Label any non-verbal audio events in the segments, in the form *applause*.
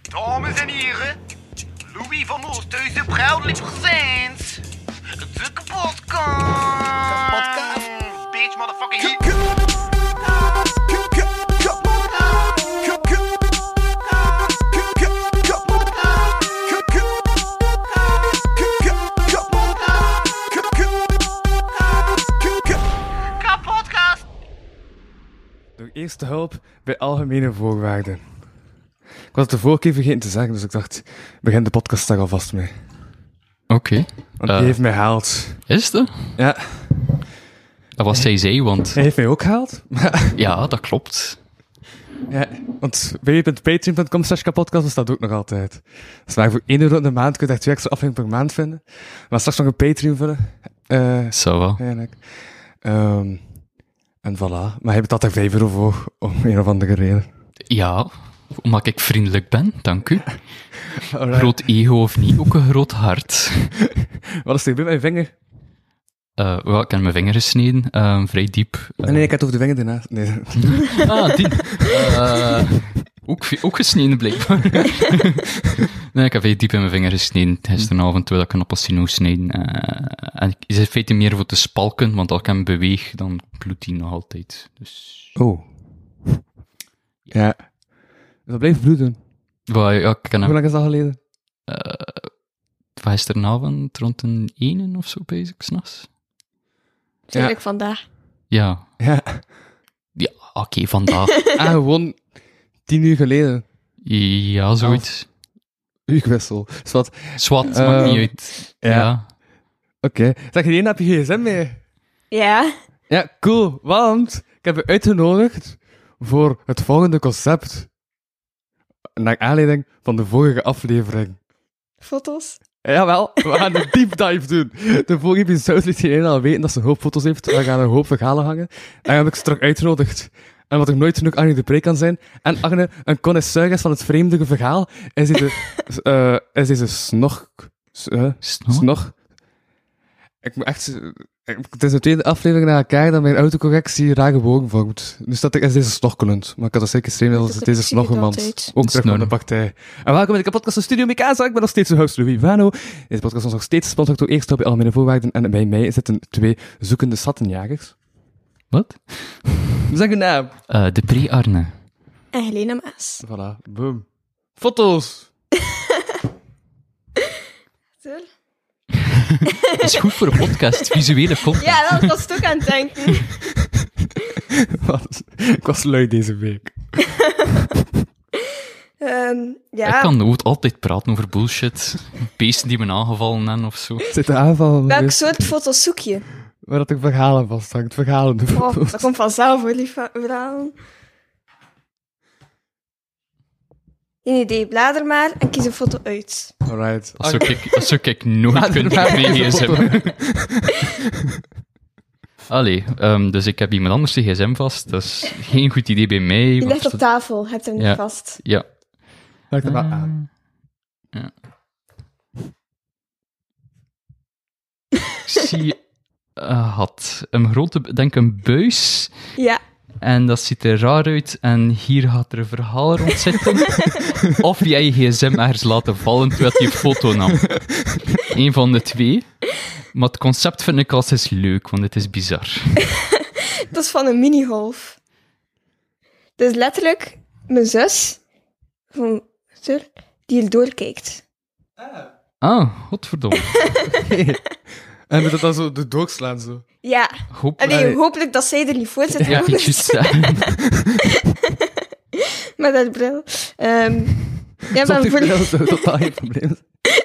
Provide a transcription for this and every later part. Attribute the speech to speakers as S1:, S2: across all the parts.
S1: Dames en heren, Louis van Oosthuizen, proudly presents de kapotkast.
S2: Kapotkast.
S1: Bitch, motherfucker, hier. Kapotkast.
S3: Door eerste hulp bij algemene voorwaarden. Ik was het de vorige keer vergeten te zeggen, dus ik dacht, begin de podcast daar alvast mee.
S4: Oké.
S3: Want
S4: Eh.
S3: die heeft mij gehaald.
S4: Is het?
S3: Ja,
S4: Dat was zij zij, want
S3: hij heeft mij ook gehaald.
S4: ja, dat klopt.
S3: ja, want www.patreon.com slash kapodcast bestaat ook nog altijd. Dus maar voor 1 euro in de maand kun je daar twee extra afleveringen per maand vinden. Maar straks nog een Patreon vullen. Eh,
S4: Zo wel.
S3: eigenlijk. Ehm, en voilà. Maar hij betaalt daar 5 euro voor, om een of andere reden.
S4: Ja, omdat ik vriendelijk ben, dank u.
S3: Alright.
S4: Groot ego of niet, ook een groot hart.
S3: Wat is er gebeurd met mijn vinger?
S4: Eh, wel, ik heb mijn vinger gesneden, eh, vrij diep. Eh,
S3: Nee, nee, ik had het over de vinger daarnaast. Nee.
S4: Ah, die. Eh, ook, ook
S3: *laughs*
S4: gesneden, blijkbaar. nee, ik heb vrij diep in mijn vinger gesneden
S3: Mm.
S4: gisteravond, terwijl ik een appelsino sneden. eh, en ik- is het in feite meer voor te spalken, want als ik hem beweeg, dan bloedt hij nog altijd. Dus...
S3: Oh. Ja. Dus Dat bleef bloeden.
S4: Wel, ja, ik kan
S3: Hoe
S4: hem
S3: lang is dat geleden?
S4: nou van gisteravond rond een ene of zo bezig, s'nachts.
S5: Tuurlijk vandaag.
S4: Ja.
S3: Ja.
S4: Ja, oké, vandaag.
S3: *laughs*
S4: *laughs*
S3: Ah, gewoon tien uur geleden.
S4: ja, zoiets.
S3: Uurwissel. Dus wat? Oké.
S4: Zwat,
S3: Eh,
S4: maakt niet uit.
S3: ja.
S4: Ja.
S3: Zeg, iedereen heb je gsm mee?
S5: Ja.
S3: Ja, cool. Want ik heb je uitgenodigd voor het volgende concept. Naar aanleiding van de vorige aflevering.
S5: Foto's.
S3: Jawel, we gaan een deep dive doen. De vorige episode liet iedereen al weten dat ze een hoop foto's heeft. We gaan een hoop verhalen hangen. En heb ik ze terug uitgenodigd. En wat ik nooit genoeg Arne de Pre kan zijn. En Arne een connoisseur is van het vreemdige verhaal. Is deze, *laughs* eh is deze snog... s- eh,
S4: Snor?
S3: snog... Ik moet echt... ik- het is de tweede aflevering na elkaar dat mijn autocorrectie rare woorden vormt. Nu staat Dus ik is deze snoggelend. Maar ik had dat zeker streamen als
S5: Dat
S3: deze
S5: zie ik
S3: snoggelmans.
S5: altijd.
S3: Ook terug van de
S4: Snorren.
S3: partij. nou En welkom bij de podcast van Studio Mikasa. Ik ben nog steeds uw host Louis Vano. Deze podcast is nog steeds sponsor door Eerst bij Algemene Voorwaarden. En bij mij zitten twee zoekende schattenjagers.
S4: Wat?
S3: Zeg uw naam.
S4: Eh, de pre-Arne.
S5: En Helena Maas.
S3: Voilà, boom. Foto's.
S4: Dat is goed voor een podcast, visuele content.
S5: Ja, dat was ik ook aan het denken.
S3: *laughs* Wat? ik was lui deze week.
S5: Ehm, ja,
S4: Ik kan nooit altijd praten over bullshit. Beesten die me aangevallen hebben of zo.
S3: Zit de aanval
S5: welk
S4: dus.
S3: geweest
S5: soort foto's zoek je?
S3: waar dat ik verhalen vasthangt. Verhalen de
S5: Oh,
S3: foto's.
S5: dat komt vanzelf hoor, lief verhaal. Geen idee, blader maar en kies een foto uit.
S3: Alright.
S4: Dat zou ik, dat zou ik nooit kunnen met mijn gsm. Allee, ehm, dus ik heb iemand anders de gsm vast. Dat is geen goed idee bij mij.
S5: Die
S4: want
S5: ligt op
S4: dat-
S5: tafel, hebt hem
S4: Ja.
S5: niet vast.
S4: Ja,
S3: Maakt het wel aan.
S4: ik zie... eh, had een grote, denk een buis.
S5: Ja,
S4: En dat ziet er raar uit. En hier gaat er een verhaal rond zitten. of jij je gsm ergens laten vallen terwijl je foto nam. Eén van de twee. Maar het concept vind ik als is leuk, want het is bizar.
S5: dat is van een minigolf. Dus letterlijk, mijn zus, van, Sir, die doorkijkt.
S4: Ah, godverdomme.
S3: En dat dan zo de doorslaan zo.
S5: Ja,
S4: Hoop
S5: Allee, hopelijk dat zij er niet voor zit.
S4: Ja, ik wou *laughs* juist zeggen.
S5: Met haar bril. Ehm ja, maar
S3: Zonder *laughs*
S5: voel-
S3: bril zou totaal geen probleem. zijn.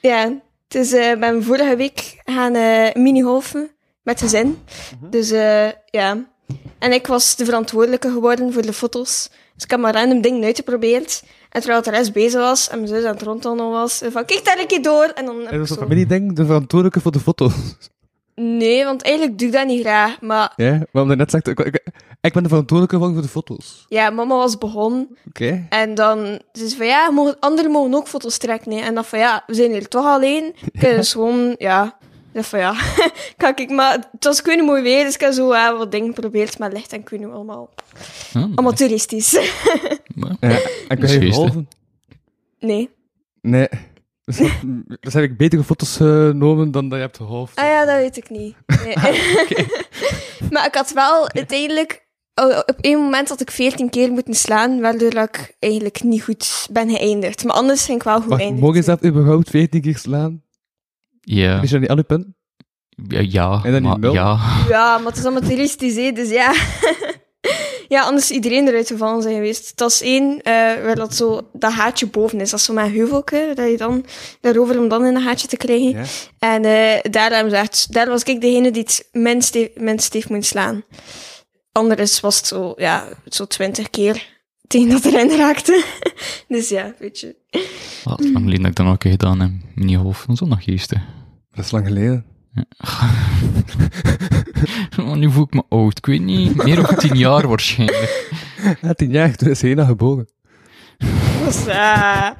S5: ja, het is, eh, ik ben vorige week gaan eh mini-golfen met gezin.
S3: Mhm.
S5: Dus eh, ja. En ik was de verantwoordelijke geworden voor de foto's. Dus ik heb maar random dingen uitgeprobeerd. En terwijl de rest bezig was en mijn zus aan het rondtonnen was, eh, van kijk daar een keer door. En dan heb
S3: *laughs* En
S5: ik
S3: dat is een
S5: zo-
S3: familieding, de verantwoordelijke voor de foto's.
S5: Nee, want eigenlijk doe ik dat niet graag. Maar
S3: Ja, waarom je net zegt, ik, ik, ik ben de verantwoordelijke voor de foto's.
S5: ja, mama was begonnen.
S3: Oké.
S5: En dan ze zei van
S3: *laughs*
S5: ja, mogen, anderen mogen ook foto's trekken. Hè. En dan van ja, we zijn hier toch alleen. Kunnen ze dus gewoon, ja, Ik dacht van ja, *laughs* kan ik maar... Het was kunnen mooi weer, dus ik heb zo eh, wat dingen geprobeerd. Maar licht en kunnen allemaal, allemaal toeristisch. *laughs*
S4: Ja.
S3: Ja, en kun je
S4: Geesten.
S3: geholpen?
S5: nee.
S3: Nee. Dus, dat- dus heb ik betere foto's eh, genomen dan dat je hebt geholpen.
S5: Ah ja, dat weet ik niet.
S3: *laughs*
S5: Nee.
S3: Ah,
S5: *laughs* maar ik had wel uiteindelijk... oh, Op één moment had ik veertien keer moeten slaan, waardoor dat ik eigenlijk niet goed ben geëindigd. Maar anders ging ik wel goed
S3: Wacht,
S5: eindigen.
S3: mogen ze dat überhaupt 14 keer slaan?
S4: Ja.
S3: Is dat niet alle punten?
S4: Ja, ja,
S3: En dan die
S4: maar-
S3: nul.
S4: ja.
S5: Ja, maar het is allemaal toeristisch, hè, dus ja. *laughs* ja, anders is iedereen eruit gevallen zijn geweest. Dat is één eh, waar dat, zo, dat haartje boven is. Dat is zo mijn heuvelke, dat je dan daarover om dan in een haartje te krijgen.
S3: Ja.
S5: En eh, daar, hebben ze echt- daar was ik degene die het minst heeft, minst heeft moeten slaan. Anders was het zo, ja, zo twintig keer tegen dat erin raakte. *laughs* dus ja, weet je.
S4: Wat lang geleden dat ik dat nog een keer gedaan heb. In je hoofd van zondaggeesten.
S3: Dat is lang geleden.
S4: Maar nu voel ik me oud. Ik weet niet. Meer dan tien jaar waarschijnlijk.
S3: Ja, 10 jaar, toen is Hena *laughs* geboren.
S5: Dus, eh,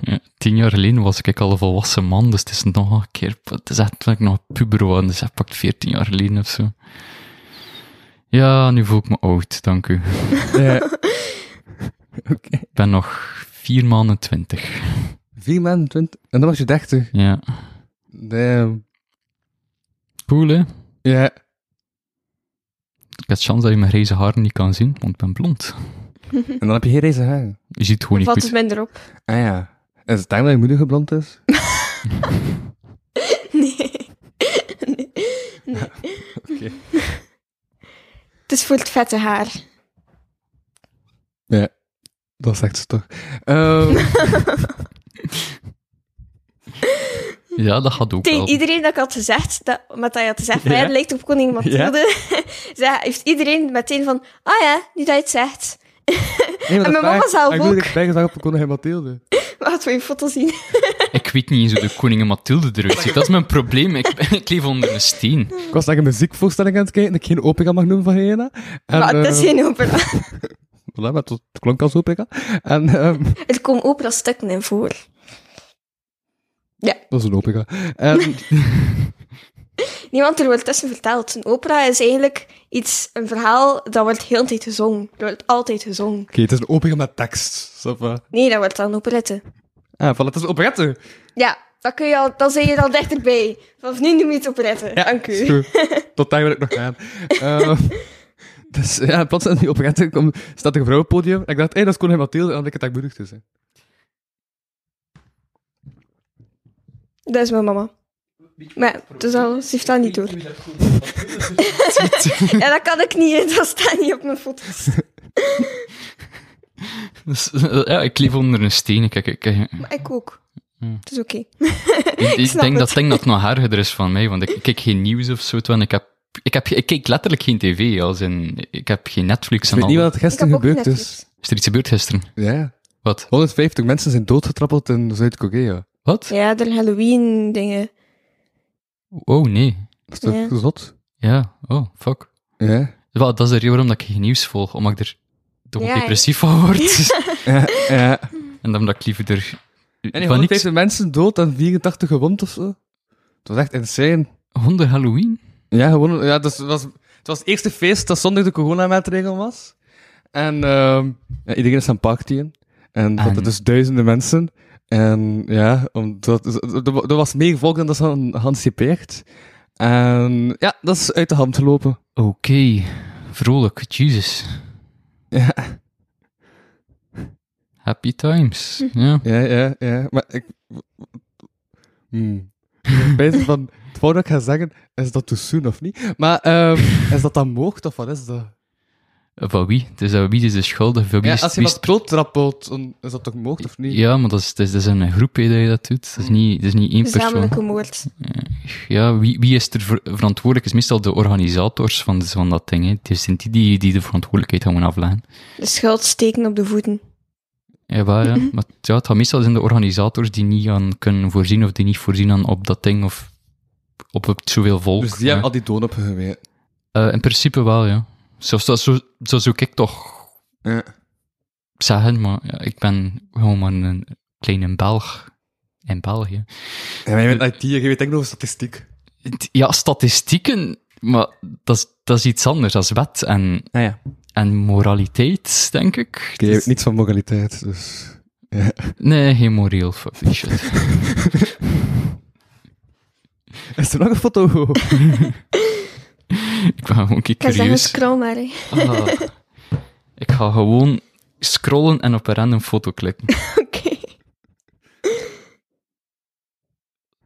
S4: Ja, tien jaar geleden was ik al een volwassen man. Dus het is nog een keer. Het is echt dat ik nog puber was. Dus dat pakt veertien jaar geleden of zo. Ja, nu voel ik me oud. Dank u.
S3: Ja.
S4: Ik ben nog vier maanden twintig.
S3: 4 maanden 20. En dan was je 30.
S4: Ja.
S3: Damn.
S4: Cool, hè?
S3: Ja.
S4: Ik had chance dat je mijn grijze haren niet kan zien, want ik ben blond.
S3: En dan heb je geen deze haar.
S4: Je ziet gewoon niet
S5: valt het
S4: goed.
S5: minder op.
S3: Ah ja. Is het daarom dat je moeder geblond is?
S5: *laughs* Nee. nee.
S3: Oké.
S5: *laughs* Het is voor het vette haar.
S3: *laughs* Dat zegt ze toch. Ehm,
S4: Ja, dat gaat ook
S5: Tegen
S4: wel.
S5: iedereen dat ik had gezegd, dat, met dat je had gezegd, van, ja,
S3: Ja.
S5: het lijkt op koningin Mathilde, *laughs* zei, heeft iedereen meteen van, ah ja, nu dat je het zegt.
S3: nee, maar
S5: En
S3: dat
S5: mijn mama
S3: vraag-
S5: zelf
S3: Ik
S5: ook.
S3: moeder bijgezag op de koningin Mathilde.
S5: Laten we je foto zien.
S4: Ik weet niet eens hoe de koningin Mathilde eruit ziet. Dat is mijn probleem. Ik, *laughs* ik leef onder een steen.
S3: Ik was naar een muziekvoorstelling aan het kijken, dat ik geen opera mag noemen van Hena. En,
S5: maar het is
S3: eh,
S5: geen opera. *laughs*
S3: voilà, maar het, was- het klonk als opera. En ehm, *laughs*
S5: Er komen opera stukken in voor.
S3: dat is een opera. En
S5: Niemand er wordt tussen verteld. Een opera is eigenlijk iets, een verhaal, dat wordt heel de tijd gezongen. Dat wordt altijd gezongen.
S3: *laughs* Oké, het is een opera met tekst. Snap je?
S5: Nee, dat wordt dan operette.
S3: Ah, voilà, het is een operette.
S5: Ja, dan, kun je al, dan ben je al dichterbij. Vanaf nu noem je het operette. Dank u.
S3: is goed. Tot daar wil ik nog gaan. Ehm, *laughs* dus ja, plots in die operette kom, staat er een vrouw op het podium. En ik dacht, hé, dat is koningin Mathilde. En dan had ik het daar dus, te zijn.
S5: Dat is mijn mama. Maar dus al, ze heeft dat niet door. ja, dat kan ik niet, hè. dat staat niet op mijn foto's.
S4: Dus, eh, ja, ik leef onder een steen. Kijk, ik, ik,
S5: *laughs*
S4: ik,
S5: Maar ik ook. Het is oké.
S4: ik
S5: snap
S4: denk dat
S5: het.
S4: ding dat nog harder is van mij, want ik, ik kijk geen nieuws of zo. terwijl Ik, heb, ik, heb, ik kijk letterlijk geen tv. Als in, ik heb geen Netflix
S3: Ik
S4: en
S3: weet
S4: al.
S3: niet wat er
S5: Ik heb
S3: gisteren
S5: ook
S3: gebeurd
S5: Netflix.
S3: is.
S4: Is er iets gebeurd gisteren?
S3: Ja.
S4: Wat?
S3: 150 mensen zijn doodgetrappeld in Zuid-Korea.
S4: Wat?
S5: Ja, de Halloween-dingen.
S4: Oh, nee.
S3: Dat is toch
S5: Ja.
S3: zot?
S4: Ja, oh, fuck.
S3: Ja.
S4: Wel, dat is de reden waarom dat ik geen nieuws volg, omdat ik er toch
S5: Ja,
S4: depressief van
S5: *laughs*
S4: word.
S3: ja, ja.
S4: en dan dat ik liever er
S3: En die
S4: van niks...
S3: 150 mensen dood en 84 gewond of zo. Het was echt insane.
S4: Honden Halloween?
S3: Ja, gewoon. Ja, dus het, was, het was het eerste feest dat zonder de coronamaatregelen was. En ehm, ja, iedereen is aan het partyen. En dat
S4: En-
S3: er dus duizenden mensen. En ja, omdat, er, er was meer volk dan dat ze hadden geanticipeerd. En ja, dat is uit de hand gelopen.
S4: Oké, vrolijk, Jesus.
S3: Ja,
S4: Happy times. Ja.
S3: ja, ja. ja. Maar ik... Hmm. Ik ben bezig van, het volgende dat ik ga zeggen, is dat too soon of niet? Maar ehm, is dat dan mocht of wat is dat?
S4: Van wie? Dus eh, wie is de schuldig? Van wie
S3: Ja,
S4: is,
S3: als je
S4: wie is
S3: dat doodtrappelt, dan is dat toch mocht of niet?
S4: Ja, maar dat is, dat is, dat is een groep hè, dat je dat doet. Dat is niet, dat is niet één persoon.
S5: Gezamenlijke moord.
S4: Ja, wie, wie is er ver- verantwoordelijk? is meestal de organisators van, van dat ding. Hè. Het zijn die, die die de verantwoordelijkheid gaan moeten afleggen.
S5: De schuld steken op de voeten.
S4: Ja, waar,
S3: Mhm.
S4: ja. Maar ja, het gaat meestal zijn de organisators die niet aan kunnen voorzien of die niet voorzien aan op dat ding of op, op zoveel volk.
S3: Dus die hebben
S4: ja.
S3: al die doden op hun geweten.
S4: Eh, in principe wel, ja. Zelfs dat zo, zo zoek ik toch
S3: Ja.
S4: zeggen, maar ja, ik ben gewoon maar een kleine Belg. in België.
S3: Ja, maar je bent IT, je weet echt nog statistiek.
S4: Het- Ja, statistieken, maar dat is, dat is iets anders als wet en,
S3: Ah ja. Dus-
S4: en moraliteit, denk ik.
S3: je weet niets van moraliteit, dus... Ja.
S4: Nee, geen moreel, fuck die shit. *laughs*
S3: Is er nog een foto?
S4: ik ben gewoon een keer
S5: Ik ga zeggen,
S4: curieus.
S5: scroll maar. hè. *laughs*
S4: Ah. ik ga gewoon scrollen en op een random foto klikken.
S5: *laughs* Oké.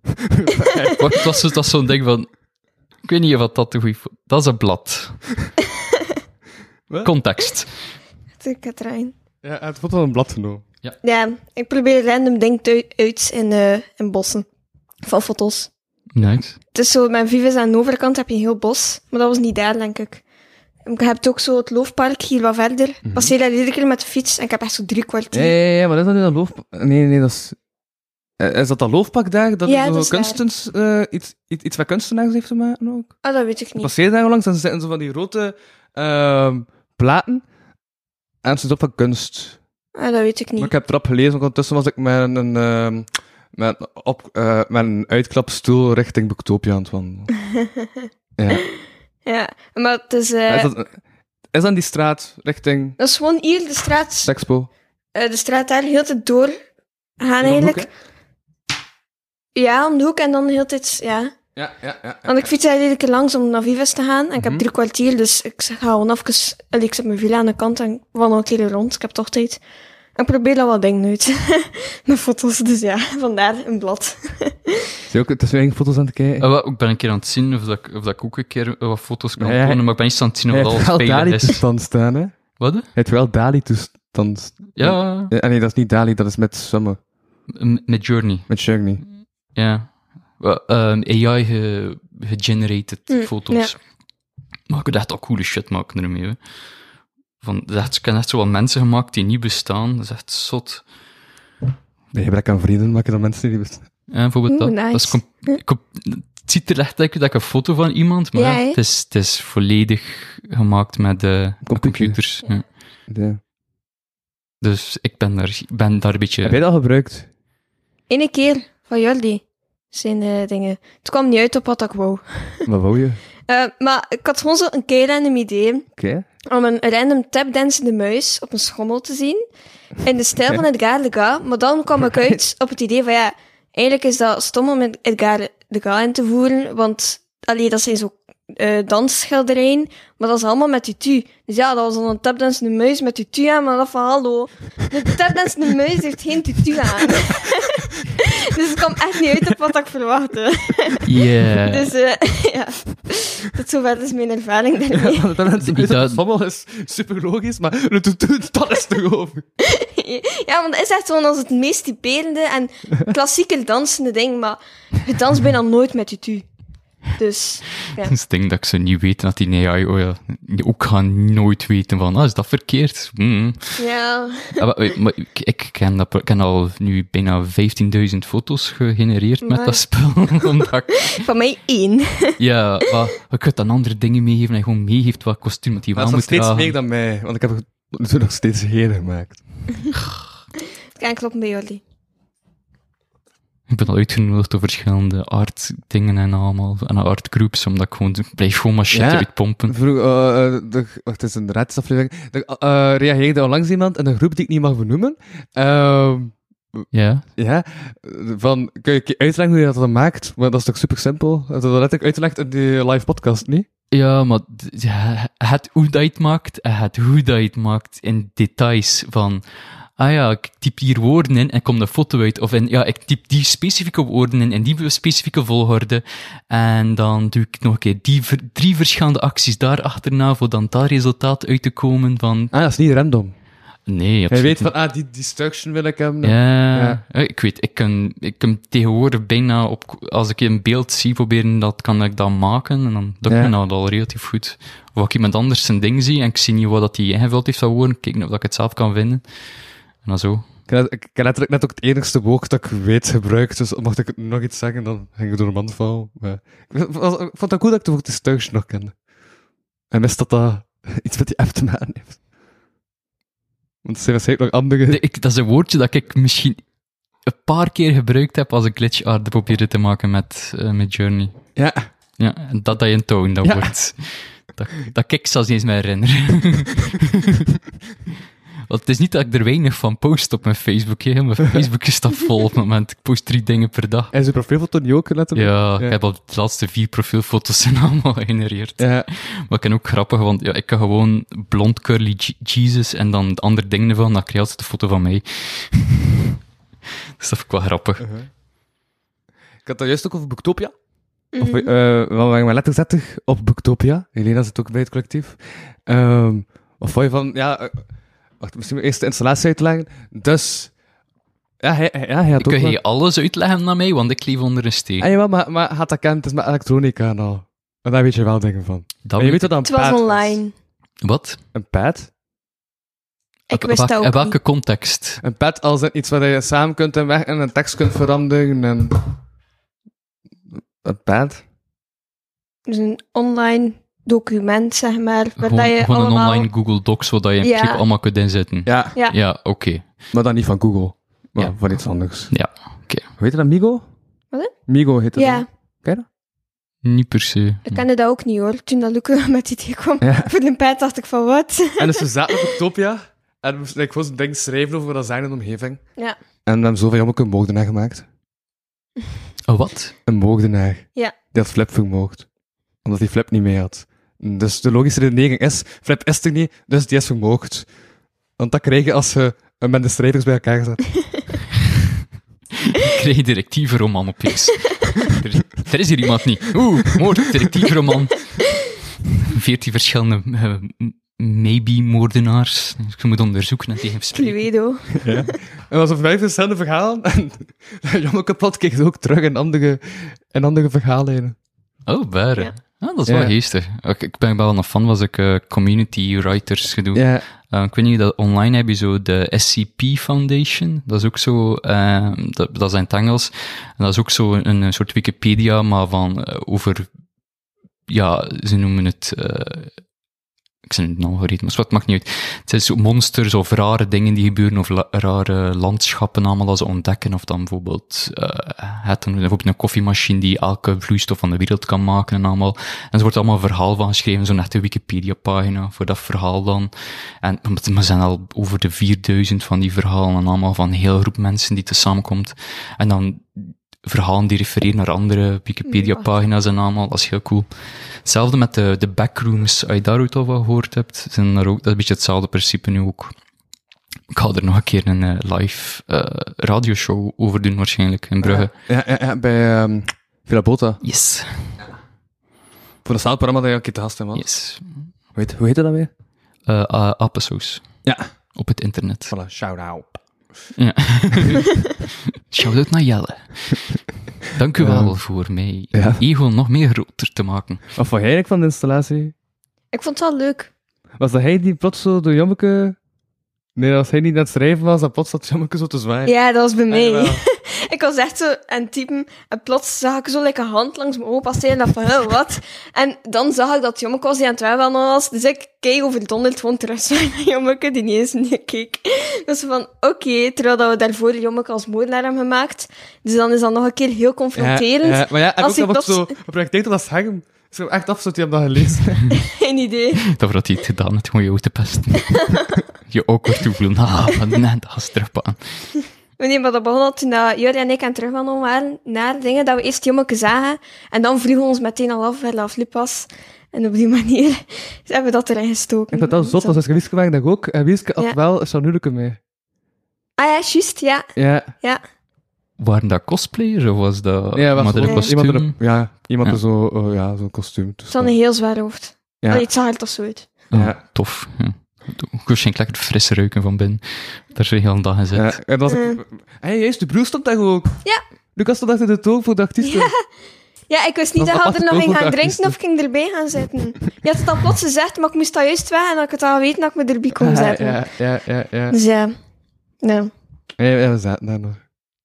S4: Wacht, het was, zo- het was zo'n ding van... Ik weet niet of dat de goede... fo- Dat is een blad.
S5: *laughs*
S3: Wat?
S4: Context.
S5: De Katrijn.
S3: *laughs* ja, het foto van een blad genomen.
S5: Ja, ik probeer random dingen thui- uit in, eh, in bossen. Van foto's.
S4: Nice.
S5: Het is zo, mijn Vives aan de overkant heb je een heel bos. Maar dat was niet daar, denk ik. Ik heb ook zo het loofpark hier wat verder. Passeer daar iedere keer met de fiets en ik heb echt zo drie kwartier.
S3: Mhm. Ja, ja, ja, maar is dat nu dat loofpak? Nee, nee, dat is... Eh, Is dat dat loofpak daar? Dat,
S5: Ja,
S3: zo
S5: dat is
S3: kunstens, eh, iets, iets, iets wat kunstenaars heeft te maken ook?
S5: Ah, dat weet ik niet.
S3: passeer daar langs en zitten zo van die rode ehm, platen. En ze is op van kunst.
S5: Ah, dat weet ik
S3: Maar
S5: niet.
S3: ik heb erop gelezen, want ondertussen was ik met een, ehm, met, een op, eh, met een uitklapstoel richting Boektopia aan het wandelen. ja.
S5: Ja, maar het is... eh,
S3: Is,
S5: dat...
S3: dat, is dat die straat richting
S5: is gewoon hier, de straat,
S3: Sexpo?
S5: eh, de straat daar, heel de tijd door gaan
S3: Om de hoek,
S5: eigenlijk. ja, om de hoek en dan heel de tijd... Ja.
S3: hè? Ja, ja, ja. ja.
S5: Want ik fiets daar iedere keer langs om naar Vives te gaan. En ik
S3: Mhm.
S5: heb drie kwartier, dus ik ga gewoon even... Allee, ik zet mijn villa aan de kant en ik wandel een keer rond. Ik heb toch tijd. En ik probeer dat wel dingen uit. *laughs* Mijn foto's, dus ja. Vandaar een blad.
S3: Zie je ook, het is nu eigen foto's aan het kijken.
S4: Eh, wel, ik ben een keer aan het zien of, dat, ik- of dat ik ook een keer eh, wat foto's kan
S3: Nee, hij-
S4: tonen, maar ik ben niet aan het zien of
S3: Hij
S4: dat
S3: heeft
S4: alles
S3: wel
S4: veilig is.
S3: Dali-toestand staan, hè? Hij
S4: Wat?
S3: heeft wel Dali-toestand.
S4: Ja,
S3: Eh, nee, dat is niet Dali, dat is met Summer.
S4: m- met Journey.
S3: Met Shugni.
S5: Mm.
S4: Ja. Wel, ehm, AI ge- gegenerated
S5: Mm,
S4: foto's. Maar ik kan echt al coole shit maken ermee. Hè. Van, dat is echt- ik heb echt zo wat mensen gemaakt die niet bestaan. Dat is echt zot.
S3: Nee, gebrek aan vrienden maken dan mensen die best-
S4: Ja, bijvoorbeeld
S5: Oeh,
S4: dat.
S5: nice.
S4: dat is com- com- het ziet er echt uit dat ik een foto van iemand, maar
S5: Ja,
S4: ja,
S5: hè?
S4: het, is, het is volledig gemaakt met eh,
S3: Computer.
S4: computers. ja.
S3: Ja.
S4: Dus ik ben daar, ben daar een beetje...
S3: Heb jij dat al gebruikt?
S5: Eén keer van Jordi. Zijn eh, dingen. Het kwam niet uit op wat ik wou.
S3: Wat wou je?
S5: Eh, maar ik had gewoon zo een keer random idee
S3: Oké.
S5: om een random tapdansende muis op een schommel te zien. In de stijl van Edgar Degas. Maar dan kwam ik uit op het idee van ja, eigenlijk is dat stom om Edgar Degas in te voeren. Want allee, dat zijn zo eh dansschilderijen, maar dat is allemaal met tutu. Dus ja, dat was dan een tapdansende muis met tutu aan, maar dat van hallo. De tapdansende muis heeft geen tutu aan. *laughs* dus het kwam echt niet uit op wat ik verwachtte.
S4: *laughs* Yeah.
S5: *laughs* Dus eh, ja, tot zover is mijn ervaring daarmee.
S3: Ja, *laughs* dat mensen
S4: Die- dat-
S3: Sommel is super logisch, maar de tutu, dat is toch over.
S5: Ja, want dat is echt gewoon als het meest typerende en klassieker dansende ding, maar je danst bijna nooit met tutu. Dus, ja.
S4: Dat is het ding dat ik ze niet weten dat die AI oh ja, ook gaan nooit weten van, ah, is dat verkeerd? Mm.
S5: Ja,
S4: Ah, maar, maar ik, ik ken dat, pro- ik ken al nu bijna 15.000 foto's gegenereerd met
S5: Maar-
S4: dat spel. *laughs* Omdat ik-
S5: van mij één.
S4: ja, maar je kunt dan andere dingen meegeven en gewoon meegeeft wat kostuum dat die wel
S3: Dat is nog
S4: moet
S3: steeds
S4: dragen.
S3: meer dan mij, want ik heb het tot nu toe nog steeds heren gemaakt.
S5: Het kan kloppen bij Jordi.
S4: Ik ben al uitgenodigd door verschillende artdingen en allemaal, en artgroups, omdat ik gewoon, ik blijf gewoon maar shit
S3: Ja.
S4: uitpompen.
S3: Vroeg, eh, eh, de, wacht, het is een raadsaflevering. Er eh, reageerde onlangs iemand in een groep die ik niet mag benoemen. Ehm,
S4: Ja.
S3: ja, van, kun je een keer uitleggen hoe je dat dan maakt? Maar dat is toch super simpel? Dat heb ik uitgelegd in die live podcast, niet?
S4: Ja, maar d- ja, het hoe dat je het maakt en het hoe dat je het maakt in details van... Ah ja, ik typ hier woorden in en komt een foto uit. Of in, ja, ik typ die specifieke woorden in, in die specifieke volgorde. En dan doe ik nog een keer die ver- drie verschillende acties daarachterna voor dan dat resultaat uit te komen van...
S3: Ah, dat is niet random.
S4: Nee,
S3: Hij
S4: absoluut
S3: weet
S4: niet.
S3: van, ah, die destruction wil ik hebben.
S4: Ja,
S3: Ja.
S4: eh, ik weet, ik kan, ik kan tegenwoordig bijna op, als ik een beeld zie proberen, dat kan ik dat maken en dan doe ik
S3: Ja.
S4: me dat al relatief goed. Of als ik iemand anders zijn ding zie en ik zie niet wat dat hij ingevuld heeft van woorden, kijk of dat ik het zelf kan vinden. En dan zo.
S3: Ik heb- Ik heb letterlijk net ook het enigste woord dat ik weet gebruikt, dus mocht ik nog iets zeggen, dan ging ik door een man vallen. Maar ik vond- was- ik vond het ook cool dat ik de woord destruction nog kende. En wist dat dat iets met die app te maken heeft. Want er zijn waarschijnlijk nog andere...
S4: De- ik, dat is een woordje dat ik misschien een paar keer gebruikt heb als ik glitchart probeerde te maken met, eh, met Journey.
S3: Ja.
S4: Ja, en dat dat je een toon, dat
S3: Ja.
S4: wordt... Dat, dat ik zelfs niet eens meer herinner. *laughs* Want het is niet dat ik er weinig van post op mijn Facebook. Hè. Mijn
S3: *laughs*
S4: Facebook is dat vol op het moment. Ik post drie dingen per dag.
S3: En zijn profielfoto niet ook, letterlijk?
S4: Ja,
S3: Ja.
S4: ik heb al de laatste vier profielfoto's zijn allemaal gegenereerd.
S3: Ja.
S4: Maar ik ken ook grappig, want ja, ik kan gewoon blond curly Je- Jesus en dan andere dingen ervan. Dan krijg je altijd een foto van mij. *laughs* dus dat vind ik wel grappig.
S3: Ik had het juist ook over Booktopia. Of, eh we waren maar letterzettig op Booktopia. Helena zit ook bij het collectief. Ehm wat vond je van... Ja, eh, wacht, misschien eerst de installatie uitleggen. Dus... Ja, hij, hij- ja, hij had ook...
S4: Kun
S3: wel-
S4: je alles uitleggen naar mij, want ik leef onder een steen.
S3: Ah, jawel, maar, maar had dat kent, het is met elektronica en al. En daar weet je wel dingen van.
S4: Dat
S3: Maar je
S4: weet
S3: weet wat
S5: Het
S3: dat een
S5: was
S3: pad is.
S5: online.
S4: Wat?
S3: Een pad?
S5: Ik
S4: Wa-
S5: wist
S4: wa-
S5: dat ook
S4: In welke
S5: niet.
S4: context?
S3: Een pad als in iets waar je samen kunt en weg en een tekst kunt veranderen en... Een pad?
S5: Dus een online document, zeg maar. Waar
S4: Gewoon,
S5: dat je
S4: gewoon
S5: allemaal...
S4: een online Google Docs, waar dat je in
S5: Ja.
S4: principe allemaal kunt inzetten.
S3: Ja,
S5: Ja.
S4: Ja, oké.
S3: maar dan niet van Google. Maar
S4: Ja.
S3: van iets anders.
S4: Ja, oké.
S3: Hoe heet dat, Migo?
S5: Wat, hè?
S3: Migo heet dat.
S5: *laughs* Ja,
S4: Niet per se.
S5: ik kende dat ook niet hoor. Toen dat Luca *laughs* met die idee kwam
S3: Ja.
S5: voor de pet, dacht ik van wat?
S4: *laughs*
S3: En dus we zaten op Utopia. En moesten ik gewoon zo'n ding schrijven over dat zijn en omgeving.
S5: Ja.
S3: En we hebben zoveel jammer een moordenaar gemaakt.
S4: Oh, wat?
S3: Een moordenaar.
S5: Ja.
S3: Die had Flip vermoord. Omdat hij Flip niet mee had. Dus de logische redenering is, Flip is er niet, dus die is vermoord. Want dat krijg je als je eh, met de strijders bij elkaar zet.
S4: Ik kreeg directieve roman
S5: *laughs*
S4: opeens. er, er is hier iemand niet. Oeh, moord, directieve roman. Veertien verschillende eh, m- maybe-moordenaars. Dus je moet onderzoeken en tegen spreken.
S5: Cluedo.
S3: En dat was vijf verschillende verhalen. En *laughs* Jommeke plat keek ook terug in andere, in andere verhaallijnen.
S4: Oh, baren.
S5: Ja.
S4: Ah, dat is
S3: Ja.
S4: wel geestig. Ik, ik ben wel een fan, was ik eh, community writers gedoe.
S3: Ja.
S4: Eh, ik weet niet, dat online heb je zo de SCP Foundation. Dat is ook zo, eh, dat, dat is in het Engels. En dat is ook zo een, een soort Wikipedia, maar van eh, over, ja, ze noemen het, eh, ik zijn het nou vergeten, maar wat maakt niet uit. Het zijn zo monsters of rare dingen die gebeuren, of la- rare landschappen allemaal dat ze ontdekken. Of dan bijvoorbeeld, eh, het, een, bijvoorbeeld een koffiemachine die elke vloeistof van de wereld kan maken en allemaal. En er wordt allemaal een verhaal van geschreven, zo'n echte Wikipedia-pagina voor dat verhaal dan. En want er zijn al over de 4000 van die verhalen en allemaal van een hele groep mensen die tezamen komt. En dan verhalen die refereren naar andere Wikipedia-pagina's en allemaal. Dat is heel cool. Hetzelfde met de, de backrooms. Als je daar ooit al van gehoord hebt, zijn er ook, dat is een beetje hetzelfde principe nu ook. Ik ga er nog een keer een eh, live eh, radioshow over doen waarschijnlijk in Brugge.
S3: Ja, ja, ja, bij ehm Villa Bota.
S4: Yes.
S3: Voor dat staalprogramma dat je een keer te gast in was.
S4: Yes.
S3: Hoe heet- hoe heette dat weer?
S4: Eh eh, appensaus.
S3: Ja.
S4: Op het internet.
S3: Voilà, shout-out.
S4: Ja. Shout-out naar
S3: *laughs*
S4: Jelle. Dank u wel voor mij
S3: ja.
S4: ego nog meer groter te maken.
S3: Wat vond jij eigenlijk van de installatie?
S5: Ik vond het wel leuk.
S3: Was dat hij die plots zo door Jommeke... Nee, als hij niet aan het schrijven was, dan plots zat Jommeke zo te zwaaien.
S5: Ja, dat was bij
S3: Ah,
S5: mij.
S3: jawel.
S5: *laughs* Ik was echt zo aan het typen en plots zag ik zo lekker een hand langs mijn ogen passeren en dacht van, "Hè, wat? En dan zag ik dat Jommeke was die aan het webben was, dus ik keek overdonderd gewoon terug *laughs* naar Jommeke die niet eens neerkeek. Dus van, oké, terwijl dat we daarvoor Jommeke als moordenaar hebben gemaakt, dus dan is dat nog een keer heel confronterend.
S3: Ja, ja, maar ja, en
S5: Als
S3: ook dat
S5: hij
S3: wordt zo
S5: plots-
S3: geprojecteerd als hem. Is er echt af, zodat hij hem dat
S5: *laughs*
S3: gelezen
S5: *laughs* Geen idee.
S4: Daarvoor hij het gedaan heeft, gewoon je ook te
S3: *laughs*
S4: pesten. je ook weer toevoelen. Ah, wat net als aan.
S5: Nee, maar dat begon al toen dat Jurre en ik aan het terugwandelen waren naar dingen dat we eerst Jommeke zagen. En dan vroegen we ons meteen al af waar dat afliep was. En op die manier *laughs* hebben we dat erin gestoken.
S3: Ik vond dat zot, was als Wieske waren, denk ik ook. En Wieske had
S5: Ja.
S3: wel een Chanuleke mee.
S5: Ah ja, juist, ja.
S3: Ja.
S5: ja.
S4: Waren dat cosplayers of was dat...
S3: ja
S4: maar dat
S3: gewoon
S4: kostuum?
S3: Iemand in een- ja, iemand
S4: Ja.
S3: in zo, eh, ja, zo'n kostuum.
S5: Het had een heel zwaar hoofd.
S3: Ja.
S5: Allee, het zag er toch zo uit.
S4: Oh,
S3: Ja.
S4: Tof. Ja. Ik was geen lekker fris ruiken van binnen. Daar zijn heel een dag in zit.
S3: Ja, en dat was ik... hey, juist, de broer stond daar ook.
S5: Ja.
S3: Lucas stond achter de toon voor de artiesten.
S5: Ja, ik wist niet
S3: Dat
S5: dat,
S3: was
S5: hij er
S3: apart
S5: nog in
S3: ook
S5: gaan
S3: voor
S5: drinken of ik ging erbij gaan zitten. Je had het al plots gezegd, maar ik moest dat juist weg en had ik het al weten dat ik me erbij kon
S3: Ah, ja,
S5: zetten.
S3: ja, ja, ja, ja.
S5: Dus ja. ja.
S3: Ja, ja, we zaten daar nog.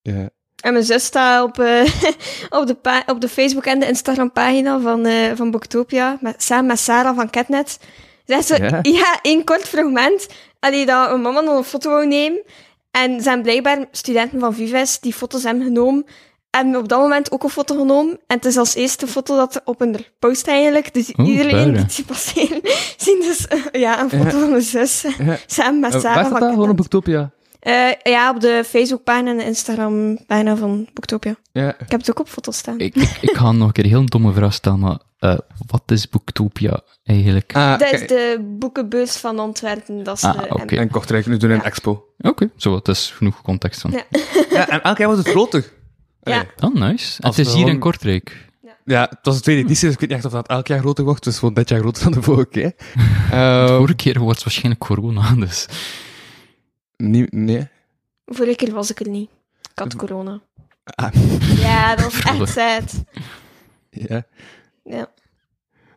S3: Ja.
S5: En mijn zus staat op, eh, *laughs* op, de pa- op de Facebook en de Instagram pagina van, eh, van Booktopia, met, samen met Sarah van Catnet. Zegt ze,
S3: Ja?
S5: *laughs* ja, één kort fragment. Allee, dat mijn mama nog een foto wou nemen. En zijn blijkbaar studenten van Vives die foto's hebben genomen. En op dat moment ook een foto genomen. En het is als eerste foto dat er op een post eigenlijk. Dus
S4: Oeh,
S5: iedereen
S4: puilen.
S5: die het ziet passeren, *laughs* zien dus eh, ja, een foto
S3: Ja.
S5: van mijn zus.
S3: Ja.
S5: Samen met
S3: Eh,
S5: Sarah.
S3: Waar staat
S5: van
S3: dat? Gewoon op
S5: Kent.
S3: Booktopia.
S5: Eh, ja, op de Facebookpagina en de Instagram-pagina van Booktopia.
S3: Ja.
S5: Ik heb het ook op foto's staan.
S4: Ik, ik, ik ga nog een keer een heel domme vraag stellen, maar eh, wat is Booktopia eigenlijk?
S3: Ah,
S5: Dat is
S3: kijk,
S5: de boekenbeurs van Antwerpen. Dat is
S4: Ah,
S5: de-
S4: oké.
S5: en-
S3: En Kortrijk, nu doen we een expo.
S4: Oké, zo, dat is genoeg context van.
S5: Ja.
S3: Ja, en elk jaar was het groter.
S5: Ja.
S4: Oh, nice. En
S3: Als
S4: het is
S3: we
S4: hier in
S3: gewoon-
S4: Kortrijk.
S3: Ja, het was de tweede editie, dus ik weet niet echt of dat elk jaar groter wordt. Dus gewoon dit jaar groter dan de vorige *laughs* keer.
S4: De
S3: Eh,
S4: vorige keer was het waarschijnlijk corona, *laughs* dus...
S3: nie- nee.
S5: Vorige keer was ik er niet. Ik had corona.
S3: Ah. *laughs*
S5: Ja, dat was echt
S4: Vrolijk.
S5: sad.
S3: Ja.
S5: Ja.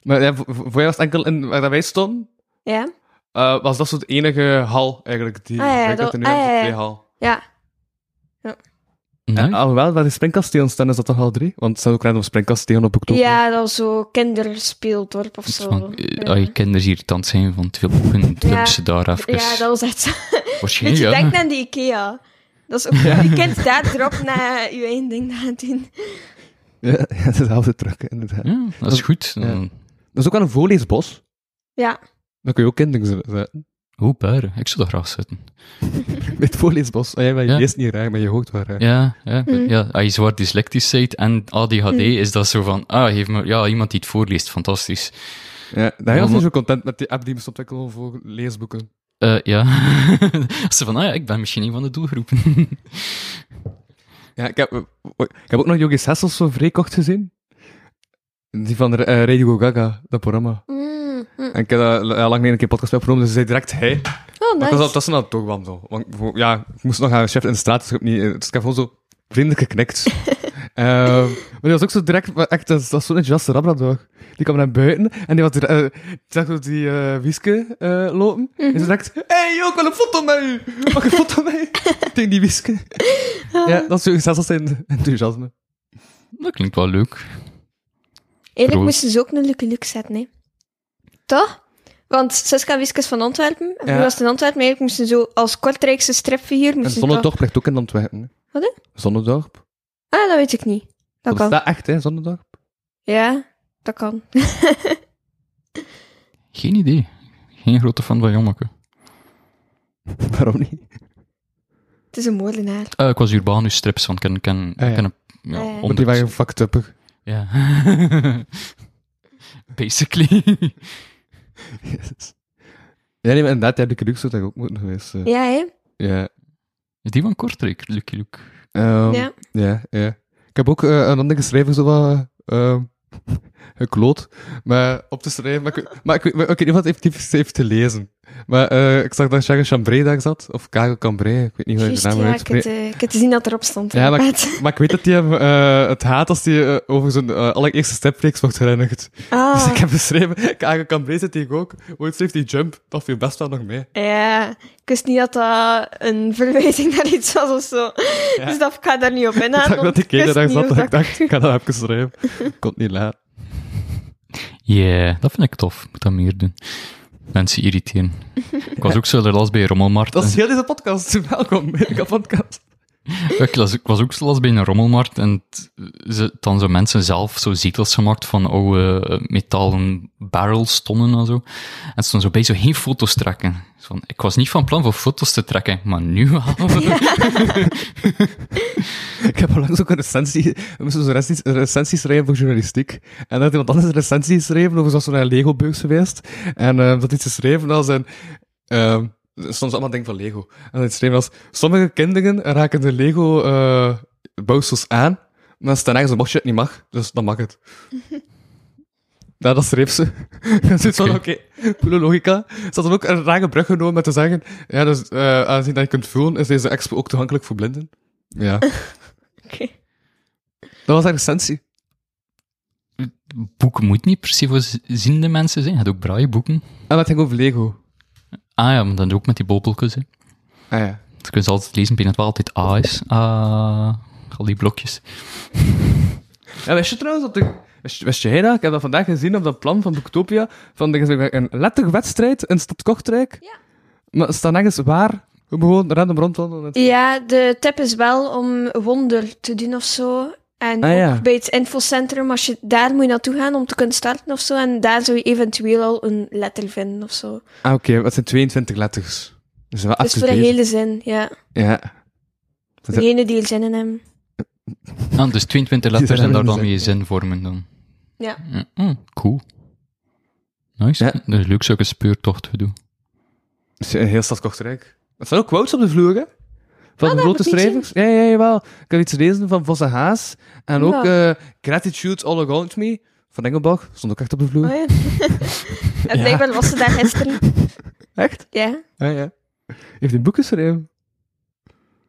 S3: Maar ja, voor, voor jou was het enkel in waar dat wij stonden,
S5: Ja?
S3: eh, was dat soort enige hal eigenlijk. Die,
S5: Ah, ja,
S3: ik denk
S5: dat-
S3: er nu
S5: ah,
S3: hebben
S5: ja, ja.
S3: twee hal.
S5: Ja.
S4: Nice.
S3: En Alhoewel, waar de springkastelen staan, is dat toch al drie? Want er staan ook random springkastelen op Booktopia.
S5: ja, dat was zo kinderspeeldorp of zo.
S4: Van, eh,
S5: Ja.
S4: ah, je kinderen irritant zijn van twee boeken, dan hebben ze dus daar even...
S5: Ja, dat was echt zo. Weet
S4: Waarschijnlijk,
S5: *laughs* je,
S4: ja.
S5: denk aan die Ikea. Dat is ook Je kind daar drop naar je eigen ding aan doen.
S3: *laughs* Ja, ja, dat is altijd terug, inderdaad.
S5: Hm?
S4: Ja, dat is goed.
S3: Ja.
S4: Dan-
S3: Dat is ook wel een voorleesbos.
S5: Ja.
S3: Dan kun je ook kinderen
S5: *laughs*
S3: zetten.
S4: Hoe buiten? Ik zou dat graag zitten.
S3: Met het voorleesbos. Oh, ja, maar je
S4: Ja.
S3: leest niet raar, maar je hoort wel raar.
S4: Ja, ja,
S5: Hm.
S4: ja. Als je zwaar dyslectisch bent en ADHD, is dat zo van, ah, geef me, ja, iemand die het voorleest, fantastisch.
S3: Ja, daar was
S4: maar-
S3: niet zo content met die app die moest ontwikkelen voor leesboeken.
S4: Eh, ja. *laughs* Ze van, ah ja, ik ben misschien een van de doelgroepen. *laughs*
S3: Ja, ik heb, eh, ik heb ook nog Yogis Hessels zo vrij kort gezien. Die van eh, Radio Gaga, dat programma.
S5: Mm, mm.
S3: En ik heb dat ja, lang niet een keer podcast bij opgenomen, dus ze zei direct hij. Maar
S5: Oh,
S3: ik was al
S5: nice.
S3: tussen aan het doorwandelen. zo. Want ik vond- ja, ik moest nog aan een chef in de straat, dus ik heb, niet, eh, dus ik heb gewoon zo vriendelijk
S5: *laughs*
S3: geknikt. Ehm, maar die was ook zo direct, maar echt, dat is- dat is zo'n enthousiaste rabradog. Die kwam naar buiten en die was direct, eh, die zag zo die eh wieske eh, lopen. En
S5: Mhm.
S3: ze dacht, hé hey, joh, ik wil een foto met u! Mag ik een foto
S5: *laughs*
S3: met u? Tegen die wieske.
S5: Ah.
S3: Ja, dat is Yogis Hessels zijn enthousiasme.
S4: dat klinkt wel leuk.
S5: Eigenlijk
S4: Pro.
S5: moesten ze ook een Lucky Luke zetten, hè. Toch? Want Suska en Wiske is van Antwerpen. En
S3: Ja.
S5: Nu was het in Antwerpen. Eigenlijk moesten ze zo als Kortrijkse stripfiguur...
S3: En
S5: Moesten ze toch-
S3: Zonnedorp ligt ook in Antwerpen. hè.
S5: Dus Wat, hè?
S3: Zonnedorp.
S5: Ah, dat weet ik niet. Dat
S3: Dat
S5: kan.
S3: bestaat echt, hè, Zonnedorp?
S5: Ja, dat kan.
S4: Geen idee. Geen grote fan van Jommeke.
S3: Waarom niet?
S5: Het is een moordenaar.
S4: Eh, ik was Urbanus strips, want ik ken... ken,
S3: Ah, ja.
S4: ken een-
S5: Ah, ja.
S4: ja,
S3: Want die
S4: honderd-
S3: waren fucked up.
S4: ja. *laughs* Basically.
S3: Jezus. Ja, nee, maar inderdaad, ja, Lucky Luke zou daar ook moeten geweest zijn.
S5: Ja, hè?
S3: Ja.
S4: Is die van Kortrijk, Lucky Luke?
S3: Ehm,
S5: Ja.
S3: ja. ja, Ik heb ook eh, een andere schrijver zo wat... ehm, *laughs* gekloot, maar op te schrijven. Maar ik, maar ik, weet- maar ik weet niet wat heeft, heeft te lezen. Maar eh, ik zag dat Charles Chambray daar zat, of Karel Cambrai, ik weet niet hoe je
S5: Juist,
S3: de naam
S5: ja, ik
S3: uitspreekt.
S5: heb eh, ik heb te zien dat erop stond.
S3: Ja, maar ik- *laughs*
S5: inderdaad.
S3: Maar ik weet dat hij hem, eh, het haat als hij eh, over zijn eh, allereerste stepflex wordt gereinigd. Dus
S5: Ah,
S3: ik heb beschreven, Kago Cambrai zit hier ook. Ooit schreef die jump, dat viel best wel nog mee.
S5: ja. Ik wist niet dat dat een verwijzing naar iets was of zo.
S3: Ja.
S5: Dus dat, ik ga daar niet
S3: *laughs*
S5: op
S3: Ik
S5: ingaan.
S3: zag dat
S5: want
S3: die
S5: wist
S3: keer daar
S5: niet
S3: zat,
S5: of
S3: dat ik dacht, ik ga dat even schrijven. Komt niet laat.
S4: Ja, dat vind ik tof. Ik moet dat meer doen. Mensen irriteren. Ik was ook zo last bij Rommelmarkt.
S3: Dat is heel deze podcast. *laughs* Welkom bij de podcast.
S4: *laughs* Ik las- ik was ook zo last bij een rommelmarkt en t- ze, dan zo mensen zelf zo zetels gemaakt van oude eh, metalen barrels, tonnen en zo. En ze stonden zo bij zo geen foto's trekken. Zo van, ik was niet van plan voor foto's te trekken, maar nu
S3: *laughs*
S4: wel.
S3: Ik heb onlangs ook een recensie... We moesten zo'n recensie, een recensie schrijven voor journalistiek. En dat iemand anders een recensie schreef over zo'n eh, Lego-beurs geweest. En eh, dat iets geschreven als een... ehm, soms allemaal denk van Lego. En dat iets schreef als... Sommige kinderen raken de Lego-bouwsels aan. Maar dan staan ergens een bordje dat niet mag. Dus dan mag het. Ja, dat schreef ze. *laughs* Dat zit van,
S4: Oké.
S3: oké, coole logica. Ze had dan ook een rare brug genomen met te zeggen, ja, dus eh, aangezien dat je kunt voelen, is deze expo ook toegankelijk voor blinden. Ja.
S5: Oké.
S3: Dat was haar recensie.
S4: boeken moet niet per se voor z- ziende mensen zijn. Je hebt ook braille boeken.
S3: En dat ging over Lego.
S4: Ah ja, maar dan ook met die bobbeltjes. hè.
S3: Ah ja.
S4: Dat kunnen ze altijd lezen binnen het wel altijd A is. Ah, al die blokjes.
S3: Ja, wist je trouwens dat de... Wist, wist jij dat? Ik heb dat vandaag gezien op dat plan van Booktopia. Van, er is een letterwedstrijd in Stad Kortrijk.
S5: Ja.
S3: Maar er staat nergens waar Gewoon random rondwandelen.
S5: Ja, de tip is wel om wonder te doen of zo. En
S3: Ah, ja.
S5: ook bij het infocentrum, als je daar moet je naartoe gaan om te kunnen starten of zo. En daar zou je eventueel al een letter vinden of zo.
S3: Ah, oké, wat zijn 22 letters. Dus wel
S5: Dus
S3: actief
S5: voor de
S3: bezig.
S5: hele zin, ja.
S3: Ja. Dat-
S5: Degene die er zin in hebben.
S4: Ah, dus 22 letters
S3: zijn
S4: en daar
S3: er
S4: dan
S3: dus,
S4: mee je
S3: ja.
S4: zin vormen dan.
S5: Ja.
S4: Mm, cool. Nice.
S3: Ja.
S4: Dat is leuk, zou ik een speurtocht doen.
S3: Dus in heel stad Kortrijk. Er staan ook quotes op de vloer, hè? Van
S5: Ah,
S3: de
S5: dat
S3: grote
S5: heb ik niet
S3: schrijvers. Ja, ja, jawel. Ik heb iets lezen van Vosse Haas. En
S5: Ja.
S3: ook eh, Gratitude All Around Me van Engelbach. Stond ook echt op de vloer.
S5: Oh, ja. *laughs* en blijkbaar was ze daar gisteren.
S3: Echt?
S5: Ja,
S3: Ja, Ah, ja. Heeft een boek geschreven?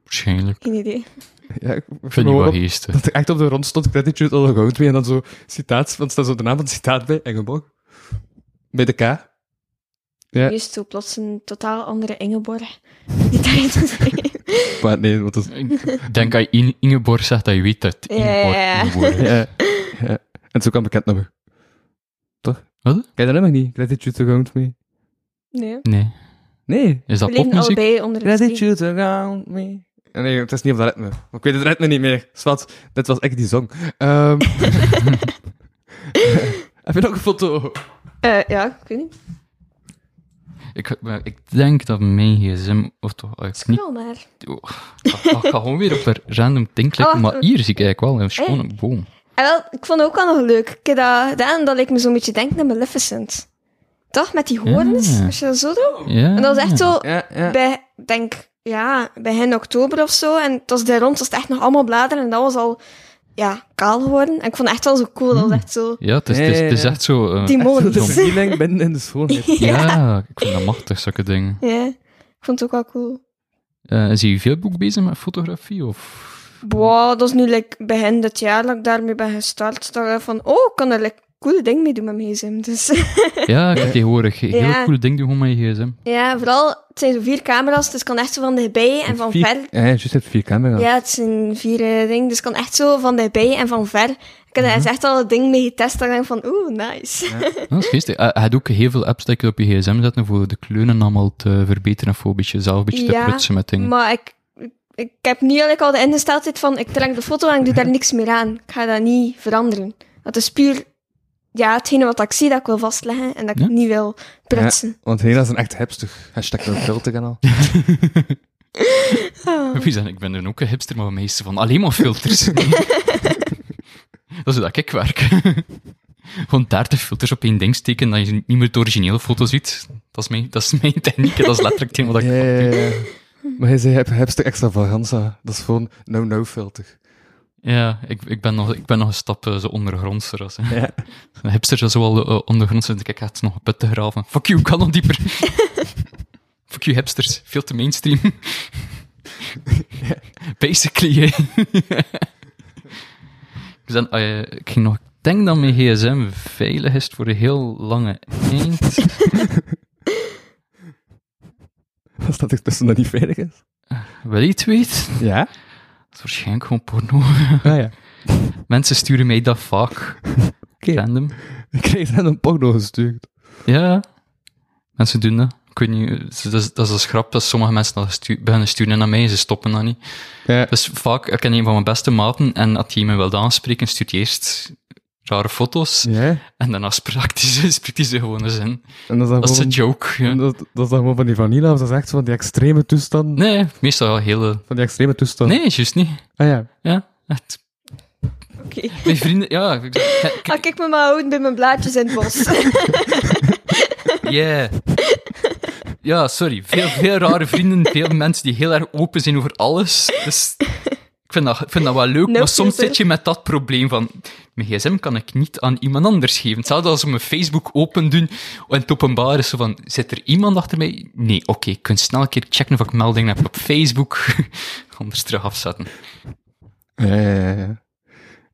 S4: Waarschijnlijk.
S5: geen idee.
S3: Ja, ik
S4: Ik vind die
S3: hoor
S4: wel
S3: op-
S4: geestig.
S3: Dat er echt op de rond stond Gratitude All Around Me. En dan zo citaat, want er staat zo de naam van het citaat bij Engelbach. Bij de K. Ja.
S5: Nu is het zo plots een totaal andere Ingeborg. *laughs* Die daarin zit.
S3: Maar nee, want dat is...
S4: Ik denk als je In- Ingeborg zegt, dat je weet dat het
S5: Ja,
S4: Ingeborg
S5: ja, ja.
S4: Ingeborg is.
S3: Ja, ja. En het is ook een bekend nummer. Toch?
S4: Wat?
S3: Ken je dat nummer niet? Gratitude Around Me.
S5: Nee.
S4: Nee.
S3: Nee.
S4: Is dat
S5: We leven
S4: popmuziek?
S5: allebei onder het steen.
S3: Gratitude around me. Nee, het is niet op dat ritme. Maar Ik weet het ritme niet meer. Zwat, dit was echt die song.
S5: *laughs*
S3: Ehm. heb je nog een foto?
S5: Eh, ja, ik weet niet.
S4: Ik, maar ik denk dat mijn gsm... Of toch, ah,
S3: Hm.
S4: ik, niet,
S5: Scroll maar.
S4: oh, ik, ga- ik ga gewoon weer op een random ding klikken,
S5: Ah,
S4: maar
S5: wacht.
S4: hier zie ik eigenlijk wel een schone boom.
S5: En wel, ik vond het ook wel nog leuk. Ik heb dat gedaan dat ik me zo'n beetje denk naar Maleficent. Toch? Met die hoorns,
S4: Ja.
S5: als je dat zo doet.
S4: Ja.
S5: En dat was echt zo,
S3: Ja, ja.
S5: bij, denk, ja, bij hen oktober of zo. En het was daar rond, was het echt nog allemaal bladeren. En dat was al, ja, kaal geworden. En ik vond het echt wel zo cool. Dat was echt zo,
S4: Ja, het is, het is, het is echt zo... eh,
S5: die *laughs*
S3: De
S5: molens.
S3: vernieling binnen in de
S5: *laughs*
S3: schoonheid.
S4: ja. ik vind dat machtig, zulke dingen.
S5: ja, ik vond het ook wel cool.
S4: Eh is je veel boek bezig met fotografie?
S5: *laughs*
S4: Of...
S5: Boah, dat is nu like, begin dit jaar dat ik daarmee ben gestart. Dat ik van, oh, ik kan er like, coole dingen mee doen met mijn gsm. Dus *laughs*
S4: Ja, ik heb tegenwoordig heel
S5: Ja.
S4: coole dingen doen gewoon met je gsm.
S5: ja, vooral, het zijn zo vier camera's. Dus ik kan echt zo van dichtbij en van
S3: Vier-
S5: ver
S3: Ja, juist, je hebt vier camera's.
S5: Ja, het zijn vier eh, dingen, dus ik kan echt zo van dichtbij en van ver. Ik
S4: Mhm.
S5: heb daar eens echt al het ding mee getest, dat ik denk van, oeh, nice.
S4: Dat is geestig. Eh, Je had ook heel veel apps die je op je gsm zetten om voor de kleuren allemaal te verbeteren of voor een beetje zelf een beetje
S5: Ja,
S4: te prutsen met dingen.
S5: *laughs* Maar ik, ik, ik heb nu eigenlijk al de ingesteldheid van, ik trek de foto en ik doe daar
S4: Mhm.
S5: niks meer aan. Ik ga dat niet veranderen. Dat is puur, ja, hetgene wat ik zie, dat ik wil vastleggen en dat ik
S4: Ja.
S5: niet wil prutsen.
S3: Want Hela is een echt hipster. Hashtag no filter *laughs* en al.
S5: Ah.
S4: Wie zijn- ik ben dan ook een hipster, maar meeste van alleen maar
S5: *laughs*
S4: filters. *laughs* dat is hoe dat ik werk. *laughs* Gewoon 30 filters op één ding steken dat je niet meer de originele foto ziet. Dat is mijn, dat is mijn techniek en dat is letterlijk het wat ik...
S3: Ja, ja, ja, ja. Maar hij zei hip- hipster extravaganza. Dat is gewoon no-no filter.
S4: Ja, ik, ik, ben nog, ik ben nog een stap eh, zo ondergrondser. Als, eh.
S3: Ja.
S4: Een hipster dat zo wel eh, ondergronds zit. Ik ga het nog een put te graven. Fuck you, ik kan nog dieper. Fuck you, hipsters. Veel te mainstream. Basically, hè. Dus dan, eh, ik ging nog... Ik denk dat mijn gsm veilig is voor een heel lange eind.
S3: *laughs* Als dat er tussen dat niet veilig is.
S4: Wil je het weten?
S3: Ja?
S4: Dat is waarschijnlijk gewoon porno.
S3: Ah ja.
S4: Mensen sturen mij dat vaak.
S3: Oké.
S4: Random.
S3: *laughs* Ik kreeg net een porno gestuurd.
S4: Ja. Mensen doen dat. Ik weet niet, dat is, dat is een grap dat sommige mensen dat stu beginnen sturen naar mij en ze stoppen dat niet.
S3: Ja.
S4: Dus vaak, ik ken een van mijn beste maten en als hij me wilde aanspreken, stuurt hij eerst rare foto's
S3: Ja?
S4: en daarna spreekt hij ze, *laughs* spreekt hij ze gewoon eens in.
S3: En dat is dan
S4: Dat is
S3: gewoon-
S4: een joke. ja.
S3: En Dat, dat is dan gewoon van die vanilla, of dat is echt zo van die extreme toestand.
S4: Nee, meestal wel hele...
S3: Van die extreme toestand.
S4: Nee, juist niet.
S3: Ah ja.
S4: Ja, echt.
S5: Oké,
S4: Mijn vrienden, ja, ik- ik- ik-
S5: ga ik me maar houden bij mijn blaadjes in
S4: *laughs*
S5: het bos. *laughs*
S4: Yeah. Ja, sorry. Veel, veel rare vrienden, veel mensen die heel erg open zijn over alles. Dus ik vind dat, ik vind dat wel leuk, maar soms
S5: filter.
S4: zit je met dat probleem van... Mijn gsm kan ik niet aan iemand anders geven. Hetzelfde als we mijn Facebook open doen en het openbaar is zo van... Zit er iemand achter mij? Nee, oké. ik kan snel een keer checken of ik meldingen heb op Facebook. *laughs* Anders terug afzetten.
S3: Ja, ja, ja. ja.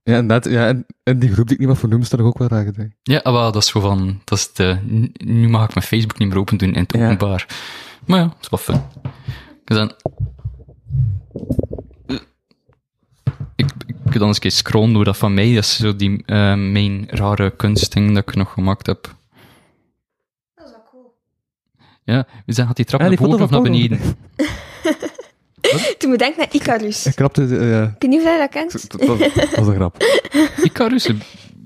S3: Ja, inderdaad. Ja, en, en die groep die ik niet meer voor noem, staat er ook wel raar gedaan.
S4: Ja, ah, wel, dat is zo van... Dat is de, n- nu mag ik mijn Facebook niet meer open doen in het
S3: Ja.
S4: openbaar. Maar ja, het is wel fun. Dus dan... Eh, Ik, ik kan dan eens een keer scrollen door dat van mij. Dat is zo die eh, mijn rare kunstding dat ik nog gemaakt heb. Ja, we zijn gaat die trap
S3: Ah,
S4: naar
S3: die foto
S4: boven of
S3: van
S4: naar beneden?
S3: Portland.
S5: Toen bedenk naar Icarus.
S3: Ik
S5: Ik
S3: knapte... eh,
S5: weet niet of jij dat kent.
S3: dat, dat- dat was een grap.
S4: Icarus?
S3: *laughs*
S4: eh,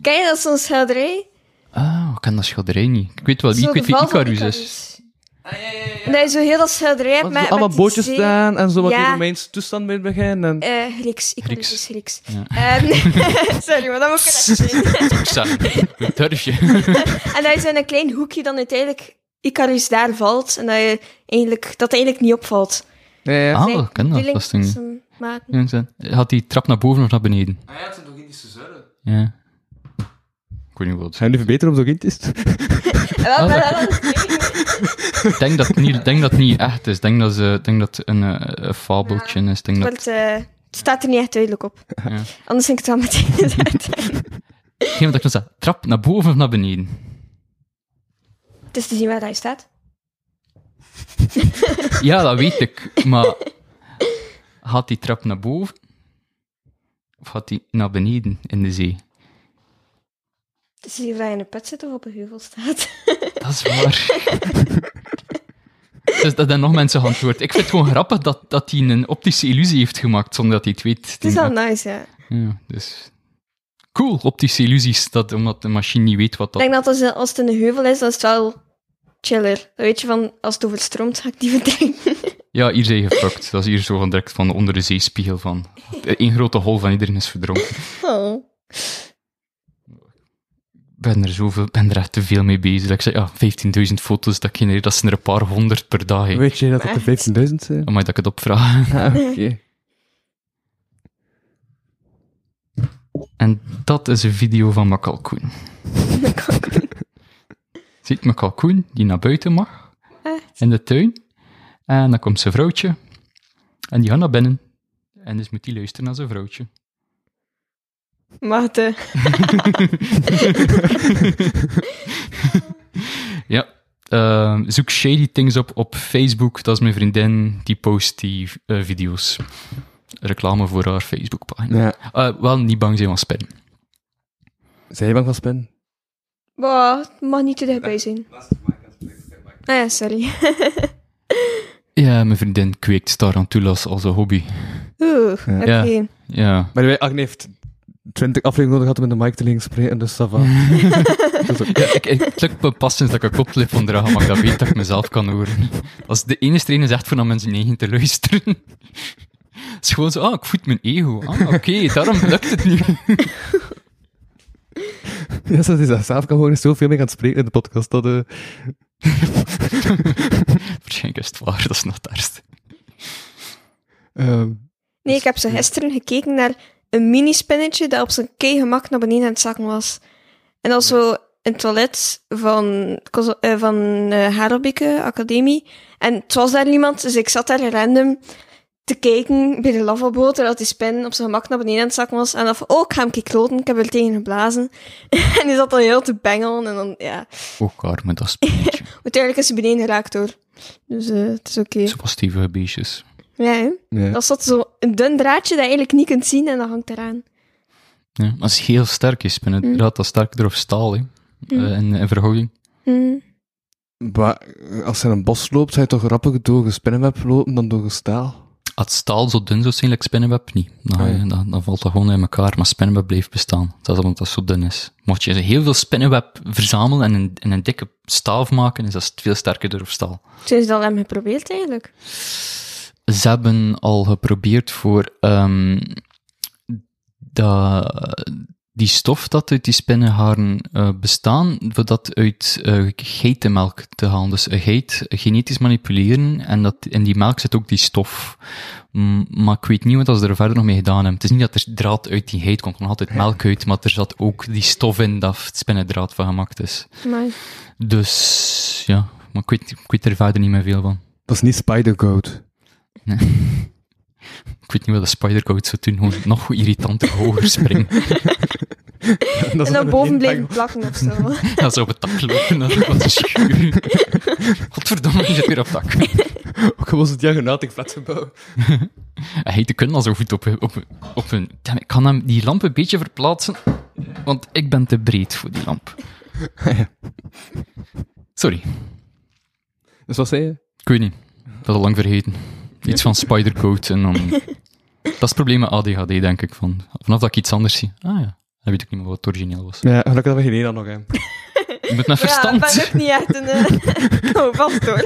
S5: Ken je dat zo'n schilderij?
S4: Ah, ik ken dat schilderij niet. Ik weet wel wie,
S5: Zo
S4: ik
S5: de
S4: weet wie
S5: val van
S4: Icarus is.
S5: Nee, zo heel dat schilderij
S3: Want
S5: met...
S3: er
S5: met
S3: allemaal
S5: die
S3: bootjes
S5: zee.
S3: staan en zo wat
S5: Ja.
S3: in Romeins toestand mee beginnen. En...
S5: Eh, Grieks. Icarus
S4: Grieks.
S5: is Grieks.
S4: Ja.
S5: Ehm,
S4: *laughs*
S5: sorry, maar dat moet ik echt zeggen.
S4: Ik zeg, hoe durf je?
S5: En dat je zo in een klein hoekje dan uiteindelijk Icarus daar valt. En dat, je eigenlijk, dat het eigenlijk niet opvalt.
S3: Ja, ja.
S4: Ah,
S5: Nee,
S4: ik ken dat.
S5: bedoeling
S4: Dat is een-
S5: ze maken.
S4: Ja, ik zei, Had die trap naar boven of naar beneden?
S3: Ah ja, het zijn toch Indische zuilen?
S4: Ja. Ik weet niet wat. het is.
S3: Zijn jullie beter op zo'n Indisch? *laughs*
S4: Ah,
S5: Wel, wel, wel.
S4: *laughs* Ik denk dat het niet, denk dat het niet echt is. Ik denk dat ze, ik denk dat het een, eh, een fabeltje is. Ik Denk
S5: Maar
S4: dat,
S5: het, eh, het staat er niet echt duidelijk op.
S4: ja.
S5: Anders denk ik het wel meteen *laughs* inderdaad.
S4: Geen wat ik nog zei. Trap naar boven of naar beneden?
S5: Het is te zien waar hij staat.
S4: Ja, dat weet ik. Maar gaat die trap naar boven? Of gaat die naar beneden in de zee?
S5: Het is te zien waar hij in een put zit of op een heuvel staat. *laughs*
S4: Dat is waar. *laughs* Dus dat zijn nog mensen geantwoord. Ik vind het gewoon grappig dat, dat hij een optische illusie heeft gemaakt zonder dat hij het weet.
S5: het is wel nice, ja.
S4: Ja, dus... Cool, optische illusies, dat, omdat de machine niet weet wat
S5: Ik
S4: dat...
S5: denk dat als, als het in een heuvel is, dan is het wel chiller. Dan weet je van, als het overstroomt, ga ik die *laughs* verdrinken.
S4: Ja, hier zijn je gefucked. Dat is hier zo van direct van onder de zeespiegel van... Eén grote hol van iedereen is verdronken.
S5: Oh.
S4: Ik ben er zoveel, ik ben er echt te veel mee bezig. Dat ik zei, ja, 15.000 foto's, dat genereert, dat zijn er een paar honderd per dag. Hè.
S3: Weet je dat het de 15.000 zijn?
S4: Amai, dat ik het opvraag.
S3: Ah, *laughs* oké.
S4: En dat is een video van mijn kalkoen. Ziet mijn kalkoen, die naar buiten mag,
S5: Echt?
S4: in de tuin. En dan komt zijn vrouwtje. En die gaat naar binnen. En dus moet die luisteren naar zijn vrouwtje.
S5: Maar het, eh,
S4: Ja. Ehm, zoek shady things op op Facebook. Dat is mijn vriendin. Die post die eh, video's. Reclame voor haar Facebookpagina.
S3: Ja.
S4: Eh, wel niet bang zijn van spam.
S3: Zijn je bang van spin?
S5: wow, het mag niet te dichtbij zijn. Ah ja, sorry. *laughs*
S4: Ja, mijn vriendin kweekt tarantulas als een hobby.
S5: Oeh, oké.
S4: Ja. Ja.
S3: Maar wij, Agne heeft 20 afleveringen nodig gehad om in de mic te liggen spreken, dus dat was. *laughs*
S4: Ja, *laughs* ik, ik druk me pas sinds dat ik een koptelefoon draag, maar ik dat weet dat ik mezelf kan horen. Als de ene trainer zegt voor naar mensen eigen te luisteren. Het is gewoon zo, ah, ik voed mijn ego. Ah, oké, daarom lukt het nu.
S3: Ja, ze is dat zelf kan gewoon zoveel mee gaan spreken in de podcast. Dat, eh,
S4: Waarschijnlijk is het waar, dat is nog het ergste.
S3: ehm,
S5: Nee, ik heb zo gisteren gekeken naar een mini-spinnetje dat op zijn kei gemak naar beneden aan het zakken was. En dat was zo een toilet van, Cos- eh, van eh Harelbeke Academie. En het was daar niemand, dus ik zat daar random te kijken bij de lavabo, terwijl die spin op zijn gemak naar beneden aan het zakken was. En dan van, oh, ik ga hem kloten, ik heb er tegen geblazen. *laughs* en die zat dan heel te bengelen, en dan, ja.
S4: Ook arme, Oh, dat spinnetje.
S5: Uiteindelijk is ze beneden geraakt, hoor. Dus eh, het is oké.
S4: Zo was stevige beestjes.
S5: Ja, hè?
S3: ja.
S5: Dat zat zo'n dun draadje dat je eigenlijk niet kunt zien, en dat hangt eraan.
S4: Ja, maar dat is heel sterk, is spinnen. Inderdaad, dat is sterker of staal, hè. Eh, in, in verhouding.
S5: Hmm.
S3: Maar eh, als je in een bos loopt, zou je toch rapper door een spinnenweb lopen dan door een staal?
S4: Als het staal zo dun zou zijn, like spinnenweb, niet. Dan, ga je-
S3: Ah, ja.
S4: dan, dan valt dat gewoon in elkaar, maar spinnenweb blijft bestaan. Dat is omdat dat zo dun is. Mocht je heel veel spinnenweb verzamelen en een, in een dikke staaf maken, is dat veel sterker door staal.
S5: Zijn ze dat al hem geprobeerd eigenlijk?
S4: Ze hebben al geprobeerd voor ehm, dat- die stof dat uit die spinnenharen eh, bestaan, voor dat uit eh, geitenmelk te halen. Dus een geit genetisch manipuleren en dat, in die melk zit ook die stof. Mm, maar ik weet niet wat ze er verder nog mee gedaan hebben. Het is niet dat er draad uit die geit komt, er komt nog altijd melk uit, maar er zat ook die stof in dat het spinnendraad van gemaakt is.
S5: Maar
S4: Dus ja, maar ik weet, ik weet er verder niet meer veel van.
S3: Dat is niet Spider-Goat.
S4: Ik weet niet wat de Spider-Code zou doen, gewoon nog irritanter hoger springen. *laughs*
S3: Dat
S5: en dan
S3: *laughs*
S5: boven blijven plakken of zo.
S4: Dat zou op het dak lopen, dat is wat schuur. *laughs* Godverdomme, je zit weer op het dak.
S3: Ook al was het diagonaal tegen flatgebouw.
S4: Hij te kunnen al zo goed op, op, op een... Damn, ik kan hem die lamp een beetje verplaatsen, want ik ben te breed voor die lamp. Sorry,
S3: Dus wat zei je? Dus
S4: ik weet niet. Ik had het al lang vergeten. Iets van Spider-Code en dan... Dat is het probleem met ADHD, denk ik. Van, vanaf dat ik iets anders zie. Ah ja, dan weet ik niet meer wat het origineel was.
S3: Ja, gelukkig dat we geen dan nog hebben.
S4: Je moet naar
S5: Ja, ik
S4: verstand.
S5: ben ook niet echt een... eh, *laughs* oh, vast hoor.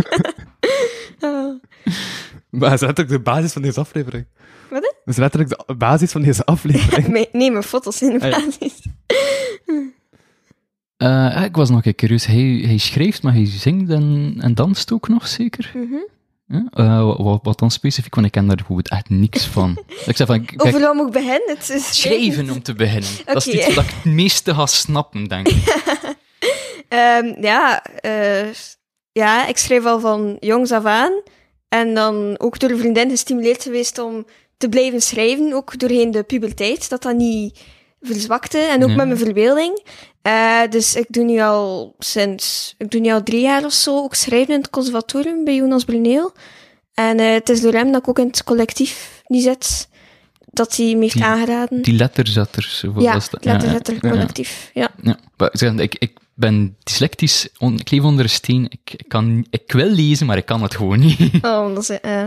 S5: Eh,
S3: Maar dat is letterlijk de basis van deze aflevering.
S5: Wat, hè?
S3: Dat is letterlijk de basis van deze aflevering.
S5: me- neem mijn foto's in de
S3: Ah, ja.
S5: basis.
S4: Eh, ik was nog een keer curieus. Hij, hij schrijft, maar hij zingt en, en danst ook nog, zeker?
S5: Mhm.
S4: Ja? Eh, wa- wa- wat, dan specifiek? Want ik ken daar goed echt niks
S5: *laughs*
S4: van. ik zeg van, kijk,
S5: Over wat moet ik beginnen? Het is
S4: schrijven om te beginnen. Dat is
S5: Oké.
S4: iets wat ik het meeste ga snappen, denk
S5: *laughs*
S4: ik.
S5: Ehm, ja, eh, ja, ik schreef al van jongs af aan. En dan ook door een vriendin gestimuleerd geweest om te blijven schrijven. Ook doorheen de puberteit, dat dat niet verzwakte. En ook
S4: Ja.
S5: met mijn verbeelding. Eh, dus ik doe nu al sinds, ik doe nu al drie jaar of zo, ook schrijven in het conservatorium bij Jonas Bruneel. En eh, het is door hem dat ik ook in het collectief nu zit, dat hij me heeft
S4: Die-
S5: aangeraden.
S4: Die letterzetters. of wat
S5: ja,
S4: was
S5: het
S4: dat?
S5: letterlijk collectief. Ja.
S4: Ja, maar ik, zeg, ik, ik ben dyslectisch, on- ik leef onder een steen. Ik, ik, kan, ik wil lezen, maar ik kan het gewoon niet.
S5: Oh, dat is, eh,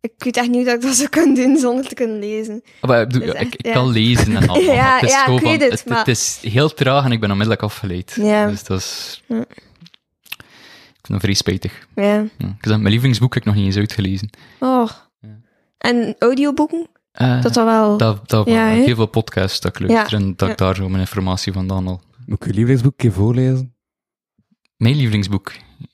S5: ik weet echt niet hoe dat ik dat zou kunnen doen zonder te kunnen lezen.
S4: Maar ik, bedoel,
S5: Dat is
S4: ik,
S5: echt,
S4: ik
S5: ja.
S4: kan
S5: *laughs*
S4: lezen en al. maar
S5: Ja, ja,
S4: gewoon
S5: ik weet het, maar-
S4: is heel traag en ik ben onmiddellijk afgeleid.
S5: Ja.
S4: Dus dat is...
S5: Ja.
S4: Ik vind dat vrij spijtig.
S5: Ja.
S4: Ja. Ik zeg, mijn lievelingsboek heb ik nog niet eens uitgelezen.
S5: Oh. En audioboeken?
S4: Eh,
S5: Dat al wel.
S4: dat, dat
S5: Ja, hè?
S4: heel veel podcasts dat ik luister en dat ik daar zo mijn informatie vandaan al.
S3: *laughs* Moet ik je lievelingsboek een keer voorlezen?
S4: Mijn lievelingsboek,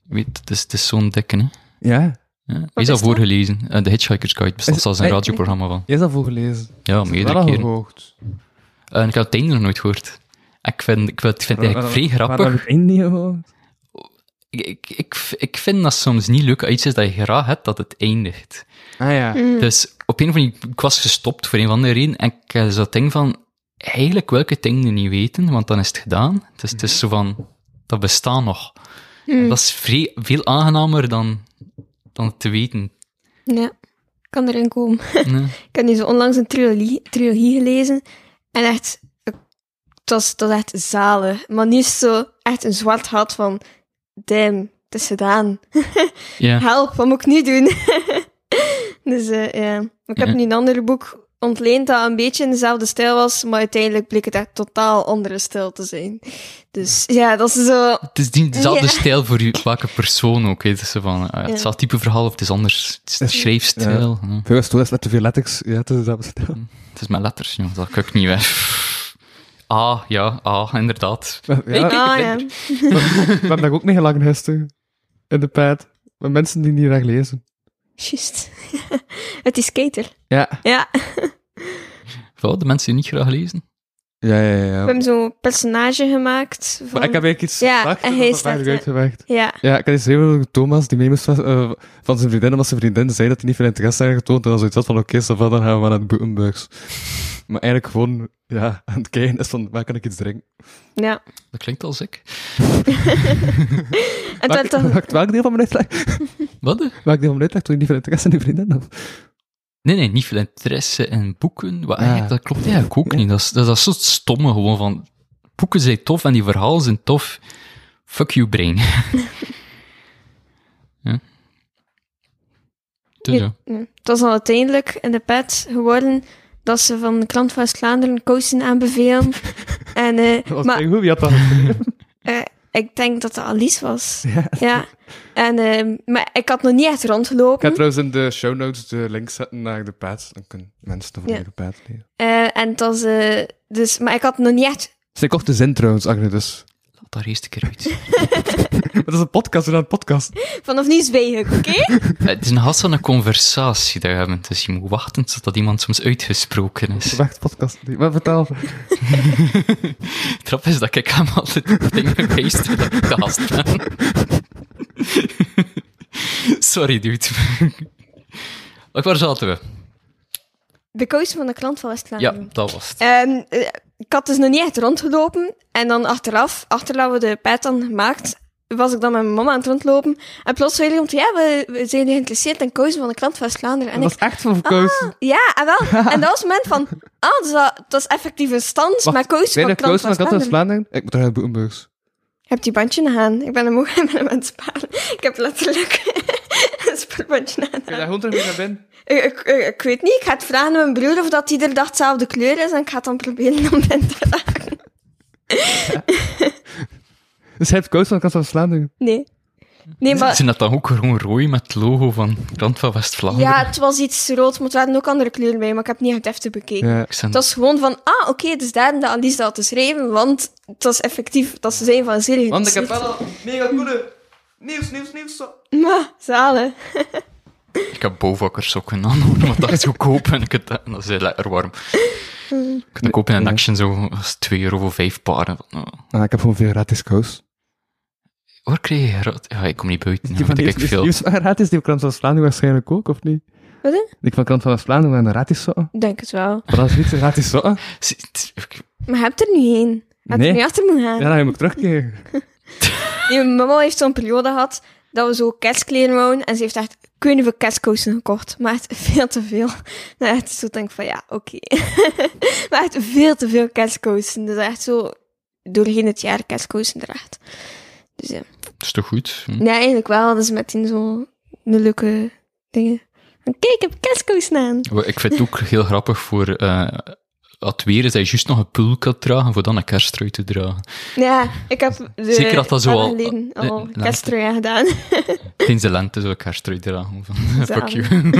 S4: weet, het is, het is zo'n dikke, hè.
S3: Ja?
S4: Ja. Hij is al
S5: is dat?
S4: voorgelezen. Eh, The Hitchhiker's Guide bestaat
S3: Is-
S4: zelfs een
S3: eh,
S4: radioprogramma van.
S3: Jij is dat voorgelezen?
S4: Ja,
S3: Wel
S4: meerdere
S3: al
S4: keren.
S3: gehoogd.
S4: Eh, en ik heb het einde nog nooit gehoord. Ik vind, ik vind, ik vind het eigenlijk vrij
S3: Maar dat
S4: grappig.
S3: heb ik één niet gehoord.
S4: Ik, ik, ik, ik vind dat soms niet leuk als iets is dat je graag hebt, dat het eindigt.
S3: Ah ja.
S5: Mm.
S4: Dus op een of andere ik was gestopt voor een van de reden en ik had zo dat ding van, eigenlijk wil ik het einde niet weten, want dan is het gedaan. Dus het is zo van, dat bestaat nog.
S5: Mm.
S4: En Dat is vrij, veel aangenamer dan, dan het te
S5: *laughs*
S4: weten.
S5: Ja. Ik kan erin komen.
S4: Nee.
S5: ik heb nu zo onlangs een trilogie, trilogie gelezen. En echt, ik- het was, dat was echt zalen. Maar nu is het zo echt een zwart gat van, damn, het is gedaan.
S4: Ja.
S5: Help, wat moet ik nu doen? *laughs* dus eh, ja. Ik heb
S4: Ja.
S5: nu een ander boek ontleend dat een beetje in dezelfde stijl was, maar uiteindelijk bleek het echt totaal andere stijl te zijn. Dus ja, dat is
S3: *laughs* Oh,
S5: zo...
S4: Het is niet dezelfde
S5: Ja.
S4: stijl voor je- welke persoon ook. hè. Het is zo van, eh,
S5: Ja.
S4: hetzelfde type verhaal of het is anders. Het is de schrijfstijl. ja.
S3: Veel was toen is net te veel letters. Ja, het is dat bestel.
S4: Het is mijn letters, jongen. Dat kan ik niet weg. Ah, ja, ah, inderdaad.
S3: *laughs* Ja,
S4: Ik-
S5: Ah, ja.
S4: ben-
S3: we hebben daar ook mee gelang gisteren. In de pad. Met mensen die niet graag lezen.
S5: Juist. *laughs* het is skater.
S3: Ja.
S5: Ja,
S4: Vooral de mensen die niet graag lezen.
S3: Ja, ja,
S5: we hebben zo'n personage gemaakt. Van...
S3: Maar ik heb eigenlijk iets
S5: Ja,
S3: gedacht
S5: en
S3: dat
S5: hij
S3: dat
S5: staat,
S3: eigenlijk
S5: ja.
S3: uitgewerkt.
S5: Ja,
S3: Ja, ik had iets heel veel Thomas, die mee moest van, eh, van zijn vriendin, omdat zijn vriendin zei dat hij niet veel interesse had getoond. En dan zoiets had van, oké, okay, dan gaan we maar naar de Gutenbergs. Maar eigenlijk gewoon, ja, aan het kijken is van, waar kan ik iets drinken?
S5: ja.
S4: Dat klinkt al ziek.
S5: En
S3: Welk,
S5: dat toch...
S3: welk, welk deel van mijn uitleg?
S4: Wat? eh?
S3: Welk deel van mijn uitleg toen je niet veel interesse in je vriendin had?
S4: Nee, nee, niet veel interesse in boeken. Wat,
S3: Ah.
S4: eigenlijk, dat klopt eigenlijk ook
S3: Ja.
S4: niet. Dat is, dat is dat soort stomme gewoon van... Boeken zijn tof en die verhalen zijn tof. Fuck you, brain. *laughs* ja. Dus ja.
S5: Ja, Het was al uiteindelijk in de pet geworden dat ze van de klant van Vlaanderen kousen aanbevelen.
S3: *laughs*
S5: en, eh,
S3: Dat was
S5: maar
S3: maar, goed, wie *laughs* had dat?
S5: Eh, ik denk dat dat Alice was.
S3: *laughs* Ja.
S5: Ja. En, ehm, maar ik had nog niet echt
S3: Ik ga
S5: rondgelopen.
S3: trouwens in de show notes de link zetten naar de pads. Dan kunnen mensen de volgende pads lezen.
S5: Eh, en het was, eh, dus, maar ik had nog niet echt...
S3: Zijn korte zin trouwens, Agne, dus.
S4: Laat daar eerst een keer Eh, uit.
S3: Dat is een podcast, we doen een podcast.
S5: Vanaf nu zweeg ik, oké?
S3: *laughs*
S4: Eh, Het is een gast van een conversatie dat we hebben, dus je moet wachten totdat iemand soms uitgesproken is.
S3: Wacht, podcast. niet. Maar vertel.
S4: Het grap is dat ik hem altijd dingen wijst dat ik de gast ben. Sorry, dude. Ook waar zaten we?
S5: De kousen van de klant van
S4: Ja,
S5: West-Vlaanderen.
S4: dat was het.
S5: En, eh, ik had dus nog niet echt rondgelopen. En dan achteraf, achter dat we de pet dan gemaakt, was ik dan met mijn mama aan het rondlopen. En plots zei iemand, ja, we, we zijn geïnteresseerd in kousen van de klant van West-Vlaanderen. En
S3: dat
S5: ik, Ah,
S3: was echt van verkozen.
S5: ja, en
S3: *laughs*
S5: wel. En dat was het moment van, ah, dus dat, dat is effectief een stand
S3: Wacht,
S5: met kousen
S3: Zijn
S5: van
S3: er
S5: de klant
S3: kousen van
S5: van
S3: Kat uit
S5: West-Vlaanderen.
S3: Vlaanderen? Ik moet naar de Boekenburgs.
S5: *laughs* Ik heb die bandje nog aan. Ik ben hem ook ik ben hem aan het sparen. Ik heb letterlijk *laughs* een verbandje aan.
S3: Kun je daar gewoon terug mee naar *laughs* binnen?
S5: Ik, ik, ik, ik weet niet, ik ga het vragen aan mijn broer of dat iedere dag dezelfde kleur is en ik ga het dan proberen om *laughs* binnen te raken.
S3: Dus hij heeft koud van de kant van slaan. denk ik.
S5: Nee. Nee, maar...
S4: Zijn dat dan ook gewoon rooi met het logo van Land van West-Vlaanderen?
S5: Ja, het was iets rood, maar er waren ook andere kleuren bij, maar ik heb het niet echt even bekeken.
S3: Ja.
S4: Ik zijn
S5: Het was gewoon van, ah, oké, dus daarom dat Alice dat had geschreven, want het was effectief dat ze zijn van serie
S3: Want ik heb
S5: geïnteresseerd.
S3: wel al mega coole nieuws, nieuws, nieuws. zo.
S5: Maar, zalen.
S4: Ik heb bouwvakkersokken *laughs* aan, want dat is goedkoop en ik het, en dat is heel lekker warm. Ik kan het kopen in
S3: Nee.
S4: Action zo, dat is 2 euro voor 5 paren. Nou,
S3: Ah, ik heb gewoon veel gratis kous.
S4: Waar krijg je dat? Ja, ik kom niet buiten,
S3: Die van
S4: want ik kijk
S3: nieuws,
S4: veel.
S3: nieuws van gratis, die van Krant van Slaan waarschijnlijk ook, of niet?
S5: Wat, hè?
S3: Ik van Krant van Slaan aan de gratis zo. *laughs* Maar
S5: Ik Denk het wel.
S3: dat is niet zo gratis zo.
S4: Zie- het- ik-
S5: Maar heb er nu heen. Had
S3: Nee.
S5: er nu achter moeten gaan.
S3: Ja, dan moet ik terugkeren.
S5: Nee, Mijn mama heeft zo'n periode gehad dat we zo kerstkleren wonen en ze heeft echt kunnen veel kerstkousen gekocht. Maar echt veel te veel. *laughs* Nou, echt zo denk ik van ja, oké. *laughs* maar echt veel te veel kerstkousen. Dus echt zo doorheen het jaar kerstkousen draagt. Dus ja.
S4: Het is toch goed? Hm.
S5: Nee, eigenlijk wel. Dat is meteen zo een leuke dingen. Van, Kijk, ik heb kerstkousen aan.
S4: Maar Ik vind het ook heel grappig voor... eh als het weer is dat je juist nog een pul kan dragen, voor dan een kerstrui te dragen.
S5: Ja, ik heb de
S4: Zeker dat dat zo
S5: jaren
S4: al-
S5: geleden
S4: eh,
S5: al
S4: laat-
S5: kersttrui aan gedaan. *laughs*
S4: Sinds de lente zou ik kerstrui dragen. Van, *laughs* fuck
S5: Zalig.
S4: you.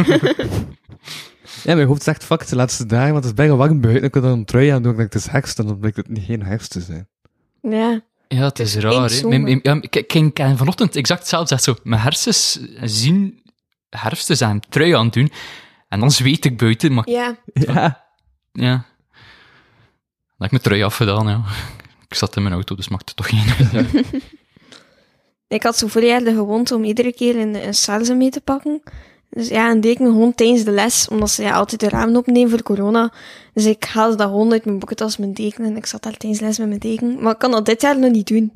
S3: Ja, mijn hoofd zegt fuck de laatste dagen, want het is bijna warm buiten. Ik kan dan een trui aan doen, ik denk het is herfst, en dan blijkt het niet geen herfst te zijn.
S5: Ja.
S4: Ja, het is raar. hè.
S5: zomer.
S4: Mijn- mijn- ja, Ik ik ging ik ging vanochtend exact hetzelfde zeggen. Zo, Mijn hersens zien herfst te zijn, trui aan het doen. En dan zweet ik buiten, maar
S5: Ja.
S3: Ja.
S4: ja. Dan heb ik mijn trui afgedaan, ja. Ik zat in mijn auto, dus maakte toch geen uit.
S5: Ik had zo vorig jaar de gewoonte om iedere keer een, een salsa mee te pakken. Dus ja, en deed ik me gewoon tijdens de les, omdat ze ja, altijd de ramen opnemen voor corona. Dus ik haalde dat gewoon uit mijn boekentas, mijn deken, en ik zat daar tijdens de les met mijn deken. Maar ik kan dat dit jaar nog niet doen,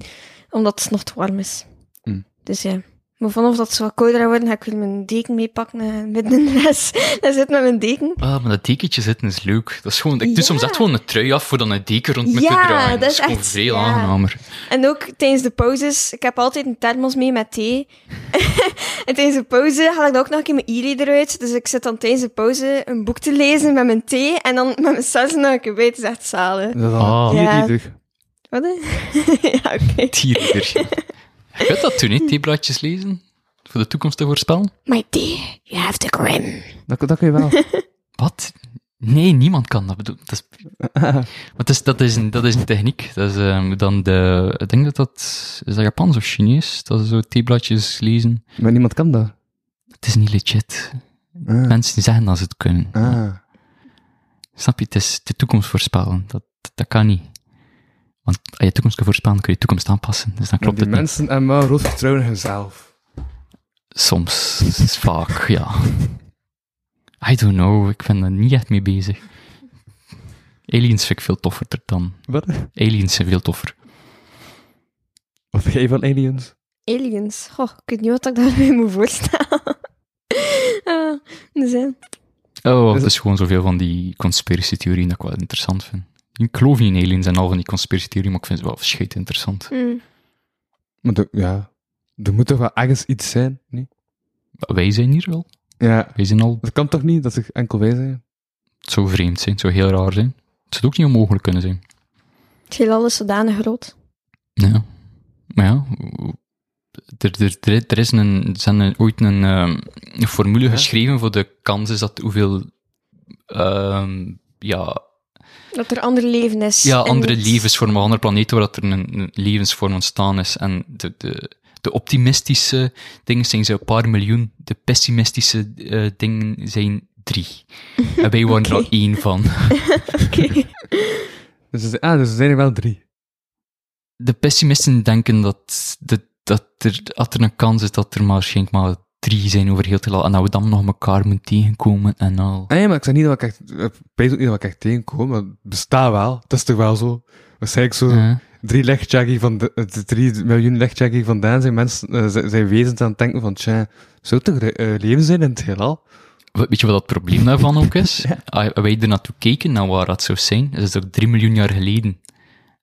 S5: omdat het nog te warm is.
S3: Hmm.
S5: Dus ja. Maar vanaf dat ze wat kouder gaat worden, ga ik weer mijn deken meepakken en midden in de les. *laughs* Dan zit met mijn deken.
S4: Ah, maar dat dekentje zitten is leuk. Dat is gewoon, ik doe
S5: Ja.
S4: soms echt gewoon een trui af voor dan een deken rond me
S5: Ja,
S4: te draaien.
S5: dat is
S4: gewoon
S5: echt-
S4: veel
S5: ja.
S4: aangenamer.
S5: En ook tijdens de pauzes, ik heb altijd een thermos mee met thee. *laughs* en tijdens de pauze haal ik dan ook nog een keer mijn e-reader uit. Dus ik zit dan tijdens de pauze een boek te lezen met mijn thee en dan met mijn salsa nog een keer bij te zetten zalen.
S3: Dat is
S4: Ah.
S3: al een
S5: Ja.
S3: terug.
S5: Wat? *laughs* hè? ja, oké.
S4: Tierder.
S3: *laughs*
S4: Je kunt dat toen niet, die blaadjes lezen? Voor de toekomst te voorspellen?
S5: My dear, you have to grin.
S3: Dat, dat kun je wel.
S4: Wat? Nee, niemand kan dat bedoelen. Dat is,
S3: *laughs*
S4: maar het is, dat, is een, dat is een techniek. Dat is ehm, dan de... Ik denk dat dat... Is dat Japans of Chinees? Dat ze zo theebladjes lezen.
S3: *laughs* maar niemand kan dat.
S4: Het is niet legit.
S3: Ah.
S4: Mensen die zeggen dat ze het kunnen.
S3: Ah.
S4: Snap je? Het is de toekomst voorspellen. Dat, dat kan niet. Want als je de toekomst kan voorspellen, kun je de toekomst aanpassen. Dus
S3: Maar
S4: dan klopt
S3: die
S4: het niet.
S3: mensen en maar rood vertrouwen in hunzelf.
S4: Soms. Vaak, ja. I don't know. Ik ben er niet echt mee bezig. Aliens vind ik veel toffer dan.
S3: Wat?
S4: Aliens zijn veel toffer.
S3: Wat vind jij van aliens?
S5: Aliens. Goh, ik weet niet wat ik daarmee moet voorstellen. *laughs* Ah, dus ja.
S4: Oh,
S3: Dus-
S4: het is gewoon zoveel van die conspiratietheorieën dat ik wel interessant vind. Ik geloof niet in aliens en al van die conspiratietheorieën, maar ik vind ze wel scheet interessant.
S5: Mm.
S3: Maar de- ja, er moet toch wel ergens iets zijn, niet?
S4: Wij zijn hier wel.
S3: Ja.
S4: Wij zijn al...
S3: Dat kan toch niet, dat ze enkel wij zijn?
S4: Het zou vreemd zijn, het zou heel raar zijn. Het zou ook niet onmogelijk kunnen zijn.
S5: Het heelal is zodanig groot.
S4: Ja. Maar ja, er, er, er, er is een, er zijn een- ooit een, ehm, een formule geschreven voor de kans is dat hoeveel... ehm, ja,
S5: Dat er ander leven is.
S4: Ja,
S5: en
S4: andere
S5: niet-
S4: levensvormen, andere planeten waar dat er een, een levensvorm ontstaan is. En de, de, de optimistische dingen zijn zo'n paar miljoen, de pessimistische eh, dingen zijn drie. En wij waren er al
S5: Oké.
S4: één van.
S5: *laughs* Oké.
S4: *laughs*
S3: Dus ze, ah, dus er zijn er wel drie.
S4: De pessimisten denken dat, dat, dat, er, dat er een kans is dat er maar waarschijnlijk maar drie zijn over heel te laat. En dat we dan nog elkaar moeten tegenkomen en al.
S3: Ah ja, maar ik zeg niet dat ik echt, ik weet ook niet dat ik echt tegenkom, maar het bestaat wel. Het is toch wel zo? Waarschijnlijk zo
S4: Ja.
S3: drie legchecking van, de, eh, drie miljoen legchecking vandaan zijn mensen, eh, zijn zijn wezens aan het denken van, tja, zou toch eh, leven zijn in het heelal?
S4: We- Weet je wat het probleem daarvan ook is? Als wij er naartoe keken, naar waar dat zou zijn, dat is ook drie miljoen jaar geleden.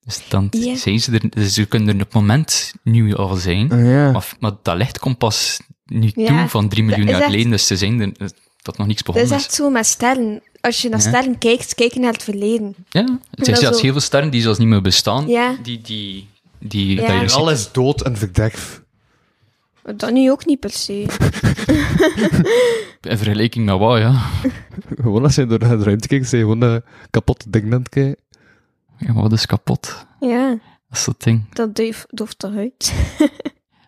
S4: Dus dan t-
S5: Ja.
S4: zijn ze er, dus ze kunnen er op het moment nu al zijn,
S3: Ah ja.
S4: maar, maar dat licht komt pas nu
S5: Ja,
S4: toe van 3 miljoen
S5: dat is
S4: jaar
S5: echt-
S4: geleden, dus ze zijn er, dat nog niks
S5: Dat
S4: begonnen
S5: is
S4: is.
S5: echt zo met sterren. Als je naar
S4: Ja.
S5: sterren kijkt, kijk je naar het verleden.
S4: Ja, het zijn
S5: dat
S4: zelfs
S5: zo-
S4: heel veel sterren die zelfs niet meer bestaan,
S5: Ja.
S4: die, die, die,
S5: Ja.
S4: dat je
S5: En
S3: En
S4: ziet.
S3: alles dood en verderf.
S5: Maar Dat nu ook niet per se.
S4: in vergelijking met wat, ja.
S3: *laughs* Gewoon als je door de ruimte kijkt, zijn gewoon een kapotte ding aan het kijken.
S4: ja maar wat is kapot?
S5: Ja,
S4: Dat is dat ding.
S5: dat doof- dooft eruit. *laughs*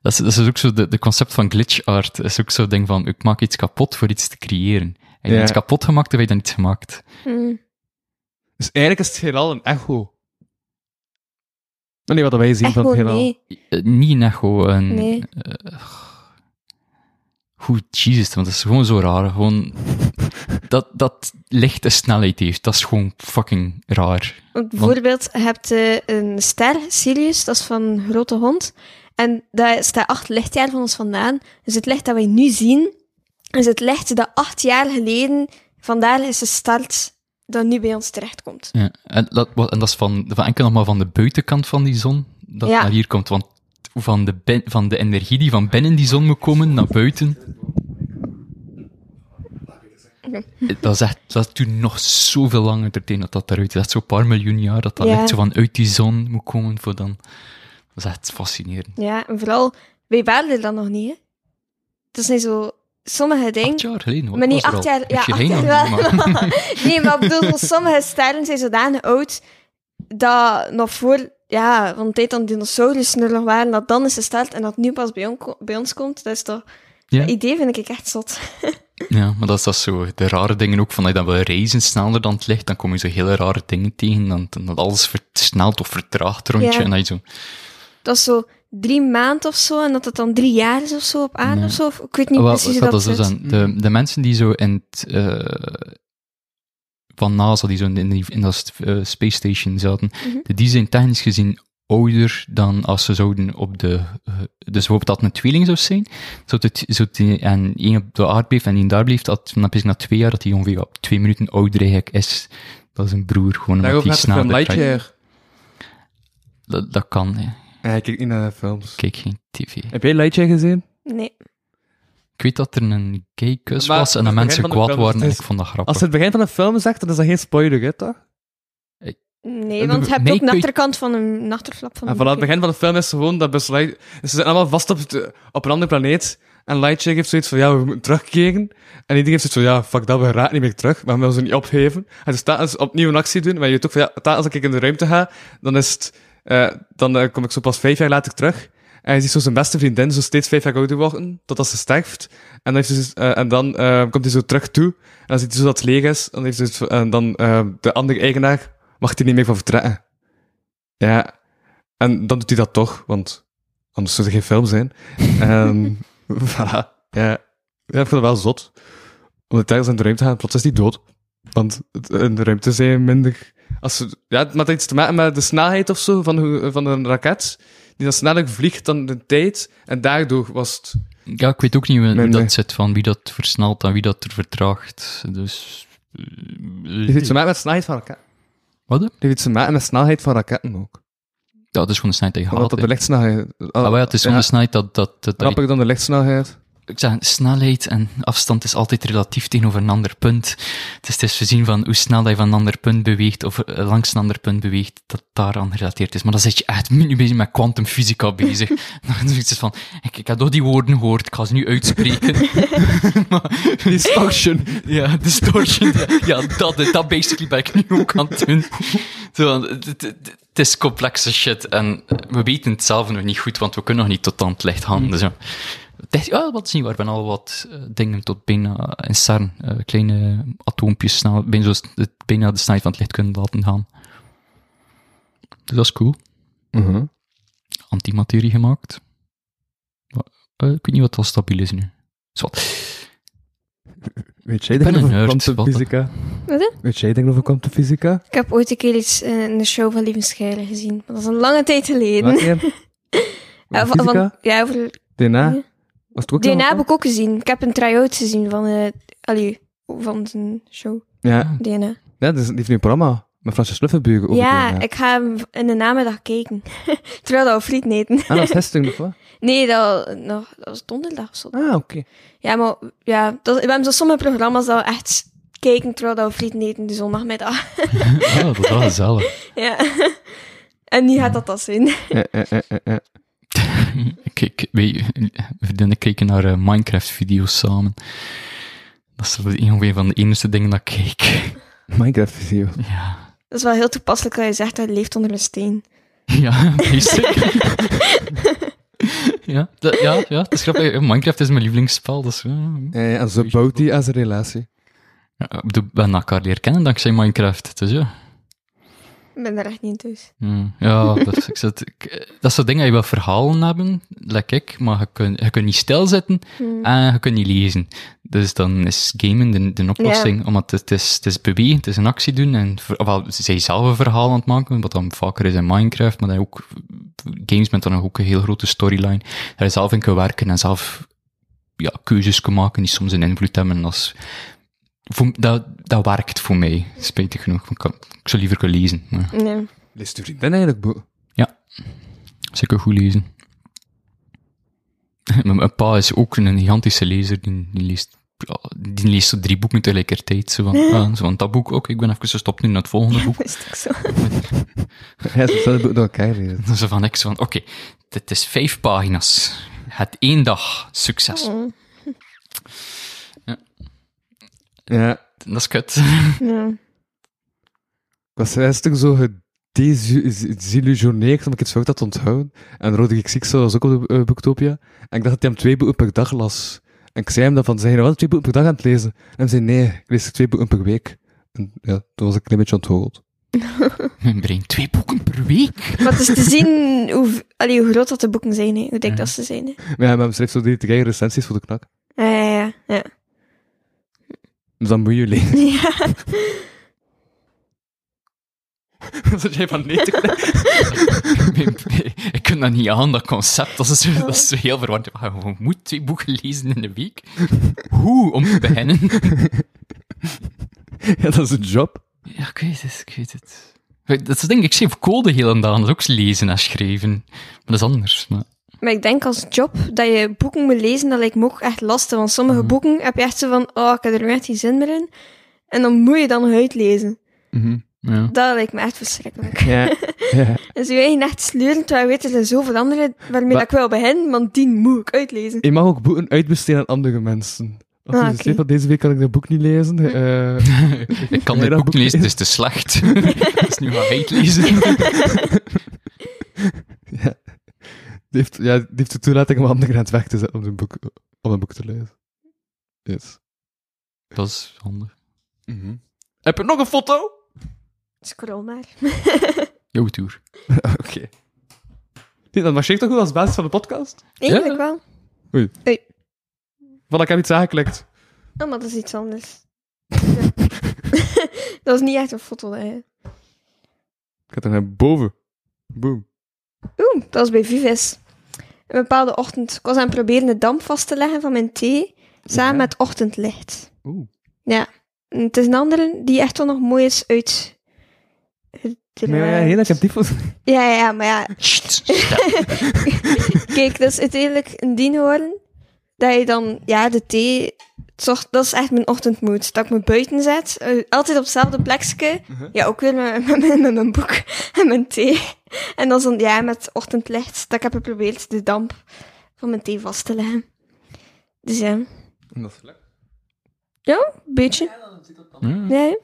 S4: Dat is, dat is ook zo, de, de concept van glitch art is ook zo'n ding van, ik maak iets kapot voor iets te creëren. Heb je
S3: Ja.
S4: iets kapot gemaakt, of heb je dan iets gemaakt?
S5: Hm.
S3: Dus eigenlijk is het heelal een echo. Nee, wat wij zien van
S5: Echo,
S3: het heelal.
S5: nee.
S4: Eh, niet een echo, een...
S5: Nee.
S4: eh, Goed, Jesus, want dat is gewoon zo raar. Gewoon dat, dat licht een snelheid heeft, dat is gewoon fucking raar.
S5: Want bijvoorbeeld, je hebt eh, een ster, Sirius, dat is van een grote hond. En daar staat acht lichtjaar van ons vandaan. Dus het licht dat wij nu zien, is het licht dat acht jaar geleden vandaar is gestart, dat nu bij ons terechtkomt.
S4: Ja. En, dat, wa- en dat is van, van enkel nog maar van de buitenkant van die zon dat
S5: Ja.
S4: naar hier komt. Want van de, bin- van de energie die van binnen die zon moet komen naar buiten.
S5: Mhm.
S4: Dat is echt, dat duurt nog zoveel langer tegen dat dat eruit is. Dat is zo'n paar miljoen jaar dat dat
S5: Ja.
S4: licht zo van uit die zon moet komen voor dan. Dat is echt fascinerend.
S5: Ja, en vooral, wij waren er dan nog niet, hè. Het is niet zo... Sommige dingen...
S4: Acht jaar geleden, hoor.
S5: Maar niet
S4: Ik was er al.
S5: acht
S4: Ik
S5: jaar- ja,
S4: je
S5: acht
S4: heen
S5: jaar
S4: nog niet,
S5: wel.
S4: maar-
S5: Nee, maar
S4: *laughs*
S5: ik bedoel, sommige sterren zijn zodanig oud dat nog voor, ja, van de tijd dat dinosaurussen er nog waren, dat dan is gestart en dat nu pas bij, on- bij ons komt. Dat is toch...
S4: Ja.
S5: Dat idee vind ik echt zot.
S4: Ja, maar dat is dat zo. De rare dingen ook, van dat je dan wil reizen sneller dan het licht, dan kom je zo hele rare dingen tegen, dan, dan dat alles versnelt of vertraagt rond je,
S5: Ja.
S4: en dat je zo...
S5: Dat is zo drie maanden of zo en dat het dan drie jaar is of zo op aarde
S4: Nee.
S5: of zo. Of, ik weet niet
S4: Wel,
S5: precies
S4: ik
S5: hoe
S4: had
S5: dat
S4: zo
S5: zit.
S4: zijn. De,
S3: Mm.
S4: de mensen die zo in het... eh, van NASA, die zo in, die, in dat eh, space station zaten,
S5: Mhm.
S4: die zijn technisch gezien ouder dan als ze zouden op de... eh, dus bijvoorbeeld dat het een tweeling zou zijn, zou het, zou het die- en één op de aard bleef en één daar bleef, dat, dan heb ik na twee jaar dat die ongeveer op twee minuten ouder eigenlijk is. Dat is een broer, gewoon omdat
S3: Daarover
S4: die
S3: gaat de film
S4: sneller draait.
S3: Lightyear.
S4: Dat, dat kan, hè.
S3: Ja, ik kijk niet naar films.
S4: Ik kijk geen tv.
S3: Heb jij Lightyear gezien?
S5: Nee.
S4: Ik weet dat er een gay kus
S3: Maar
S4: was en
S3: dat
S4: dat
S3: is
S4: mensen
S3: het begin van de
S4: kwaad
S3: film,
S4: waren en
S3: dus
S4: ik vond dat grappig.
S3: Als het begin van een film zegt, dan is dat geen spoiler, hè, toch?
S5: Nee,
S4: En
S5: want
S4: de-
S5: je hebt
S4: nee, Ah,
S5: ook
S4: ik
S5: een
S4: weet-
S5: achterkant van een achterflap van
S3: En
S5: een
S3: vanaf het
S5: boekje.
S3: begin van de film is gewoon dat besluit. Ze zitten allemaal vast op, het- op een andere planeet. En Lightyear heeft zoiets van, ja, we moeten terugkeren. En iedereen heeft zoiets van, ja, fuck dat, we raken niet meer terug. Maar we willen ze niet opgeven. En ze staan eens opnieuw een actie doen. Maar je weet ook van, ja, telkens als ik in de ruimte ga, dan is het, eh, dan eh, kom ik zo pas vijf jaar later terug. En je ziet zo zijn beste vriendin zo steeds vijf jaar ouder worden, totdat ze sterft. En dan, heeft ze, dus- eh, en dan eh, komt hij zo terug toe. En dan ziet hij zo dat het leeg is. En dan, heeft ze dus- en dan eh, de andere eigenaar mag hij niet meer van vertrekken. Ja, en dan doet hij dat toch, want anders zou er geen film zijn. Ehm voilà. Ja. ja, ik vind het wel zot. Om de tijdens in de ruimte te gaan, plots is die dood. Want het- in de ruimte zijn je minder... Als ze, ja, het had iets te maken met de snelheid of zo van, hoe- van een raket, die dan sneller vliegt dan de tijd. En daardoor was het...
S4: Ja, ik weet ook niet hoe, hoe
S3: Nee, nee.
S4: dat zit, van wie dat versnelt en wie dat er vertraagt. Dus... eh,
S3: Het heeft iets te maken met snelheid van raketten.
S4: Wat? hè?
S3: Het heeft iets te maken met snelheid van raketten ook.
S4: Ja, dat is gewoon de snelheid die je
S3: Omdat dat
S4: haalt. hè.
S3: de lichtsnelheid...
S4: Ah, maar ja, het is gewoon de snelheid dat... dat, dat, dat-
S3: Rapper dan de lichtsnelheid.
S4: ik zeg, snelheid en afstand is altijd relatief tegenover een ander punt. Dus het is voorzien van hoe snel dat je van een ander punt beweegt, of eh, langs een ander punt beweegt, dat daaraan gerelateerd is. Maar dan zit je echt nu bezig met kwantumfysica bezig. Dan is het van, ik, ik heb al die woorden gehoord, ik ga ze nu uitspreken. maar,
S3: Distortion.
S4: ja, distortion. ja, dat, dat basically ben ik nu ook aan het doen. Zo, want het, het- het- het is complexe shit en we weten het zelf nog niet goed, want we kunnen nog niet tot aan het licht gaan. Dus ja, Het is- ja, dat is niet waar. Ik ben al wat eh, dingen tot bijna in CERN, eh, kleine atoompjes, snel, bijna, zo, het- bijna de snelheid van het licht kunnen laten gaan. Dus dat is cool. Mhm. Antimaterie gemaakt. Maar, eh, ik weet niet wat al stabiel is nu. *laughs* Zwat.
S3: Weet jij
S4: ben
S3: dingen
S4: een
S3: over
S4: nerd,
S3: kwantumfysica?
S5: Wat, hè?
S3: Weet jij dingen over kwantumfysica?
S5: Ik heb ooit een keer iets eh, in de show van Lieven Schijlen gezien. Maar Dat is een lange tijd geleden.
S3: Welke?
S5: *laughs* Ja,
S3: Over
S5: van- van-
S3: Fysica?
S5: ja, over
S3: DNA?
S5: Ja.
S3: Was het ook
S5: DNA
S3: nog
S5: heb
S3: een
S5: ik ook gezien. Ik heb een try-out gezien van, eh allee, van zijn show
S3: keer? Ja,
S5: DNA.
S3: ja dus, die heeft nu een programma. Met Francis Luffenburger ook.
S5: ja,
S3: gekomen,
S5: ik ga hem in de namiddag kijken. *laughs* Terwijl dat we friet eten.
S3: En
S5: *laughs*
S3: Ah, dat is gisteren nog wat?
S5: Nee, dat, nog, dat was donderdag of zo.
S3: Ah, oké.
S5: Ja, maar ja, dat, we hebben zo sommige programma's dat we echt kijken terwijl dat we friet eten de zondagmiddag. *laughs*
S4: Oh, dat is wel gezellig.
S5: ja. *laughs* En nu gaat dat dat zijn.
S3: Eh, eh, eh, eh, eh.
S4: Ik, ik, wij, vriendinnen kijken naar eh, Minecraft-video's samen. Dat is wel een ongeveer van de enige dingen dat ik kijk.
S3: Minecraft-video.
S4: *laughs* Ja,
S5: *laughs* Dat is wel heel toepasselijk dat je zegt dat je leeft onder een steen.
S4: *laughs* ja basic. *laughs* ja, dat, ja, ja, het is grappig. Minecraft is mijn lievelingsspel, dus... eh,
S3: Eh, en zo bouwt hij aan zijn relatie.
S4: Ja, ik bedoel, ben elkaar leren kennen dankzij Minecraft, dus ja.
S5: Ik ben daar echt niet in thuis.
S4: Hmm, Ja, dat is, ik zit, ik, eh, dat is zo'n ding dat je wel verhalen hebben, like ik, maar je kunt, je kunt niet stilzitten en je kunt niet lezen. Dus dan is gamen de, de oplossing, omdat het, het is, het is bewegen, het is een actie doen en ver- ofwel, zij zelf een verhaal aan het maken, wat dan vaker is in Minecraft, maar dan ook games met dan ook een heel grote storyline, daar je zelf in kunt werken en zelf ja, keuzes kunt maken die soms een invloed hebben als voor, dat, dat werkt voor mij, spijtig genoeg. Ik, kan, ik zou liever kunnen lezen. Maar.
S5: Nee. *laughs*
S3: Leest uw vriendin eigenlijk boeken?
S4: Zeker goed lezen. *laughs* Mijn mijn pa is ook een gigantische lezer. Die, die leest, ja, die leest zo drie boeken tegelijkertijd. Zo van, ah, zo van dat boek ook. Ik ben even gestopt nu naar het volgende boek. *laughs*
S5: Dat is toch zo.
S3: *laughs* Ja, ze zullen boeken door elkaar lezen.
S4: Dan zo van, ik zo van, oké, dit is vijf pagina's. Het één dag. Succes.
S3: Ja,
S4: Dat is kut. *laughs*
S5: Ja.
S3: ik was een stuk zo gedesillusioneerd omdat ik het zo goed had onthouden. En Roderick Sixel was ook op de eh, Boektopia. En ik dacht dat hij hem twee boeken per dag las. En ik zei hem dan van, zijn je nou wel twee boeken per dag aan het lezen? En hij zei, nee, ik lees twee boeken per week. En ja, toen was ik een klein beetje onthoogd.
S4: Mijn brein, twee boeken per week. *laughs*
S5: Maar het is te zien hoe, allee, hoe groot dat de boeken zijn, hè. hoe dik dat ze zijn. Hè.
S3: Maar ja, maar hij schreef zo die drie recensies voor de knak.
S5: Ja, ja, ja, ja.
S3: Dus dan moet je lezen.
S5: *laughs* Ja.
S3: Zat jij van nee te knikken?
S4: *laughs* Mijn brein- ik kan dat niet aan, dat concept. Dat is, zo- dat is zo heel verwarrend. Ah, Je moet twee boeken lezen in de week. Hoe? Om te beginnen.
S3: *laughs* Ja, dat is een job.
S4: Ja, ik weet het, ik weet het. Weet, Dat is denk ik, ik schreef code heel en dag, dat is ook lezen en schrijven. Maar dat is anders. Maar...
S5: Maar ik denk als job dat je boeken moet lezen, dat lijkt me ook echt lastig. Want sommige boeken heb je echt zo van, oh, ik heb er nu echt geen zin meer in. En dan moet je dan nog uitlezen.
S4: Ja.
S5: Dat lijkt me echt verschrikkelijk.
S3: *laughs* Ja. ja.
S5: Dus je eigen echt sleuren, terwijl je weet dat er zoveel anderen waarmee
S3: Maar-
S5: dat ik wel begin, want die moet ik uitlezen.
S3: Je mag ook boeken uitbesteden aan andere mensen. Als je
S5: Ah,
S3: dus
S5: oké.
S3: weet van deze week kan ik dat boek niet lezen. eh,
S4: Ik kan
S3: Ja,
S4: dit
S3: dat
S4: boek
S3: boek
S4: niet lezen, dus het
S3: is-
S4: is te
S3: *laughs*
S4: slecht. Het is nu maar heet lezen.
S3: Die heeft, ja, die heeft de toelating om anderen aan het weg te zetten om een boek, om een boek te lezen. Yes.
S4: Dat is handig.
S3: Mhm. Heb je nog een foto?
S5: Scroll Dus maar.
S4: Jouw tour.
S3: Oké. Nee, dat marcheert toch goed als basis van de podcast?
S5: Eigenlijk wel.
S3: Van, ik heb iets aangeklikt.
S5: Oh, maar dat is iets anders. *laughs* Ja. dat is niet echt een foto. Hè.
S3: Ik ga er naar boven. Boom.
S5: Oeh, dat was bij Vives. Een bepaalde ochtend. Ik was aan het proberen de damp vast te leggen van mijn thee, samen
S3: Ja.
S5: met ochtendlicht.
S3: Oeh.
S5: Ja. En het is een andere die echt wel nog mooi is uit...
S3: Maar ja, heel erg actief was.
S5: Ja, ja, maar ja,
S4: Sst, stil.
S5: *laughs* Kijk, dat is uiteindelijk een dien horen. Dat je dan, ja, de thee. het zorgt- Dat is echt mijn ochtendmoed. Dat ik me buiten zet. eh, Altijd op hetzelfde plekje.
S3: Uh-huh.
S5: Ja, ook weer met, *laughs* met, met- met mijn boek en mijn thee. En dan zo'n, ja, met ochtendlicht. Dat ik heb geprobeerd de damp van mijn thee vast te leggen. Dus ja, een
S3: Dat is leuk.
S5: beetje.
S4: Ja.
S5: Ja, ja.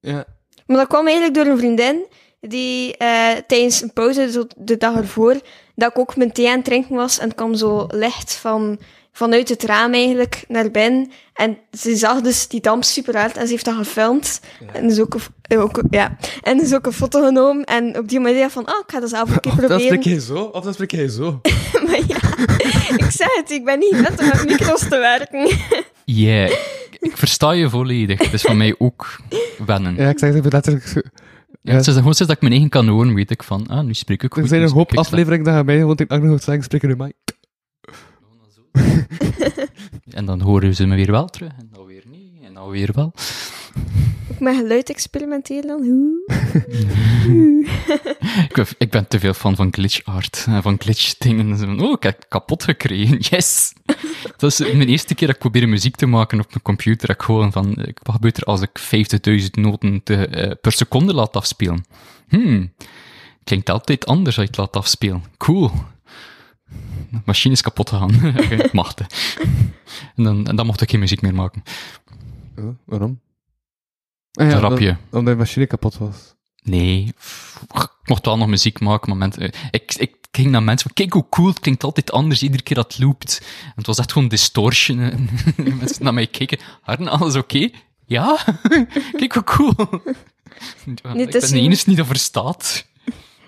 S3: Ja.
S5: Maar dat kwam eigenlijk door een vriendin die eh, tijdens een pauze, zo de dag ervoor, dat ik ook mijn thee aan het drinken was en het kwam zo licht van, vanuit het raam eigenlijk naar binnen. En ze zag dus die damp super hard en ze heeft dat gefilmd. En dus ook, een f- eh, ook, ja. en dus ook een foto genomen. En op die manier dacht ik van, ah, ik ga *laughs* dat zelf ook een keer
S3: Of dan spreek
S5: proberen.
S3: je zo, of dan spreek je zo.
S5: maar ja, *laughs* ik zei het, ik ben niet gewend om met micro's te werken.
S4: Ja, ik versta je volledig. Het is van mij ook wennen.
S3: Ja, ik zeg het even letterlijk zo.
S4: Ja, het is gewoon sinds dat ik mijn eigen kan horen, weet ik van, ah, nu spreek ik goed.
S3: Er zijn
S4: nu
S3: een hoop
S4: spreek ik slecht.
S3: afleveringen dat je mij gewoon tegen anderen hoort zeggen, spreken nu mij.
S4: En dan horen ze me weer wel terug, en dan weer niet, en dan weer wel.
S5: ik met geluid experimenteer dan? Hoe?
S4: Ik ben, ik ben te veel fan van glitch art, eh, van glitch dingen. Zo van, Oh, ik heb kapot gekregen, *laughs* yes! Dat is mijn eerste keer dat ik probeerde muziek te maken op mijn computer. Dat ik gewoon van, eh, wat gebeurt er als ik 50.000 noten te, eh, per seconde laat afspelen? Hmm, klinkt altijd anders als je het laat afspelen. Cool. De machine is kapot gegaan. *laughs* Oké, Mag hè. En dan, en dan mocht ik geen muziek meer maken.
S3: Ja, waarom? Ah, ja,
S4: Een rapje.
S3: om- omdat de machine kapot was.
S4: Nee, pff, ik mocht wel nog muziek maken, maar mensen- eh, ik, ik ging naar mensen van, kijk hoe cool, het klinkt altijd anders iedere keer dat het loopt. En het was echt gewoon distortion. *laughs* En mensen naar mij keken, Harden, alles oké? Ja? *laughs* kijk hoe cool. Ja,
S5: Niet
S4: ik
S5: te
S4: ben de
S5: zien.
S4: enige die dat verstaat.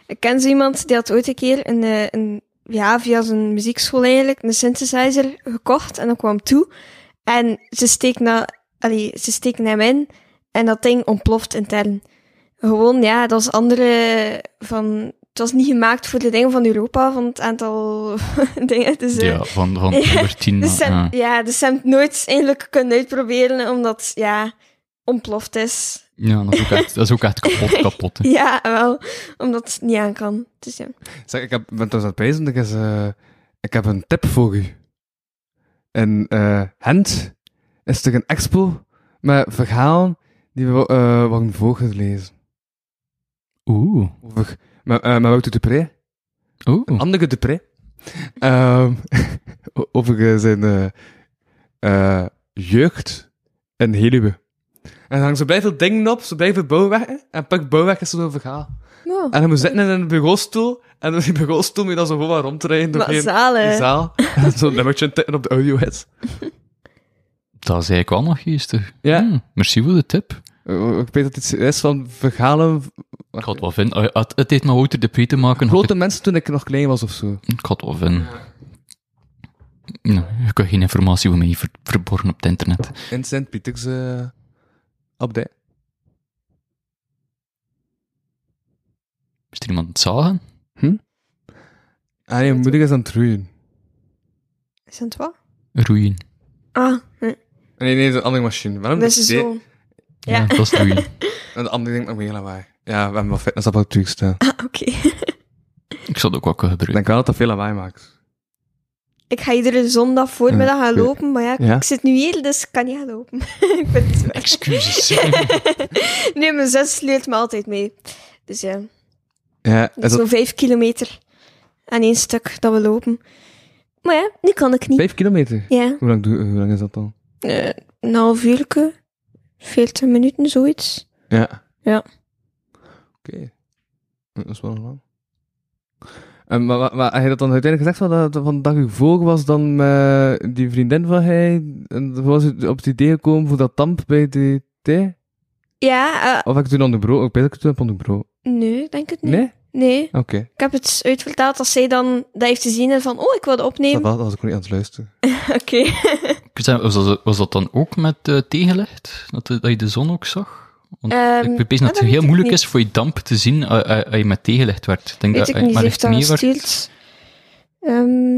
S5: Ik ken zo iemand die had ooit een keer een, eh, een, ja, via zijn muziekschool eigenlijk een synthesizer gekocht en dan kwam toe. En ze steekt, na, allee, ze steekt hem in en dat ding ontploft intern. Gewoon, ja, dat was andere van. Het was niet gemaakt voor de dingen van Europa, van het aantal *laughs* dingen. Dus, eh,
S4: Ja, van,
S5: *laughs*
S4: eh, van
S5: Ja,
S4: 110.
S5: dus ze,
S4: ja.
S5: ja. dus ze hebben het nooit eindelijk kunnen uitproberen, omdat, ja,
S3: *laughs*
S5: ontploft is.
S4: Ja, dat is ook echt, dat is ook echt kapot, kapot. hè.
S5: Ja, wel, omdat het niet aan kan. Dus ja.
S3: Zeg, ik heb, ben trouwens aan het pijzen, ik, is, eh, ik heb een tip voor u. In eh Gent is er een expo met verhalen die we eh worden voorgelezen.
S4: Oeh.
S3: Over, met, eh met Wouter Dupré.
S4: Oeh.
S3: Andere Dupré. Ehm, *laughs* over eh, zijn eh, eh, jeugd in Heluwe. En er hangen zo blijven dingen op, zo blijven bouwwerken. En pak bouwwerk is zo'n verhaal.
S5: Wow.
S3: En dan moet je zitten in een bureaustoel. En in die bureaustoel moet je dan zo gewoon rondrijden door
S5: Wat
S3: die
S5: zalen.
S3: zaal. *laughs* En zo'n nummertje tikken op de audioheads.
S4: Dat is eigenlijk wel nog geestig.
S3: Ja.
S5: Hmm.
S4: Hm, merci voor de tip.
S3: Eh, Ik weet dat het iets is van verhalen.
S4: Ik had wel vinden. Eh, Het, het heeft met Wouter de Pre te maken. had
S5: *laughs*
S3: Grote mensen toen ik nog klein was of zo.
S4: Ik had wel vinden. Nou, je kan geen informatie voor mij ver- verborgen op het internet.
S3: In Sint-Pieters eh abdij.
S4: Is er iemand het zagen?
S3: Ah nee, mijn moeder is aan het roeien.
S5: Is dat wat?
S4: Roeien.
S5: Ah, nee.
S3: Nee, nee, dat is een andere machine. Waarom
S5: dat is
S3: die-
S5: zo.
S4: Ja,
S5: Ja.
S4: dat is
S5: *laughs*
S4: roeien.
S3: En de andere denkt nog meer lawaai. Ja, we hebben wel fitnessapparatuur staan.
S5: *laughs* Oké.
S4: Ik zal het ook wel kunnen
S3: Ik
S4: gebruiken.
S3: denk wel dat dat veel lawaai maakt.
S5: Ik ga iedere zondag voormiddag gaan
S3: Ja.
S5: lopen, maar ja, ik,
S3: Ja?
S5: ik zit nu hier, dus ik kan niet gaan lopen. *laughs* ik ben het zwaar.
S4: *laughs* Excuses.
S5: Nee, mijn zus sleurt me altijd mee. Dus ja,
S3: Ja,
S5: dat
S3: is
S5: is
S3: dat
S5: zo'n vijf kilometer aan één stuk dat we lopen. Maar ja, nu kan ik niet.
S3: vijf kilometer?
S5: Ja,
S3: Hoe lang, doe- hoe lang is dat dan?
S5: eh, een half uurke, veertig minuten, zoiets.
S3: Ja.
S5: Ja.
S3: Oké. Dat is wel lang. En, maar, maar, maar had je dat dan uiteindelijk gezegd van, dat van de dag ervoor was dan eh, die vriendin van hij en dan was het op het idee gekomen voor dat tamp bij de thee?
S5: Ja, eh,
S3: Of heb ik toen onderbroken? Ik weet dat ik toen heb onderbroken.
S5: nee, denk het niet.
S3: Nee?
S5: Nee,
S3: Oké.
S5: ik heb het uitverteld als zij dan dat heeft gezien en van, oh, ik wilde
S3: Dat
S5: opnemen.
S3: was, dat was ik nog niet aan het luisteren.
S5: *laughs* Oké.
S4: was, dat, was dat dan ook met eh tegenlicht? Dat, de- dat je de zon ook zag? Want
S5: Ehm,
S4: ik weet
S5: ah,
S4: dat
S5: dat
S4: het
S5: weet
S4: heel
S5: ik
S4: moeilijk
S5: niet.
S4: is voor je damp te zien als als- als je met tegenlicht werd. Ik denk
S5: Weet
S4: dat,
S5: ik niet,
S4: maar
S5: ze
S4: als
S5: heeft
S4: je
S5: dat
S4: mee werd,
S5: gestuurd. Ehm,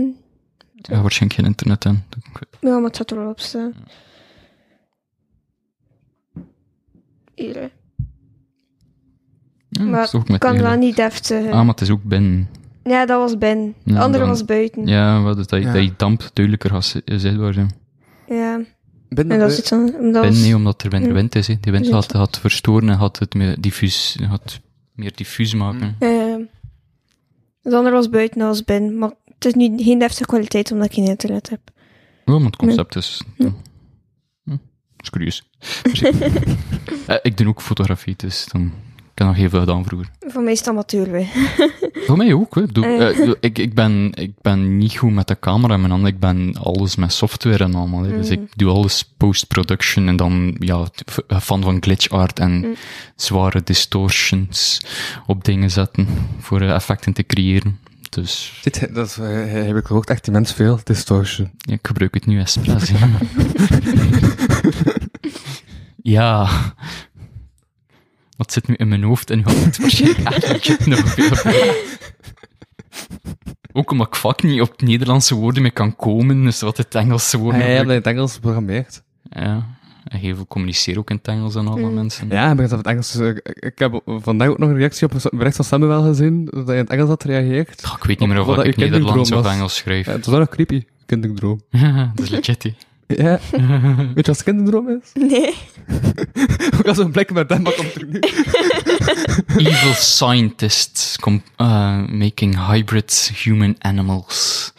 S4: ja, waarschijnlijk geen internet aan. Ik weet-
S5: ja, maar het gaat er wel op staan. Hier, hè.
S4: Ja,
S5: Maar
S4: dat is ook Hm, met
S5: kan wel
S4: tegenlicht.
S5: niet eh, deftig. hè.
S4: Ah, maar het is ook binnen.
S5: Ja, dat was Ben. De
S4: Ja,
S5: andere
S4: dan-
S5: was buiten. Ja.
S4: Ja, wel, dus dat, je-
S3: Ja.
S4: dat je damp duidelijker gaat zi- zichtbaar zijn.
S3: Ben
S5: En dat is
S3: dat
S5: iets anders. Dat
S4: Ben
S5: was-
S4: nee, omdat er minder
S5: Ja.
S4: wind is. hè. Die wind
S5: Dus
S4: had, had verstoren en had het meer diffuus, had meer diffuus maken.
S5: Ehm, de andere was buiten, dat was Ben. Maar het is nu geen deftige kwaliteit, omdat ik geen internet heb.
S4: Oh, maar het concept is... Ja. Hm, Dat is curieus. Eh, ik doe ook fotografie, dus dan ik heb nog heel veel gedaan vroeger.
S5: Voor mij is het amateur weer. *laughs*
S4: Voor Oh, mij ook. Hè. Ik bedoel,
S5: Eh.
S4: eh, ik, ik, ben, ik ben niet goed met de camera in mijn handen. Ik ben alles met software en allemaal. hè. Dus ik doe alles post-production en dan ja, t- v- fan van glitch art en zware distortions op dingen zetten voor eh, effecten te creëren. Dus
S3: Dit dat is, eh, heb ik gehoord, echt immens veel distortion.
S4: ja, ik gebruik het nu expres. ja. *laughs* ja. Wat zit nu in mijn hoofd en hoe het waarschijnlijk
S3: *laughs*
S4: eigenlijk nog veel. Ook omdat ik vaak niet op
S3: Ah,
S4: Nederlandse woorden meer kan komen, dus wat het Engelse woord.
S3: Hij heeft
S4: ja,
S3: in het Engels geprogrammeerd.
S4: ja. en heel veel communiceren ook in het Engels en
S3: Hmm.
S4: alle mensen.
S3: Ja, ik begint op het Engels. eh, Ik, ik heb vandaag ook nog een reactie op een bericht van Samuel gezien, dat hij in het Engels had gereageerd.
S4: Goh, ik weet niet meer of
S3: Wat
S4: ik
S3: ik in die
S4: Nederlands
S3: droom
S4: of
S3: was.
S4: Engels schreef.
S3: Ja, het was wel nog creepy, kinderdroom.
S4: *laughs* dat is legit, hè.
S3: Ja. *laughs* Weet je wat kinderdroom is?
S5: Nee.
S3: Ik had zo'n blik met hem, maar komt er nu.
S4: Evil scientists com- eh, making hybrid human animals.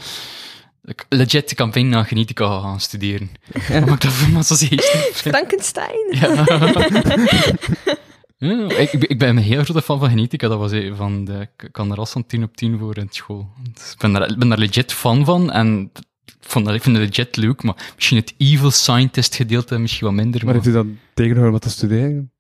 S4: Ik- Legit, ik kan bijna genetica gaan studeren. Wat maakt dat voor een association?
S5: Frankenstein.
S4: Ja, ik, ik ben een heel grote fan van genetica. Dat was een van de, ik kan er al zo'n 10 op 10 voor in school. Dus ik ben daar, ik ben daar legit fan van. En ik, vond dat, ik vind het legit leuk, maar misschien het evil scientist gedeelte misschien wat minder.
S3: Maar
S4: Maar
S3: heeft hij dan tegenhouden wat te studeren?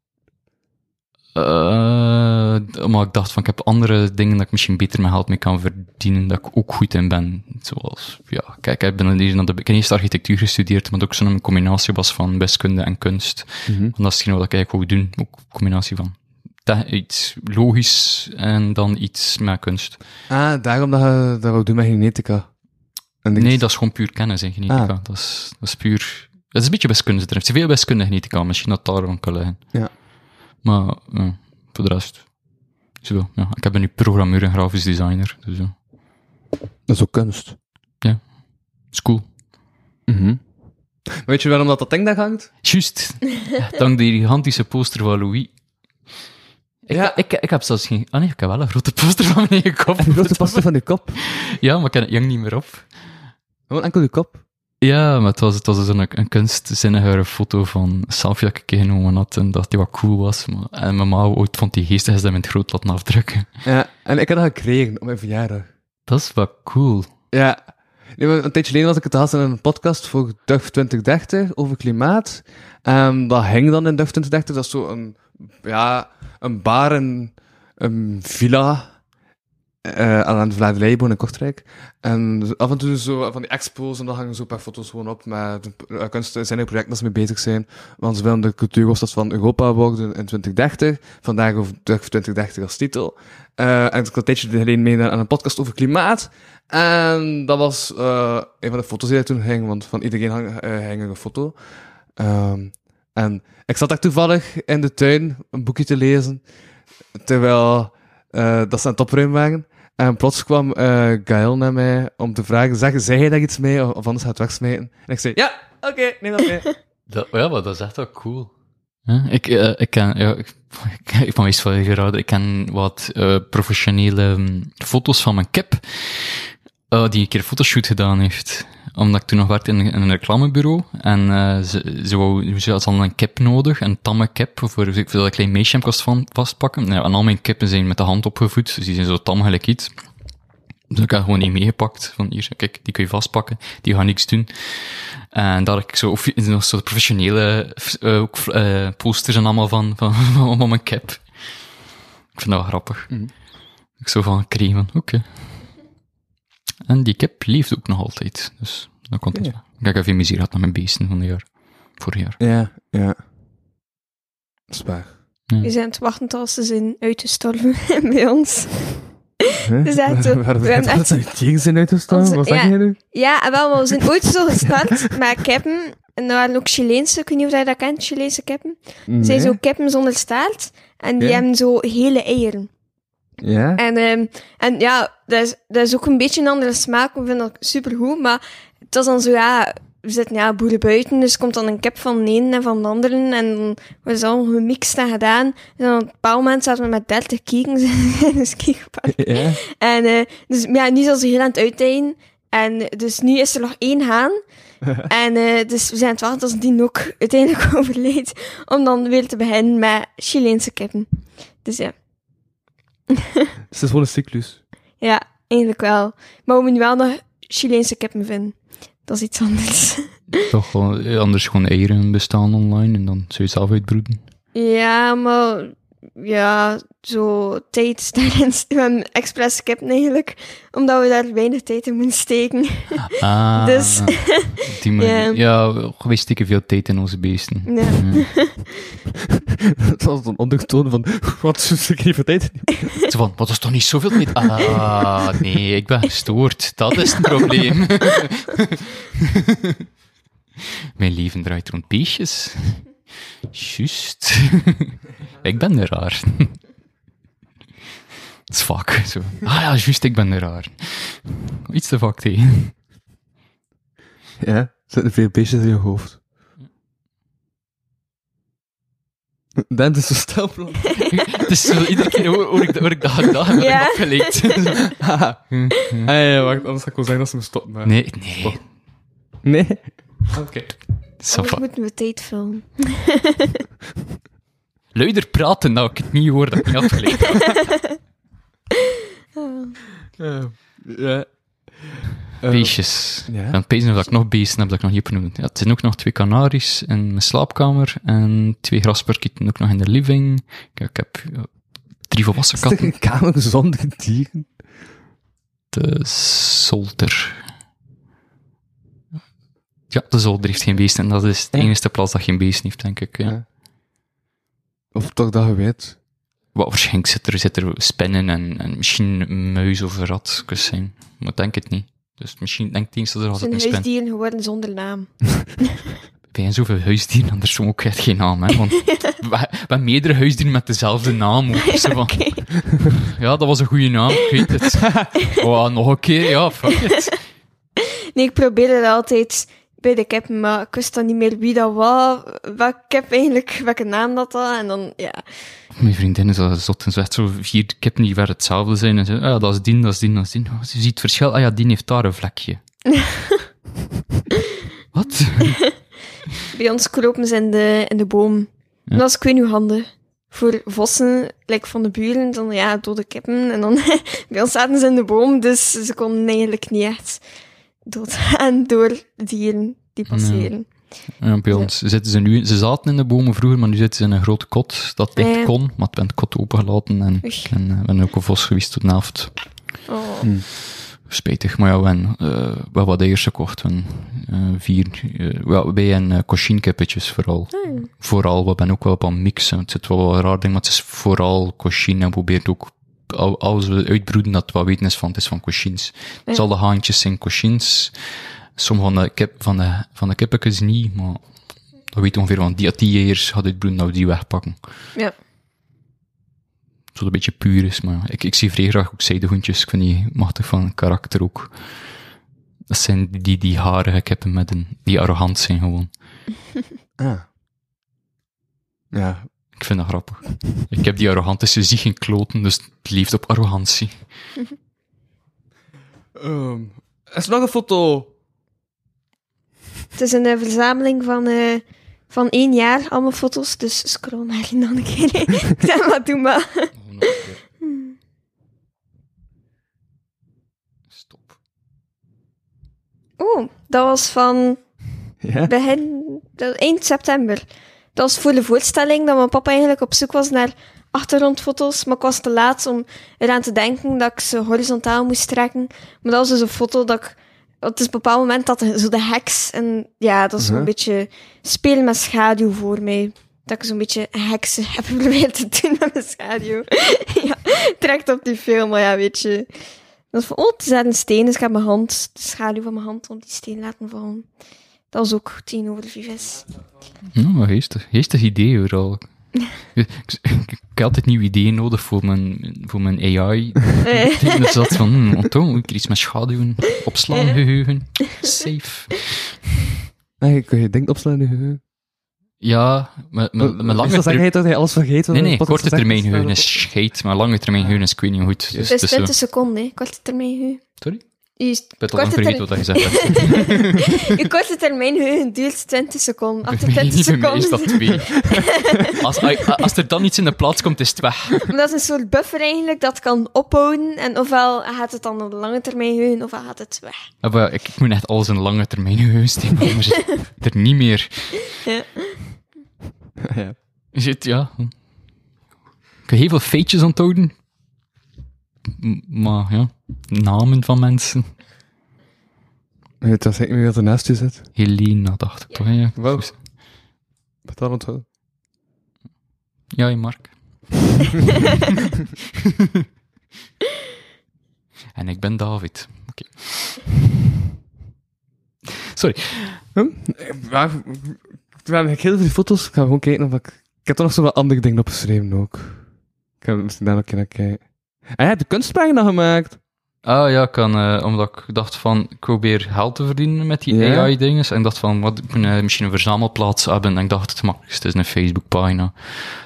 S4: Eh, maar ik dacht van, ik heb andere dingen dat ik misschien beter mijn geld mee kan verdienen, dat ik ook goed in ben. Zoals, ja, kijk, ik, ben hier naar de, ik heb eerst architectuur gestudeerd, maar ook zo'n combinatie was van wiskunde en kunst. Want dat is hetgeen wat ik eigenlijk ook doen, ook een combinatie van te- iets logisch en dan iets met kunst.
S3: Ah, daarom dat je dat wou doen met genetica. En ik-
S4: Nee, dat is gewoon puur kennis in genetica.
S3: Ah.
S4: Dat, is, dat is puur... Dat is een beetje wiskunde. Er is veel wiskunde in genetica, misschien dat daarom kan liggen.
S3: Ja.
S4: Maar ja, voor de rest... Zo, ja. Ik ben nu programmeur en grafisch designer. Dus ja,
S3: dat is ook kunst.
S4: is cool.
S3: Mhm. Weet je waarom dat dat ding daar hangt?
S4: Juist. Dank die gigantische poster van Louis. Ik,
S3: Ja.
S4: ik, ik heb zelfs geen... Ah nee, ik heb wel een grote poster van mijn eigen kop.
S3: En die grote paste van je kop.
S4: Ja, maar ik heb het jong niet meer op.
S3: Gewoon enkel je kop.
S4: Ja, maar het was, het was dus een, een kunstzinnige foto van een selfie dat ik genomen had en dat die wat cool was. Maar, en mijn ma ooit vond die geestig is dat met het groot laten afdrukken.
S3: Ja, en ik heb dat gekregen op mijn verjaardag.
S4: Dat is wel cool.
S3: Ja. Nee, maar een tijdje geleden was ik het haast in een podcast voor DUF 2030 over klimaat. En dat hing dan in DUF 2030. Dat is zo een, ja, een bar, een, een villa eh, aan de Vlaamse Leibo in Kortrijk. En dus af en toe zo van die expos en dan hangen zo een paar foto's gewoon op met eh, kunstzinnige projecten dat ze mee bezig zijn. Want ze willen de cultuurhoofdstad van Europa worden in 2030. Vandaag over DUF 2030 als titel. Eh, en ik had een tijdje geleden meegedaan aan een podcast over klimaat. En dat was eh, een van de foto's die daar toen hing, want van iedereen hang, eh, hing er een foto. Ehm, en ik zat daar toevallig in de tuin een boekje te lezen, terwijl eh, dat ze aan het opruimen waren. En plots kwam eh Gaël naar mij om te vragen, zeg, zei jij daar iets mee, of, of anders gaat het wegsmijten? En ik zei, ja, oké, neem dat mee.
S4: Dat, ja, maar dat is echt wel cool. ik, eh, ik ken, ja, ik, *laughs* ik, ik ben meestal wel geraden. Ik ken wat eh, professionele hm, foto's van mijn kip, eh, die een keer een fotoshoot gedaan heeft. Omdat ik toen nog werkte in, een- in een reclamebureau. En eh, ze, ze, wou, ze had dan een kip nodig, een tamme kip, voor, voor dat een klein meisje hem kost van, vastpakken. Nou, en al mijn kippen zijn met de hand opgevoed, dus die zijn zo tam gelijk iets. Dus ik had gewoon niet meegepakt. Van hier, kijk, die kun je vastpakken. Die gaan niks doen. En daar heb ik zo, of, nog zo professionele eh, ook, eh, posters en allemaal van, van, *laughs* van, mijn cap. Ik vind dat wel grappig. Ik zo van cremen, oké. En die cap leeft ook nog altijd. Dus dat komt het wel. Ik heb veel misère gehad met mijn beesten van de jaar. Vorig jaar.
S3: Ja, ja. Dat is waar.
S5: We zijn aan het wachten tot ze zijn uit te stormen *laughs* bij ons. Dus dat is ook-
S3: Waarom
S5: we hebben
S3: dat
S5: echt-
S3: zijn tegen zijn uit te staan?
S5: Onze-
S3: Wat zeg
S5: ja.
S3: jij nu?
S5: Ja, en wel, maar we zijn ooit zo gestart met kippen. En dat waren ook Chileense, ik weet niet of jij dat kent, Chileense kippen. Het zijn
S3: Nee?
S5: zo kippen zonder staart. En die
S3: Ja.
S5: hebben zo hele eieren.
S3: Ja?
S5: En, ehm, en ja, dat is, dat is ook een beetje een andere smaak. We vinden dat supergoed. Maar het was dan zo, ja, we zitten ja, boeren buiten. Dus komt dan een kip van de ene en van de andere. En dan wordt het allemaal gemixt en gedaan. En dan op een bepaald moment zaten we met 30 kiekens *laughs* in een skierpark.
S3: Ja?
S5: En eh, dus, maar ja, nu zijn ze heel aan het uiteinden. En eh, dus nu is er nog één haan. en eh, dus we zijn aan het wachten als die ook uiteindelijk *laughs* overleed. Om dan weer te beginnen met Chileense kippen. Dus ja,
S3: Het is gewoon een cyclus.
S5: ja eigenlijk wel. Maar we moeten wel nog Chileense kippen vinden. Dat is iets anders. *laughs*
S4: Toch wel, eh, anders gewoon eieren bestaan online en dan zul je zelf uitbroeden.
S5: ja, maar... Ja, zo tijd daarin... We hebben expres kippen eigenlijk. Omdat we daar weinig tijd in moeten steken. *laughs*
S4: Ah,
S5: Dus-
S4: op die manier. Ja, we steken veel tijd in onze beesten.
S5: Ja.
S3: Het was een ondertoon van, wat is een secretiviteit?
S4: Zo van, wat is toch niet zoveel tijd? Ah, nee, ik ben gestoord. Dat is het *laughs* probleem. Mijn leven draait rond beestjes. Juist. ik ben de raar. Het is vak. Zo. Ah ja, juist, ik ben de raar. Iets te vak tegen.
S3: Ja, zitten veel beestjes in je hoofd. Dan is het stelplan.
S4: Het is zo, iedere keer hoor, hoor ik, dat- hoor ik dat gedacht en ben
S5: Ja.
S4: ik opgeleid.
S3: Nee, Ah, wacht, anders ga ik wel zeggen dat ze me stoppen. maar-
S4: nee, nee.
S3: Nee?
S4: Oké.
S5: Anders moeten we tijd vullen.
S4: Luider praten, nou ik het niet hoor, dat ik niet afgeleid heb.
S3: Ja. Eh,
S4: Beestjes.
S3: ja.
S4: Ik ben pezen of dat ik nog beesten heb dat ik nog niet heb genoemd. Ja, het zijn ook nog twee kanaries in mijn slaapkamer en twee grasperkieten ook nog in de living. Kijk, ik heb ja, drie volwassen
S3: Is er
S4: katten.
S3: een kamer zonder dieren?
S4: De zolder. Ja, de zolder heeft geen beesten en dat is de
S3: Ja.
S4: enige plaats dat geen beesten heeft, denk ik. Ja.
S3: Ja. Of toch dat je weet?
S4: Wat waarschijnlijk zit er, zit er spinnen en, en misschien een muis of een rat kunnen zijn. Maar ik denk het niet. Dus misschien denk ik eens dat er
S5: Het
S4: altijd
S5: zijn
S4: een spin.
S5: huisdieren geworden zonder naam.
S4: Bij zoveel huisdieren, *laughs* anders ook echt geen naam, hè? Want we we hebben meerdere huisdieren met dezelfde naam. Ook. Zo van, *laughs* Ja, dat was een goede naam, ik weet het. Oh, nog een keer, ja, fuck it.
S5: Nee, ik probeer het altijd bij de kip, maar ik wist dan niet meer wie dat was, welk kip eigenlijk, welke naam dat had. En dan, ja,
S4: Mijn vriendin is al zot en zegt zo vier kippen die ver hetzelfde zijn. En ze, ah, ja, dat is die, dat is die, dat is die. Oh, ze ziet het verschil, ah ja, die heeft daar een vlekje. Wat?
S5: bij ons kropen ze in de, in de boom. En dat is, ik weet niet hoe handig. Voor vossen, like van de buren, dan ja, dode kippen. En dan, *laughs* bij ons zaten ze in de boom, dus ze konden eigenlijk niet echt doodgaan door dieren die passeren.
S4: Ja, bij ons zitten ze nu, ze zaten in de bomen vroeger, maar nu zitten ze in een grote kot dat dicht
S5: Ja.
S4: kon, maar het werd kot opengelaten en,
S5: Oei.
S4: en eh, we hebben ook een vos geweest tot de helft.
S5: Oh.
S4: Spijtig, maar ja, we hebben eh, wel wat eiers gekocht. We hebben, eh, vier, eh, wel, wij en uh, cochinkippetjes vooral. Vooral, we ben ook wel op aan het mixen. Het zit wel wel een raar ding, maar het is vooral cochin en probeert ook, al- als we uitbroeden, dat het wat weten is van, het is van cochins. Het zal de haantjes zijn cochins. Sommige van de, kip, van de, van de kippetjes niet, maar dat weet ongeveer, want die, als die eiers gaat uitbroeden, dat we die wegpakken.
S5: Ja.
S4: Zodat het een beetje puur is, maar ja, ik, ik zie vrij graag ook zijdehoentjes. Ik vind die machtig van karakter ook. Dat zijn die, die harige kippen met een, die arrogant zijn gewoon.
S3: Ah. Ja.
S4: Ik vind dat grappig. Ik heb die arrogant, dus je ziet geen kloten, dus het leeft op arrogantie.
S3: Ehm, er is nog een foto.
S5: Het is een eh, verzameling van, eh, van één jaar, allemaal foto's. Dus scroll naar die dan een keer. *laughs* Ik zeg maar, doe maar.
S4: Stop.
S5: Oeh, dat was van
S3: Ja?
S5: begin, dat- eind september. Dat was voor de voorstelling dat mijn papa eigenlijk op zoek was naar achtergrondfoto's. Maar ik was te laat om eraan te denken dat ik ze horizontaal moest trekken. Maar dat was dus een foto dat ik... Het is op een bepaald moment dat de- zo de heks... En ja, dat is zo'n
S3: Mhm.
S5: beetje spelen met schaduw voor mij. Dat ik zo'n beetje heksen heb *laughs* geprobeerd te doen met mijn schaduw. *laughs* ja, trekt op die film, maar ja, weet je... Dat is van, oh, het is daar een steen, dus ik heb mijn hand, de schaduw van mijn hand, op die steen laten vallen. Dat was ook tien over vijf.
S4: Nou, maar geestig. Geestig idee hoor. al. ik, ik, ik heb altijd nieuwe ideeën nodig voor mijn, voor mijn
S3: *laughs*
S4: AI.
S5: Eh,
S4: dus dat van, hmm, Anton, moet ik er iets met schaduwen, opslaan, geheugen, safe.
S3: Nee, kun je denkt opslaan in je geheugen.
S4: Ja, mijn, mijn, mijn lange
S3: Is dat zeg
S4: termijn...
S3: je dat hij alles vergeet? wat
S4: Nee,
S3: we
S4: nee,
S3: in de podcast
S4: korte termijn
S3: gezegd
S4: geheugen
S3: hebben?
S4: is scheet, maar lange termijn geheugen is ik weet niet hoe goed. Dus, dus,
S5: dus
S4: eh,
S5: 20 seconden, hè. korte termijn geheugen.
S4: sorry?
S5: Uw, *laughs*
S4: Ik ben al lang
S5: korte,
S4: vergeten wat
S5: ter-
S4: dat gezegd hebt.
S5: uw korte termijn geheugen duurt 20 seconden.
S4: Bij
S5: Achter
S4: mij niet,
S5: 20
S4: bij mij is
S5: seconden.
S4: dat twee. *laughs* Als, als er dan iets in de plaats komt, is het weg.
S5: *laughs* Maar dat is een soort buffer eigenlijk dat kan ophouden. En ofwel gaat het dan op de lange termijn geheugen, ofwel gaat het weg.
S4: Ja, maar ik, ik moet echt alles in lange termijn geheugen steken, anders is het er niet meer.
S3: Ja.
S4: Is het, ja. Ik heb heel veel feitjes onthouden. M- Maar ja, namen van mensen.
S3: Je weet dat ik niet meer wat er naast je zit.
S4: Helena, dacht ik toch? hè? Ja,
S3: Wow. Wat dan onthouden?
S4: ja je Mark. *laughs* en ik ben David. Oké. Sorry.
S3: Hm? Eh, waar- Toen heb ik heel veel foto's. Ik ga gewoon kijken of ik... Ik heb er nog zo wat andere dingen opgeschreven ook. Ik ga misschien daar ook een keer naar kijken. Ah, jij hebt de kunstpagina gemaakt.
S4: Ah ja, kan, eh, omdat ik dacht van, ik probeer geld te verdienen met die
S3: Ja.
S4: AI-dinges. En ik dacht van, wat, ik moet eh, misschien een verzamelplaats hebben. En ik dacht, het makkelijkste is een Facebook-pagina.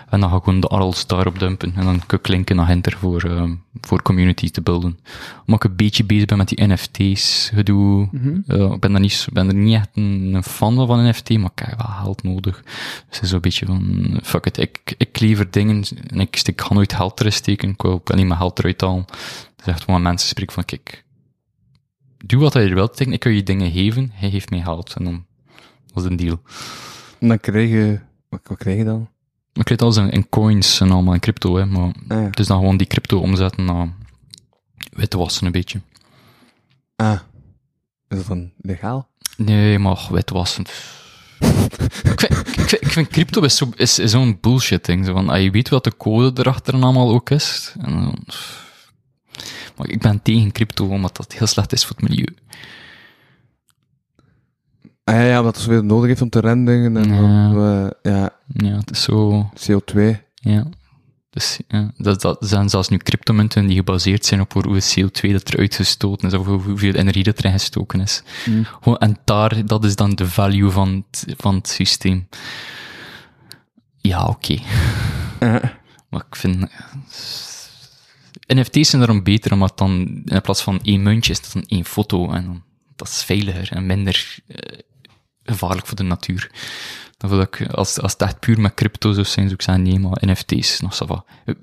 S4: En dan ga ik gewoon de arles daarop dumpen. En dan kan ik linken naar Hinter voor, ehm, voor community te builden. Omdat ik een beetje bezig ben met die NFT's gedoe. Eh, ik ben, daar niet, zo- ben er niet echt een, een fan van, van NFT, maar ik heb wel geld nodig. Dus het is zo'n beetje van, fuck it, ik, ik lever dingen en ik, ik ga nooit geld erin steken. Ik wil ook niet mijn geld eruit halen. Het is echt gewoon mensen spreken van, kijk, doe wat je wilt, ik kan je dingen geven, hij geeft mij geld. En dan, dat is een deal.
S3: En dan krijg je... Wat, wat krijg je dan?
S4: Ik weet alles in, in coins en allemaal in crypto, hè, maar
S3: Ah, ja.
S4: het is dan gewoon die crypto omzetten naar witwassen een beetje.
S3: Ah. Is dat dan legaal?
S4: Nee, maar och, witwassen. ik, vind, ik, vind, ik vind crypto is zo'n is, is zo'n bullshit ding. Zo van, ah, je weet wat de code erachter en allemaal ook is. En dan- maar ik ben tegen crypto, omdat dat heel slecht is voor het milieu.
S3: Ah ja, ja, wat het zoveel nodig heeft om te renderen en
S4: Ja.
S3: om, eh, ja,
S4: Ja, het is zo...
S3: CO2.
S4: Ja. Dus, ja, dat, dat zijn zelfs nu cryptomunten die gebaseerd zijn op hoeveel CO2 dat er uitgestoten is, of hoe- hoeveel energie dat erin gestoken is. Gewoon, en daar, dat is dan de value van het, van het systeem. Ja, oké.
S3: Eh.
S4: *laughs* Maar ik vind... eh, NFT's zijn daarom beter, omdat dan in plaats van één muntje is dat dan één foto. En dan, dat is veiliger en minder eh, gevaarlijk voor de natuur. Dan wil ik, als, als het echt puur met crypto zou zijn, zou ik zeggen, nee, maar NFT's, nog zo wat. Eh,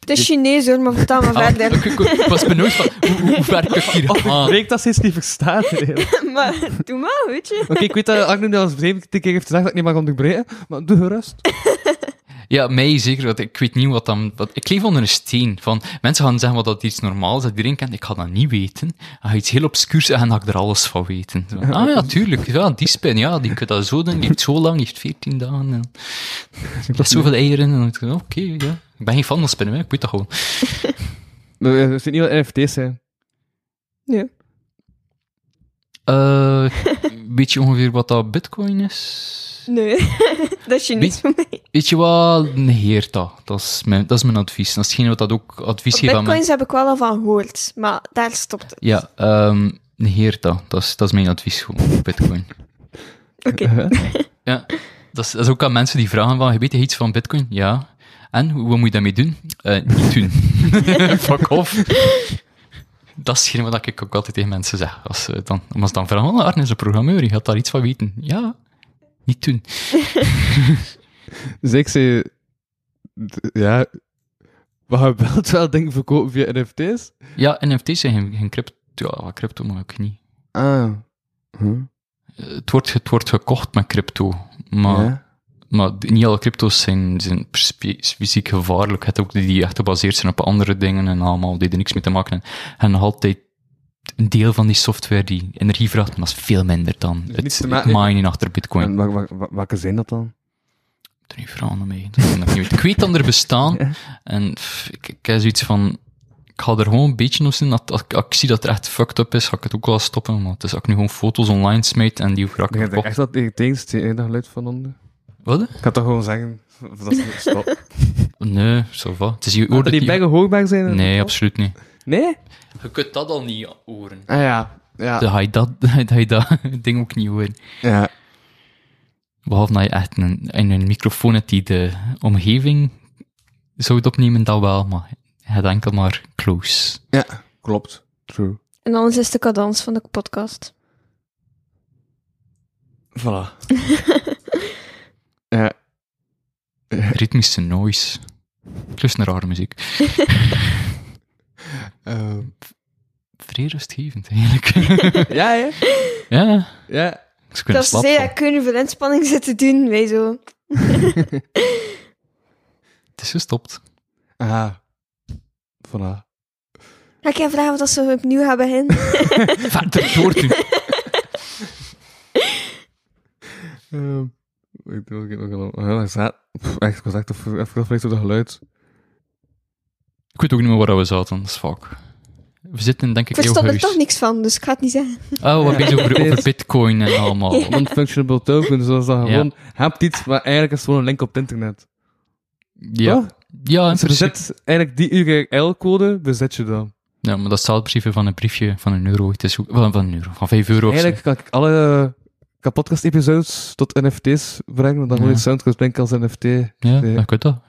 S5: Het is Chinees hoor, maar vertel maar
S4: *laughs* Ah,
S5: verder.
S4: ik, ik- ik was benieuwd van, hoe, hoe- hoe ver kan ik
S3: *laughs*
S4: hier gaan?
S3: Oh, Ik dat steeds niet verstaan.
S5: *laughs* maar doe maar, weet je.
S3: *laughs* Oké, ik weet dat Agnew nu al eens een keer heeft gezegd dat ik niet mag onderbreken, maar doe gerust.
S4: Ja, mij zeker. Want ik weet niet wat dan... Wat, ik leef onder een steen. Van, mensen gaan zeggen wat dat iets normaal is, dat iedereen kent. Ik ga dat niet weten. Hij gaat iets heel obscuurs zeggen, dan ga ik er alles van weten. Zo, ah ja, tuurlijk. Ja, die spin, ja, die kan dat zo doen. Die heeft zo lang, die heeft 14 dagen. En, dat is zoveel eieren. En dan denk ik, Oké, ja. Ik ben geen fan van spinnen, hè. ik weet dat gewoon.
S3: We weten Eh, niet wat NFT's zijn.
S5: Ja.
S4: Eh, weet je ongeveer wat dat bitcoin is?
S5: Nee, *laughs* dat is Chinees voor mij.
S4: Weet je wat? Negeer dat. Dat is mijn, dat is mijn advies. Dat is hetgeen wat dat ook advies geeft aan mensen.
S5: Bitcoins heb ik wel al van gehoord, maar daar stopt het.
S4: Ja, ehm negeer dat. Dat is, dat is mijn advies gewoon, op bitcoin.
S5: Oké.
S3: Eh,
S4: Ja, dat is, dat is ook aan mensen die vragen van, weet je iets van bitcoin? Ja. En, hoe- wat moet je daarmee doen? Eh, niet doen. *laughs* Fuck off. Dat is hetgeen wat ik ook altijd tegen mensen zeg. Als ze dan, omdat ze dan vragen, oh, Arne is een programmeur, je gaat daar iets van weten. Ja, niet doen.
S3: Dus ik zei, d- ja, we gaan *laughs* wel wel dingen verkopen via NFT's.
S4: Ja, NFT's zijn geen, geen crypto. Ja, wat crypto, maar ook niet.
S3: Ah. Hm.
S4: Eh, Het wordt, ge- het wordt gekocht met crypto, maar...
S3: Ja.
S4: Maar d- niet alle crypto's zijn, zijn spe- fysiek gevaarlijk. Het ook die die echt gebaseerd zijn op andere dingen en allemaal, die er niks mee te maken hebben. En nog altijd een deel van die software die energie vraagt, maar dat is veel minder dan
S3: Dus niets
S4: het,
S3: te
S4: het
S3: maken-
S4: minen achter bitcoin.
S3: En wa- wa- wa- welke zijn dat dan?
S4: Ik doe niet verhalen mee. Dat kan ik niet weten. Ik weet dat er
S3: *laughs*
S4: bestaan. En pff, ik, ik heb zoiets van... Ik ga er gewoon een beetje op zien. Als, als ik- als ik zie dat het echt fucked up is, ga ik het ook wel stoppen. Maar het is ook nu gewoon foto's online smijt en die
S3: Ik denk
S4: raken
S3: dat ik
S4: kapot.
S3: echt dat tegen tegen tegen dat geluid van onder.
S4: Wat?
S3: Ik ga toch gewoon zeggen, *laughs* of dat is *laughs* stop.
S4: Nee, zo va. Het is je
S3: Moeten
S4: oor
S3: die baggen hoogbaar zijn?
S4: Nee, absoluut niet.
S3: Nee?
S4: Je kunt dat al niet horen.
S3: Ah ja. Ja.
S4: Dan ga je dat, *laughs* dan ga je dat ding ook niet horen.
S3: ja.
S4: Behalve dat je echt een, in een microfoon hebt die de omgeving zou het opnemen, dat wel, maar je hebt enkel maar close.
S3: Ja. Klopt. True.
S5: En anders is de cadans van de podcast.
S3: *laughs* Voilà. ja.
S4: Ritmische noise. Ik luister naar rare muziek.
S3: ehm,
S4: Vrij rustgevend, eigenlijk. *laughs*
S3: ja, ja.
S4: ja,
S3: Ja.
S4: ik zou kunnen
S5: Dat ze
S4: slapen.
S5: zei, ja, kun je veel inspanning zitten doen, wij zo.
S4: Het is gestopt.
S3: Ah. Voilà.
S5: Ga ik je vragen wat dat ze opnieuw gaan
S3: *laughs*
S5: beginnen?
S4: Verder door doen.
S3: Ehm, ik denk dat ik nog wel nog heel erg zat. Pff, echt, ik was echt even afgeleid door dat geluid.
S4: Ik weet ook niet meer waar we zaten, dat is vaak. We zitten denk ik in
S5: Ik
S4: jouw
S5: verstond er
S4: huis.
S5: toch niks van, dus ik ga het niet zeggen.
S4: Oh, wat
S3: Ja.
S4: bezig over, over
S3: Eerst.
S4: bitcoin en allemaal. Ja.
S3: Non-functionable tokens, zoals dat
S4: *laughs* Ja.
S3: gewoon... Hebt iets, maar eigenlijk is het gewoon een link op het internet.
S4: Ja,
S3: Toch?
S4: in
S3: Dus
S4: principe.
S3: bezet eigenlijk die URL-code, bezet dus je dan.
S4: Ja, maar dat staat in principe van een briefje van een euro. Het is ook- van, van een euro, van vijf euro. of zo.
S3: Eigenlijk kan ik alle podcast-episodes tot NFT's brengen, want dan gewoon
S4: Ja.
S3: je Soundcloud linken dus als NFT.
S4: Ja,
S3: Ja.
S4: ik weet dat.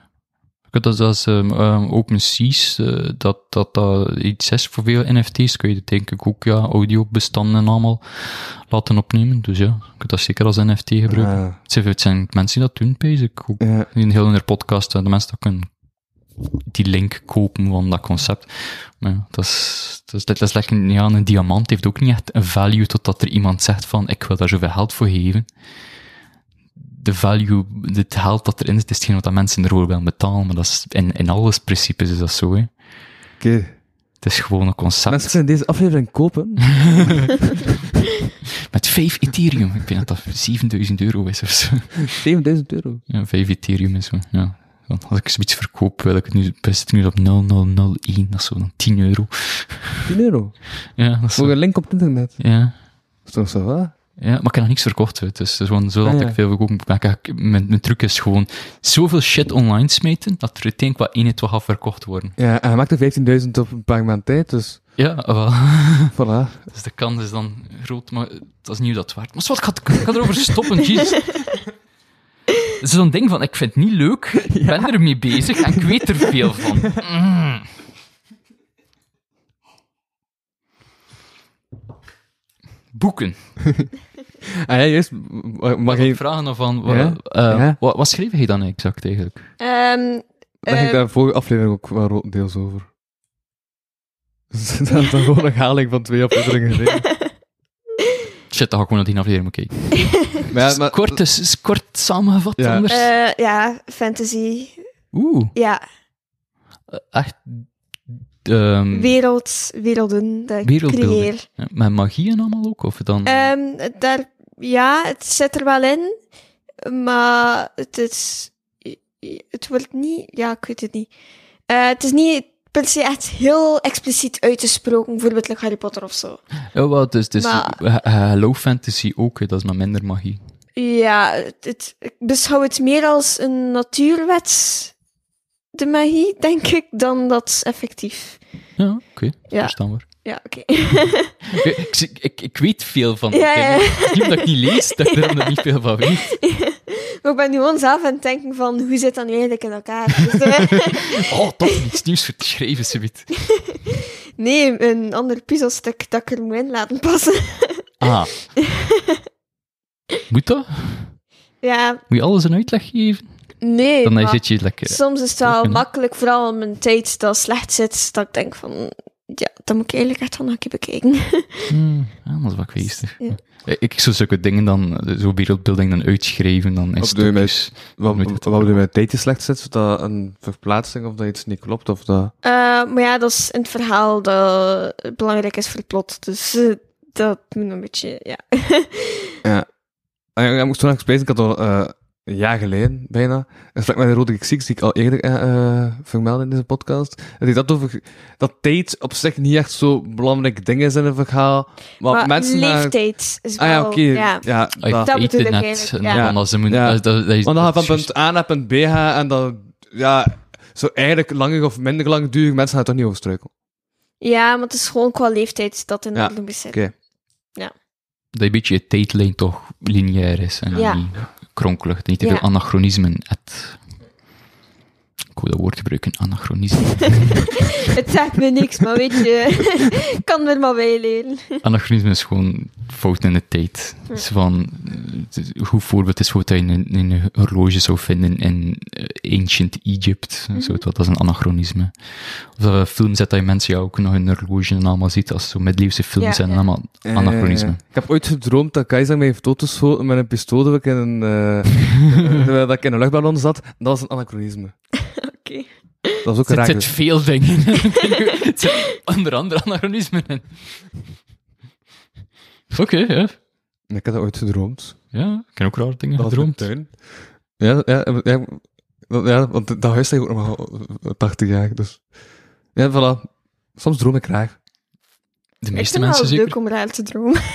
S4: Ik weet dat als ehm ehm, OpenSeas, eh, dat, dat dat iets is voor veel NFT's, kun je dat denk ik ook ja, audiobestanden en allemaal laten opnemen. Dus ja, ik kan dat zeker als NFT gebruiken.
S3: Ah,
S4: Het zijn- Het zijn mensen die dat doen, pees ik. Ook
S3: ja.
S4: in heel hun podcast, eh, de mensen dat kunnen die link kopen van dat concept. Maar ja, dat is, dat is, dat is lekker, ja, een diamant heeft ook niet echt een value totdat er iemand zegt van, ik wil daar zoveel geld voor geven. De value, het geld dat erin zit, is hetgeen wat dat mensen ervoor willen betalen, maar dat is, in, in alles principes is dat zo, hè.
S3: Oké.
S4: Het is gewoon een concept
S3: Mensen kunnen deze aflevering
S4: *laughs*
S3: kopen.
S4: met 5 Ethereum. Ik denk dat dat 7000 euro is of zo.
S3: 7000 euro.
S4: Ja, 5 Ethereum en zo, ja. Want als ik zoiets verkoop, wil ik het nu, best nu op 0001, dat is zo dan 10 euro.
S3: 10 euro.
S4: Ja, dat is
S3: Voor
S4: zo.
S3: een link op het internet.
S4: Ja.
S3: Dat is toch zo, hè?
S4: Ja, maar ik heb nog niks verkocht. hè. Dus het is gewoon zo dat
S3: Ah, ja.
S4: ik veel verkopen. Maar ik- ik- Mijn, mijn truc is gewoon zoveel shit online smeten, dat er uiteindelijk wel één en twee gaat verkocht worden.
S3: Ja, en hij maakt er 15.000 op een paar maanden tijd,
S4: *laughs*
S3: dus
S4: Ja, wel.
S3: voilà.
S4: Dus de kans is dan groot, maar dat is niet hoe dat waard. Maar wat, ik ga, het- ik ga erover
S3: *laughs*
S4: stoppen, jezus. Het is zo'n ding van, ik vind het niet leuk, ik ben er mee bezig en ik weet er veel van. Mm. Boeken.
S3: Ah ja, juist. m- Mag
S5: Ehm,
S3: ik,
S4: vragen dan van, wa-
S3: Ja?
S4: eh,
S3: Ja?
S4: Wat, wat schreef je dan exact eigenlijk?
S5: Ehm,
S3: leg ik
S5: eh,
S3: daar de vorige aflevering ook wel grotendeels over. *laughs* Dus dat is dan gewoon een herhaling van twee
S5: *laughs*
S3: afleveringen geleden.
S4: Shit, dan ga ik gewoon naar die aflevering bekijken.
S3: Maar
S5: *laughs*
S3: ja,
S4: Is
S3: Eh, maar-
S4: kort, is, is kort samengevat
S3: Ja.
S4: anders.
S5: eh, ja, fantasy.
S4: Oeh,
S5: Ja,
S4: echt...
S3: Hmm.
S4: ehm,
S5: wereld, werelden dat ik
S4: Wereldbeelden.
S5: creëer.
S4: ja, Met magie en allemaal ook? Of
S3: Hmm.
S4: dan...
S5: Ehm, daar, ja, het zit er wel in, maar het is, het wordt niet, ja, ik weet het niet. Eh, het is niet per se echt heel expliciet uitgesproken, bijvoorbeeld like Harry Potter of zo.
S4: Ja, wel, dus, dus
S5: Maar-
S4: eh, eh, low fantasy ook, hè, dat is maar minder magie.
S5: Ja, het, het- ik beschouw het meer als een natuurwet, de magie, denk ik, dan dat is effectief.
S4: Ja, oké,
S5: Ja.
S4: verstaanbaar.
S5: Ja, oké. *laughs*
S4: Ik, ik, zie- ik, ik weet veel van
S5: Ja,
S4: die
S5: ja.
S4: dingen. Het is Niet omdat ik niet lees, dat ik er omdat ik niet veel van weet.
S5: Maar ik ben nu gewoon zelf aan het denken van, hoe zit dat nu eigenlijk in elkaar?
S4: *laughs*
S5: Dus, eh,
S4: Oh, toch niets nieuws voor te schrijven, zoiets.
S5: nee, een ander puzzelstuk dat ik er moet in laten passen. *laughs*
S4: Ah. Moet dat?
S5: Ja,
S4: Moet je alles een uitleg geven?
S5: Nee,
S4: Dan
S5: maar
S4: zit je lekker...
S5: soms is het wel
S4: kunnen.
S5: makkelijk, vooral om mijn tijd dat slecht zit, dat ik denk van, ja, dat moet ik eigenlijk echt wel nog een keer bekijken.
S4: Hmm, ja, dat is wel geestig.
S5: *laughs* Ja.
S4: Ik- Ik zou zulke dingen dan, eh, zo wereldbeelding dan uitschrijven, dan in
S3: Op de
S4: stukjes.
S3: Wat,
S4: Nooit
S3: wat bedoel je met tijdje slecht zit? Is dat een verplaatsing of dat iets niet klopt? Of dat...
S5: Eh, maar ja, dat is in het verhaal dat het belangrijk is voor het plot, dus eh, dat moet een beetje, ja.
S3: Ah, ja, ik moest toen nog spijzen, ik had al eh, een jaar geleden, bijna, een gesprek met de Roderick Six, die ik al eerder eh, eh, vermeldde in deze podcast. En die dat over dat tijd op zich niet echt zo belangrijk ding is in een verhaal. Maar,
S5: maar
S3: mensen... naar-
S5: leeftijd is wel,
S3: ah ja, oké.
S5: ja.
S3: Ja,
S4: Ah, ik
S3: dat.
S5: Dat
S4: weet
S5: bedoel
S4: het
S5: ik
S4: net.
S5: eigenlijk,
S4: en
S5: ja.
S4: dan als ze moeten-
S3: Ja.
S4: dat- dat- dat is-
S3: Want dan ga je
S4: dat is
S3: van punt A naar punt B gaan en dan... Ja, zo eigenlijk langer of minder lang duren, mensen gaan er toch niet over struikelen.
S5: ja, maar het is gewoon qua leeftijd dat in
S3: Ja,
S5: orde moet zijn.
S3: oké.
S4: dat een beetje je tijdlijn toch lineair is en
S5: Ja.
S4: niet kronkelig. Niet te
S5: Ja.
S4: veel anachronismen. Het... Ik wil dat woord gebruiken, anachronisme.
S5: *laughs* Het zegt me niks, maar weet je, *laughs* ik kan er maar bij leren.
S4: anachronisme is gewoon fout in de tijd. Het is van, eh, het is- een goed voorbeeld is hoe dat je een, een horloge zou vinden in eh, ancient Egypt.
S5: Mhm.
S4: Zo, dat is een anachronisme. Of dat we films zetten dat je mensen ja, ook nog hun horloge en allemaal ziet. Als zo middeleeuwse films
S5: Ja,
S4: zijn,
S5: ja.
S4: allemaal
S3: Eh,
S4: anachronisme.
S3: ik heb ooit gedroomd dat Keizer mij heeft doodgeschoten met een pistool dat ik in een, eh, *laughs* terwijl dat ik in een luchtballon zat. Dat was een anachronisme.
S5: Oké.
S3: Dat is ook een
S4: Er
S3: raar. dus.
S4: zit veel dingen in. *laughs* Het zit onder andere anachronismen in. Oké, ja.
S3: Nee, Ik heb dat ooit gedroomd.
S4: Ja, ik heb ook rare dingen
S3: Dat
S4: gedroomd.
S3: was in de tuin. Ja, ja, ja, dat- ja, want dat huis ligt ook nog maar 80 jaar. Dus. Ja, voilà. Soms droom ik raar.
S4: De
S5: Ik
S4: meeste
S5: vind het
S4: mensen
S5: wel
S4: zeker.
S5: leuk om raar te dromen. *laughs*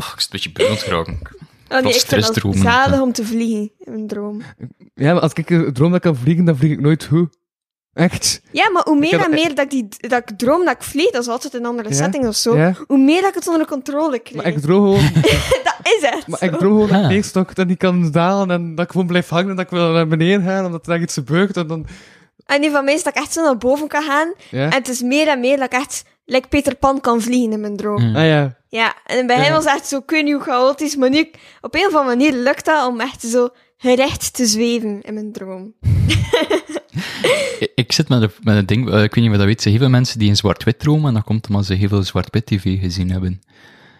S4: Oh, ik is een beetje bruin geraken.
S5: Oh nee, ik vind het
S4: stressdromen.
S5: zalig om te vliegen in een droom.
S3: Ja, maar als ik eh, droom dat ik kan vliegen, dan vlieg ik nooit goed. Echt?
S5: Ja, maar hoe meer
S3: heb
S5: en
S3: dat-
S5: meer dat ik, die, dat ik droom dat ik vlieg, dat is altijd een andere
S3: Ja,
S5: setting of zo,
S3: ja.
S5: hoe meer dat ik het onder controle krijg.
S3: Maar ik droom *laughs* gewoon,
S5: *laughs* Dat is echt
S3: maar
S5: zo.
S3: ik droom gewoon dat ik
S4: Ah.
S3: neerstok en die kan dalen en dat ik gewoon blijf hangen en dat ik wil naar beneden gaan omdat er echt iets gebeurt en dan...
S5: En die van mij is dat ik echt zo naar boven kan gaan.
S3: Ja.
S5: En het is meer en meer dat ik echt, like Peter Pan, kan vliegen in mijn droom.
S4: Ja.
S3: Ah ja.
S5: Ja, en bij hem was het echt zo, ik weet niet hoe chaotisch, maar nu, op een of andere manier lukt dat om echt zo gerecht te zweven in mijn droom.
S4: Ik, ik zit met, een- met een ding, eh, ik weet niet of je dat weet, ze heel veel mensen die in zwart-wit dromen, en dat komt omdat ze heel veel zwart-wit tv gezien hebben.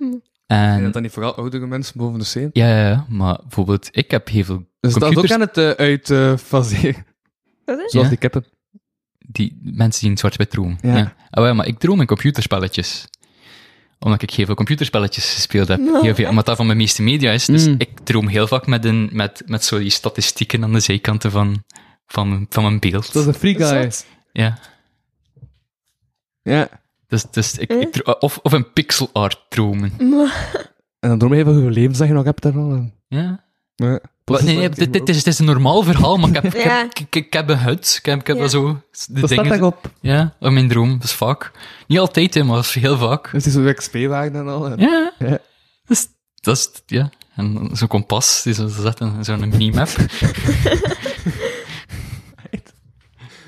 S3: En dat
S4: En,
S3: dan niet vooral oudere mensen boven de zeven.
S4: ja, ja, ja, maar bijvoorbeeld, ik heb heel veel
S3: Dus dat is ook
S4: computers,
S3: aan het eh, uit eh faseren,
S5: Wat is?
S3: zoals
S4: Ja.
S3: die kippen.
S4: die, mensen die in zwart-wit dromen.
S3: Ja.
S4: Ja. Oh, ja, maar ik droom in computerspelletjes. omdat ik heel veel computerspelletjes gespeeld heb. Heel veel, omdat dat van mijn meeste media is. Dus
S3: Mm.
S4: ik droom heel vaak met, een, met, met zo die statistieken aan de zijkanten van, van, van mijn beeld.
S3: Dat is een free guy.
S5: Zot.
S4: Ja.
S3: Ja.
S4: Dus, dus ik, ik dro- of, of een pixel art dromen.
S3: En dan droom je even hoe je leven zeggen, nog heb je daar al een...
S4: Ja.
S3: Ja.
S4: Wat, nee, nee, dit, dit is, dit is een normaal verhaal, maar ik heb, ik
S5: Ja.
S4: heb, ik, ik heb een hut. Ik heb, ik heb
S5: Ja.
S4: wel zo de
S3: Dat staat
S4: dingen.
S3: daarop.
S4: Ja, in mijn droom. Dat is vaak. Niet altijd, hè, maar dat is heel vaak.
S3: Dus die zo'n XP-wagen en al. en-
S4: Ja.
S3: Ja.
S4: Dat is, dat is, ja. En zo'n kompas, die zo zet in zo'n minimap.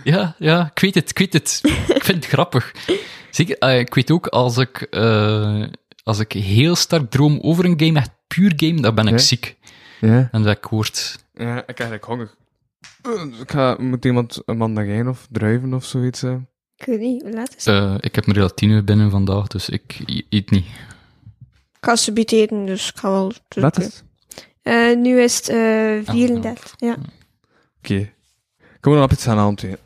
S4: ja, ja, ik weet het, ik weet het. Ik vind het grappig. Zeker, eh, ik weet ook, als ik, eh, als ik heel sterk droom over een game, echt puur game, dan ben ik
S3: Ja.
S4: ziek.
S3: Ja.
S4: En dat ik hoort...
S3: Ja, ik krijg eigenlijk honger. Eh, Ik ga, moet iemand een mandarijn of druiven of zoiets eh. hebben?
S5: Ik weet niet, hoe laat is het?
S4: eh, ik heb een relatine binnen vandaag, dus ik i- eet niet.
S5: Ik ga ze beteren, dus ik ga wel... dus
S3: Laat Ah,
S5: ik-
S3: het.
S5: Eh, nu is het eh, 34, ja.
S3: Oké. Kom nog op iets aan de hand heen.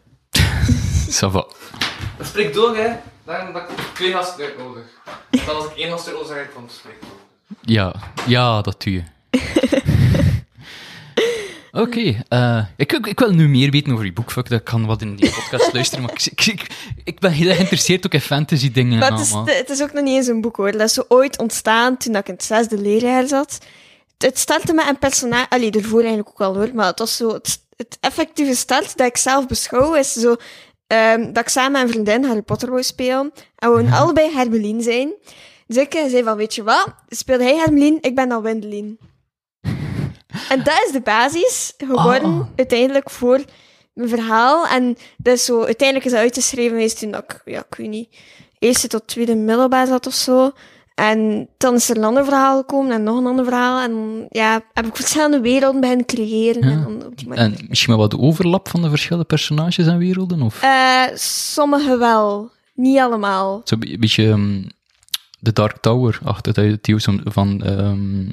S4: Ça va.
S3: Spreek door, hè. Daarom dat ik twee gasten nodig. Dan als ik één gast nodig heb, dan spreek door.
S4: Ja, ja, dat
S5: *laughs*
S4: doe je. Oké, eh, ik, ik, ik wil nu meer weten over je boek. Fuck, dat kan wat in die podcast luisteren, maar ik, ik, ik, ik ben heel erg geïnteresseerd ook in fantasy dingen nou, en
S5: Maar het, is,
S4: allemaal.
S5: het is ook nog niet eens een boek hoor. Dat is zo ooit ontstaan toen ik in het zesde leerjaar zat. Het startte met een personage, allee, daarvoor eigenlijk ook al hoor, maar het was zo, het, het effectieve start dat ik zelf beschouw is zo, ehm, dat ik samen met een vriendin Harry Potter wou spelen. En we wouden
S4: Mhm.
S5: allebei Hermelien zijn. Dus ik eh, zei van, weet je wat, speelde hij Hermelien, ik ben dan Wendelin. En dat is de basis geworden
S4: Oh.
S5: uiteindelijk voor mijn verhaal. En dat is zo, uiteindelijk is dat uitgeschreven geweest toen dat ik, ja, ik weet niet, eerste tot tweede middelbaar zat of zo. En dan is er een ander verhaal gekomen en nog een ander verhaal. En ja, heb ik verschillende werelden beginnen creëren.
S4: Ja.
S5: En dan op die manier.
S4: En misschien wel wat overlap van de verschillende personages en werelden? Of
S5: Eh, sommige wel, niet allemaal.
S4: zo'n be- beetje ehm, de Dark Tower, achter de die soms- van ehm,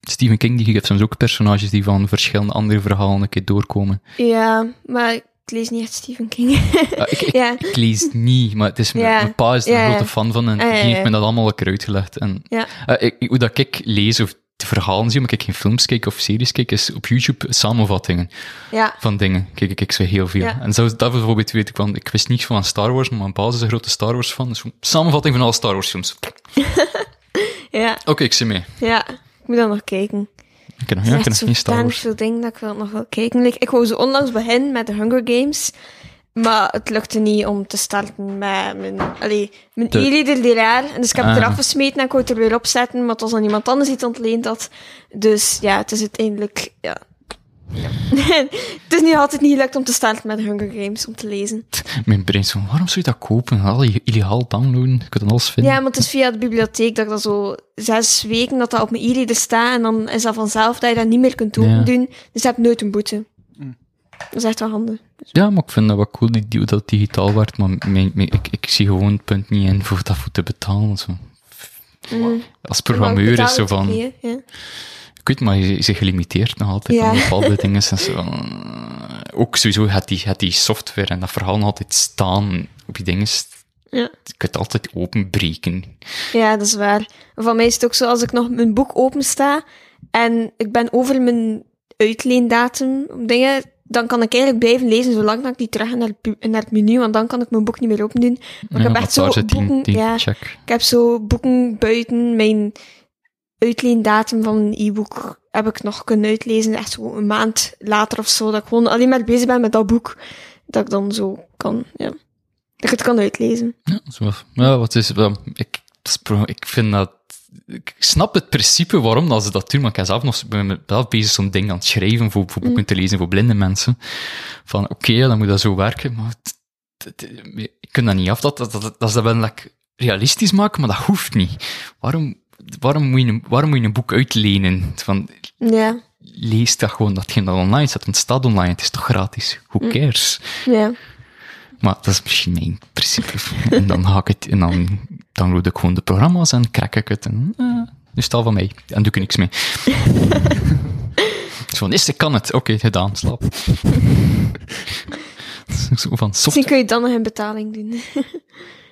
S4: Stephen King, die geeft soms ook personages die van verschillende andere verhalen een keer doorkomen.
S5: Ja, maar ik lees niet echt Stephen King.
S4: Ah, ik, ik-
S5: *laughs* ja,
S4: ik lees niet, maar het is,
S5: Ja.
S4: mijn pa is er een
S5: Ja, ja.
S4: grote fan van en
S5: Ah, ja,
S4: die heeft
S5: ja.
S4: me dat allemaal lekker uitgelegd. En,
S5: Ja.
S4: eh, ik, hoe dat ik lees of de verhalen zie, maar ik geen films kijk of series kijk, is op YouTube samenvattingen
S5: ja.
S4: van dingen. Kijk ik zo heel veel.
S5: Ja.
S4: En zo, dat bijvoorbeeld weet ik, want ik wist niets van Star Wars, maar mijn pa is een grote Star Wars fan. Dus samenvatting van alle Star Wars films. Oké,
S5: ja,
S4: ik zie mee.
S5: ja. Ik moet dat nog kijken.
S4: Ik heb nog,
S5: Er
S4: ja,
S5: zijn
S4: ik heb
S5: echt
S4: nog geen Star
S5: zodanig
S4: Wars.
S5: veel dingen dat ik wel nog wel kijken. Like, ik wou zo onlangs beginnen met de Hunger Games. Maar het lukte niet om te starten met mijn, allee, mijn
S4: De-
S5: e-reader die raar. En Dus ik heb het
S4: Ah.
S5: eraf gesmeten en ik wou het er weer opzetten. Maar het was dan iemand anders die het ontleend had. Dus ja, het is uiteindelijk... Ja. *laughs* het is nu altijd niet gelukt om te starten met de Hunger Games, om te lezen.
S4: Mijn brein is van, waarom zou je dat kopen? Al je- illegaal downloaden, je kunt alles vinden.
S5: Ja, maar het is via de bibliotheek dat ik dat zo zes weken dat dat op mijn e-reader staat. En dan is dat vanzelf dat je dat niet meer kunt
S4: Ja.
S5: doen. Dus je hebt nooit een boete. Dat is echt wel handig.
S4: Ja, maar ik vind dat wel cool die, die, dat het digitaal werd, maar mijn- mijn- ik, ik zie gewoon het punt niet in voor dat voor te betalen. Zo.
S5: Mm.
S4: Als programmeur is zo van,
S5: Ja, ja.
S4: ik weet maar, je zit gelimiteerd nog altijd
S5: Ja. *laughs*
S4: aan bepaalde dingen. En zo van, eh, ook sowieso gaat die, gaat die software en dat verhaal nog altijd staan op je dingen.
S5: Ja.
S4: Je kunt het altijd openbreken.
S5: ja, dat is waar. Van mij is het ook zo, als ik nog mijn boek opensta en ik ben over mijn uitleendatum om dingen, dan kan ik eigenlijk blijven lezen zolang dat ik niet terug ga naar, het pu- naar het menu, want dan kan ik mijn boek niet meer open doen. Maar ik heb echt zo
S4: daar zit die,
S5: boeken,
S4: die
S5: ja,
S4: check.
S5: ik heb zo boeken buiten mijn uitleendatum van een e-book heb ik nog kunnen uitlezen, echt zo een maand later of zo, dat ik gewoon alleen maar bezig ben met dat boek, dat ik dan zo kan, ja, dat ik het kan uitlezen.
S4: Ja, zo was- ja, wat is, wel, ik, dat is pro- ik vind dat. Ik snap het principe waarom dat ze dat doen, maar ik ben zelf nog ben met- zelf bezig zo'n ding aan het schrijven voor, voor boeken te lezen voor blinde mensen. Van oké, ja, dan moet dat zo werken, maar het- het- ik kan dat niet af. Dat, dat, dat, dat ze dat wel like, realistisch maken, maar dat hoeft niet. Waarom, waarom, moet, je een, waarom moet je een boek uitlenen? Van,
S5: Ja,
S4: lees dat gewoon, datgene dat online staat, want het staat online, het is toch gratis? Who cares?
S5: ja.
S4: Maar dat is misschien mijn principe. en dan haak ik het en dan download ik gewoon de programma's en krak ik het. En, eh, nu staal van mij. En doe ik er niks mee. Zo van, is, ik kan het. Oké, gedaan, slaap. zo van soft
S5: Misschien kun je dan nog een betaling doen.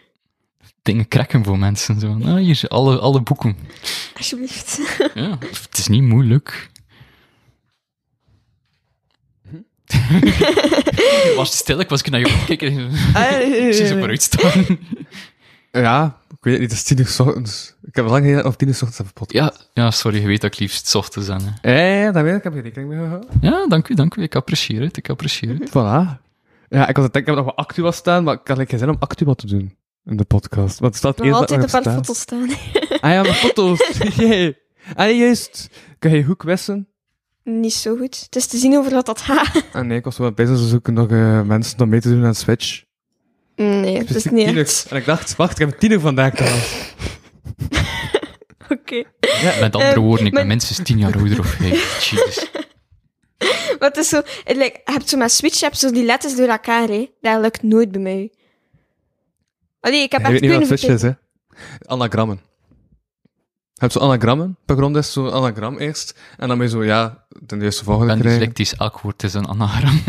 S5: *laughs*
S4: dingen krakken voor mensen. Zo van, ah, hier zijn alle, alle boeken.
S5: Alsjeblieft.
S4: Ja, het is niet moeilijk. Je *laughs* was stil, ik was naar jou aan het kijken. Ik zie ze vooruit staan.
S3: Ja, ik weet het niet, het is tien uur 's ochtends. Ik heb al lang geleden of tien uur 's ochtends heb podcast.
S4: Ja, ja, sorry, je weet dat ik liefst 's ochtends aan. hè.
S3: Ja, ja, ja, dat weet ik, ik heb je rekening mee gehouden.
S4: Ja, dank u, dank u. Ik apprecieer het, ik apprecieer het.
S3: Voilà. Ja, ik had het denken dat nog wel Actua staan, maar ik had geen zin om Actua te doen in de podcast. Want het staat
S5: Nog
S3: eerst dat
S5: altijd een
S3: het nog
S5: paar
S3: staat.
S5: foto's staan. *laughs*
S3: Ah ja, mijn foto's. Jee. Ah nee, juist. Kan je hoek wissen?
S5: Niet zo goed. Het is te zien over wat dat gaat.
S3: Ah nee, ik was wel bezig, ze zoeken nog eh, mensen om mee te doen aan Switch.
S5: Nee, het is
S3: Specifiek
S5: niet
S3: tieners.
S5: echt.
S3: En ik dacht, wacht, ik heb tiener vandaag gehad.
S5: Oké.
S4: Met andere
S5: Eh,
S4: woorden, ik ben
S5: maar-
S4: minstens tien jaar ouder of
S5: *laughs*
S4: vijf. Jezus.
S5: Maar het is zo... Het lijkt, je hebt zo met Switch, je hebt zo die letters door elkaar, hè. Dat lukt nooit bij mij. Allee, ik heb
S3: Je
S5: echt
S3: weet niet wat
S5: kunnen
S3: Switch is, hè? Anagrammen. Je hebt zo anagrammen. Pogrom is zo'n anagram eerst. En dan ben je zo, ja, ten eerste
S4: Ik ben
S3: volgende krijgen.
S4: dyslectisch, elk woord is een
S3: *laughs*
S4: anagram.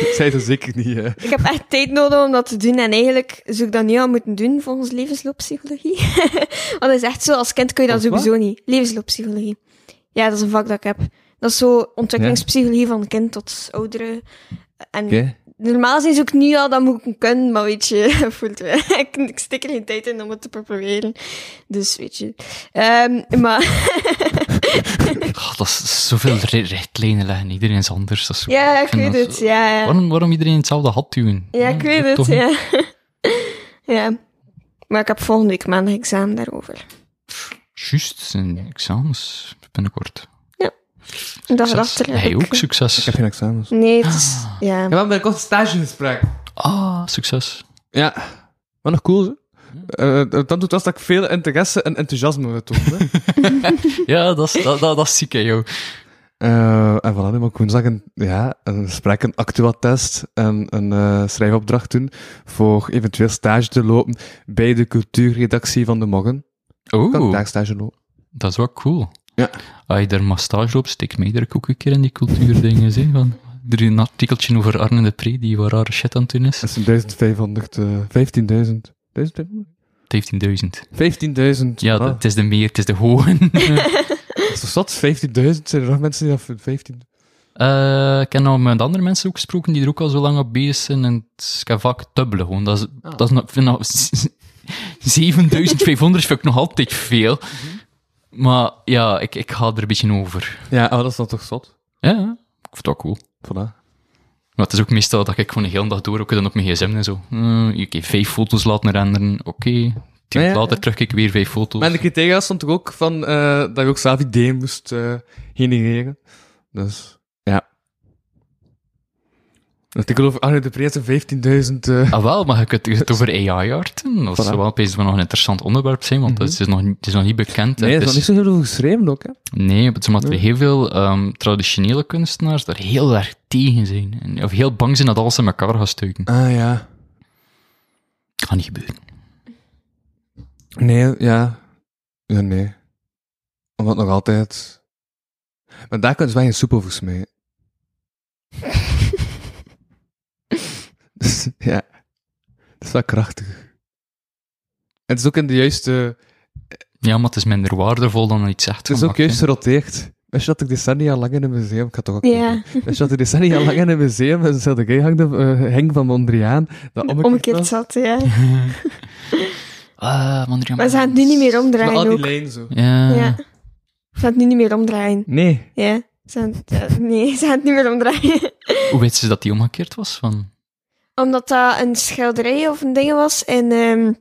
S3: Ik zei dat zeker niet, hè.
S5: Ik heb echt tijd nodig om dat te doen. En eigenlijk zou ik dat nu al moeten doen volgens levenslooppsychologie. *laughs* Want dat is echt zo, als kind kun je dat
S3: Als wat?
S5: sowieso niet. Levenslooppsychologie. Ja, dat is een vak dat ik heb. Dat is zo ontwikkelingspsychologie van kind tot ouderen. En
S3: Oké.
S5: normaal gezien zoek ik nu al, dat moet ik kunnen, maar weet je, *laughs* voelt wel. ik, ik stik er geen tijd in om het te proberen. Dus weet je. Ehm, maar
S4: Oh, dat is zoveel re- richtlijnen leggen. Iedereen is anders. Dat is zo-
S5: ja, ik
S4: vind
S5: weet
S4: dat
S5: het.
S4: zo-
S5: Ja, ja.
S4: Waarom, waarom iedereen hetzelfde had doen?
S5: Ja, ik weet het,
S4: toch niet.
S5: ja. *laughs* ja. Maar ik heb volgende week maandag examen daarover.
S4: Juist, zijn examens binnenkort.
S5: Een dag
S4: Succes.
S5: erachter. heb
S4: Hij
S5: ik-
S4: ook,
S3: Ik
S4: succes.
S3: heb geen examens. Ik
S5: Nee, het is... Ja.
S3: heb een kort stagegesprek.
S4: Ah, succes.
S3: Ja, maar nog cool, hè. Eh, dan doet dat dat ik veel interesse en enthousiasme toon. hè.
S4: Ja, dat is, dat, dat, dat is ziek, hè, joh.
S3: Eh, en voilà, nu moet ik woensdag een, ja, een gesprek, een actua-test en een eh, schrijfopdracht doen voor eventueel stage te lopen bij de cultuurredactie van de Moggen. Kan ik
S4: Oh,
S3: daar stage lopen?
S4: dat is wel cool.
S3: Ja.
S4: Als je daar massage loopt, steek mij er ook een keer in die cultuurdingen. hè, van- Er is een artikeltje over Arne de Pre, die wat rare shit aan het doen is.
S3: Dat is een 1500, eh, 15.000. 15.000?
S4: 15.000.
S3: 15.000.
S4: Ja,
S3: voilà.
S4: het is de meer, het is de hogen.
S3: Ah, dat is toch zot? 15.000? Zijn er nog mensen die dat voor 15...
S4: *laughs* Eh, ik heb nou met andere mensen ook gesproken die er ook al zo lang op bezig zijn en het- ik heb vaak dubbele gewoon. Dat is, dat *laughs* is nog, vind nou, 7500 vind ik nog altijd veel. Maar ja, ik, ik ga er een beetje over.
S3: Ja, oh, dat is dan toch zot?
S4: Ja, ik vind het wel cool.
S3: Voilà.
S4: Maar het is ook meestal dat ik gewoon de hele dag door ook dan op mijn gsm en zo. Eh, Oké, vijf foto's laten renderen, oké. Tien
S3: Ja,
S4: minuten
S3: ja,
S4: later terugkijk ik weer vijf foto's.
S3: Maar in de criteria stond toch ook van, eh, dat je ook zelf ideeën moest eh, genereren. Dus, ja. Dat ik geloof, Arne de Prees en 15.000... eh,
S4: Ah, wel, maar je
S3: *laughs*
S4: kunt je kunt het over AI-arten. Dat
S3: Voilà. Mhm.
S4: zou wel opeens wel nog een interessant onderwerp zijn, want dat is nog, niet- het is nog niet bekend. hè.
S3: Nee, er
S4: Het
S3: is nog
S4: is-
S3: niet zo heel veel geschreven ook, hè?
S4: Nee, maar het is omdat er heel veel ehm, traditionele kunstenaars daar heel erg tegen zijn. En, of heel bang zijn dat alles in elkaar gaat stuiken.
S3: Ah, ja.
S4: Kan niet gebeuren.
S3: Nee, ja. Ja, nee. Omdat nog altijd... Maar daar kunnen ze wel geen soep over
S5: *laughs*
S3: smeren. Dus, ja. Dat is wel krachtig. En het is ook in de juiste...
S4: Ja, maar het is minder waardevol dan iets
S3: Het
S4: echt
S3: is ook
S4: gemaakt, hè.
S3: juist geroteerd. Wist je dat ik decennia lang in een museum... Ik had toch ook
S5: Ja.
S3: niet doen. Wist je dat ik decennia lang in een museum in Schilderij hangde, eh, hing van Mondriaan? Dat omgekeerd,
S5: Omgekeerd
S3: was?
S5: zat, ja.
S4: Ah, Mondriaan.
S5: Maar ze gaan het nu niet meer
S3: Met al
S5: omdraaien
S3: die
S5: ook.
S3: lijnen zo.
S4: Ja.
S5: Ja. Ze gaan het nu niet meer omdraaien.
S3: Nee. Ah,
S5: Ja. Ze gaan het, ja, nee, ze gaan het niet meer omdraaien.
S4: Hoe weten ze dat die omgekeerd was? Van...
S5: Omdat dat een schilderij of een ding was in, ehm,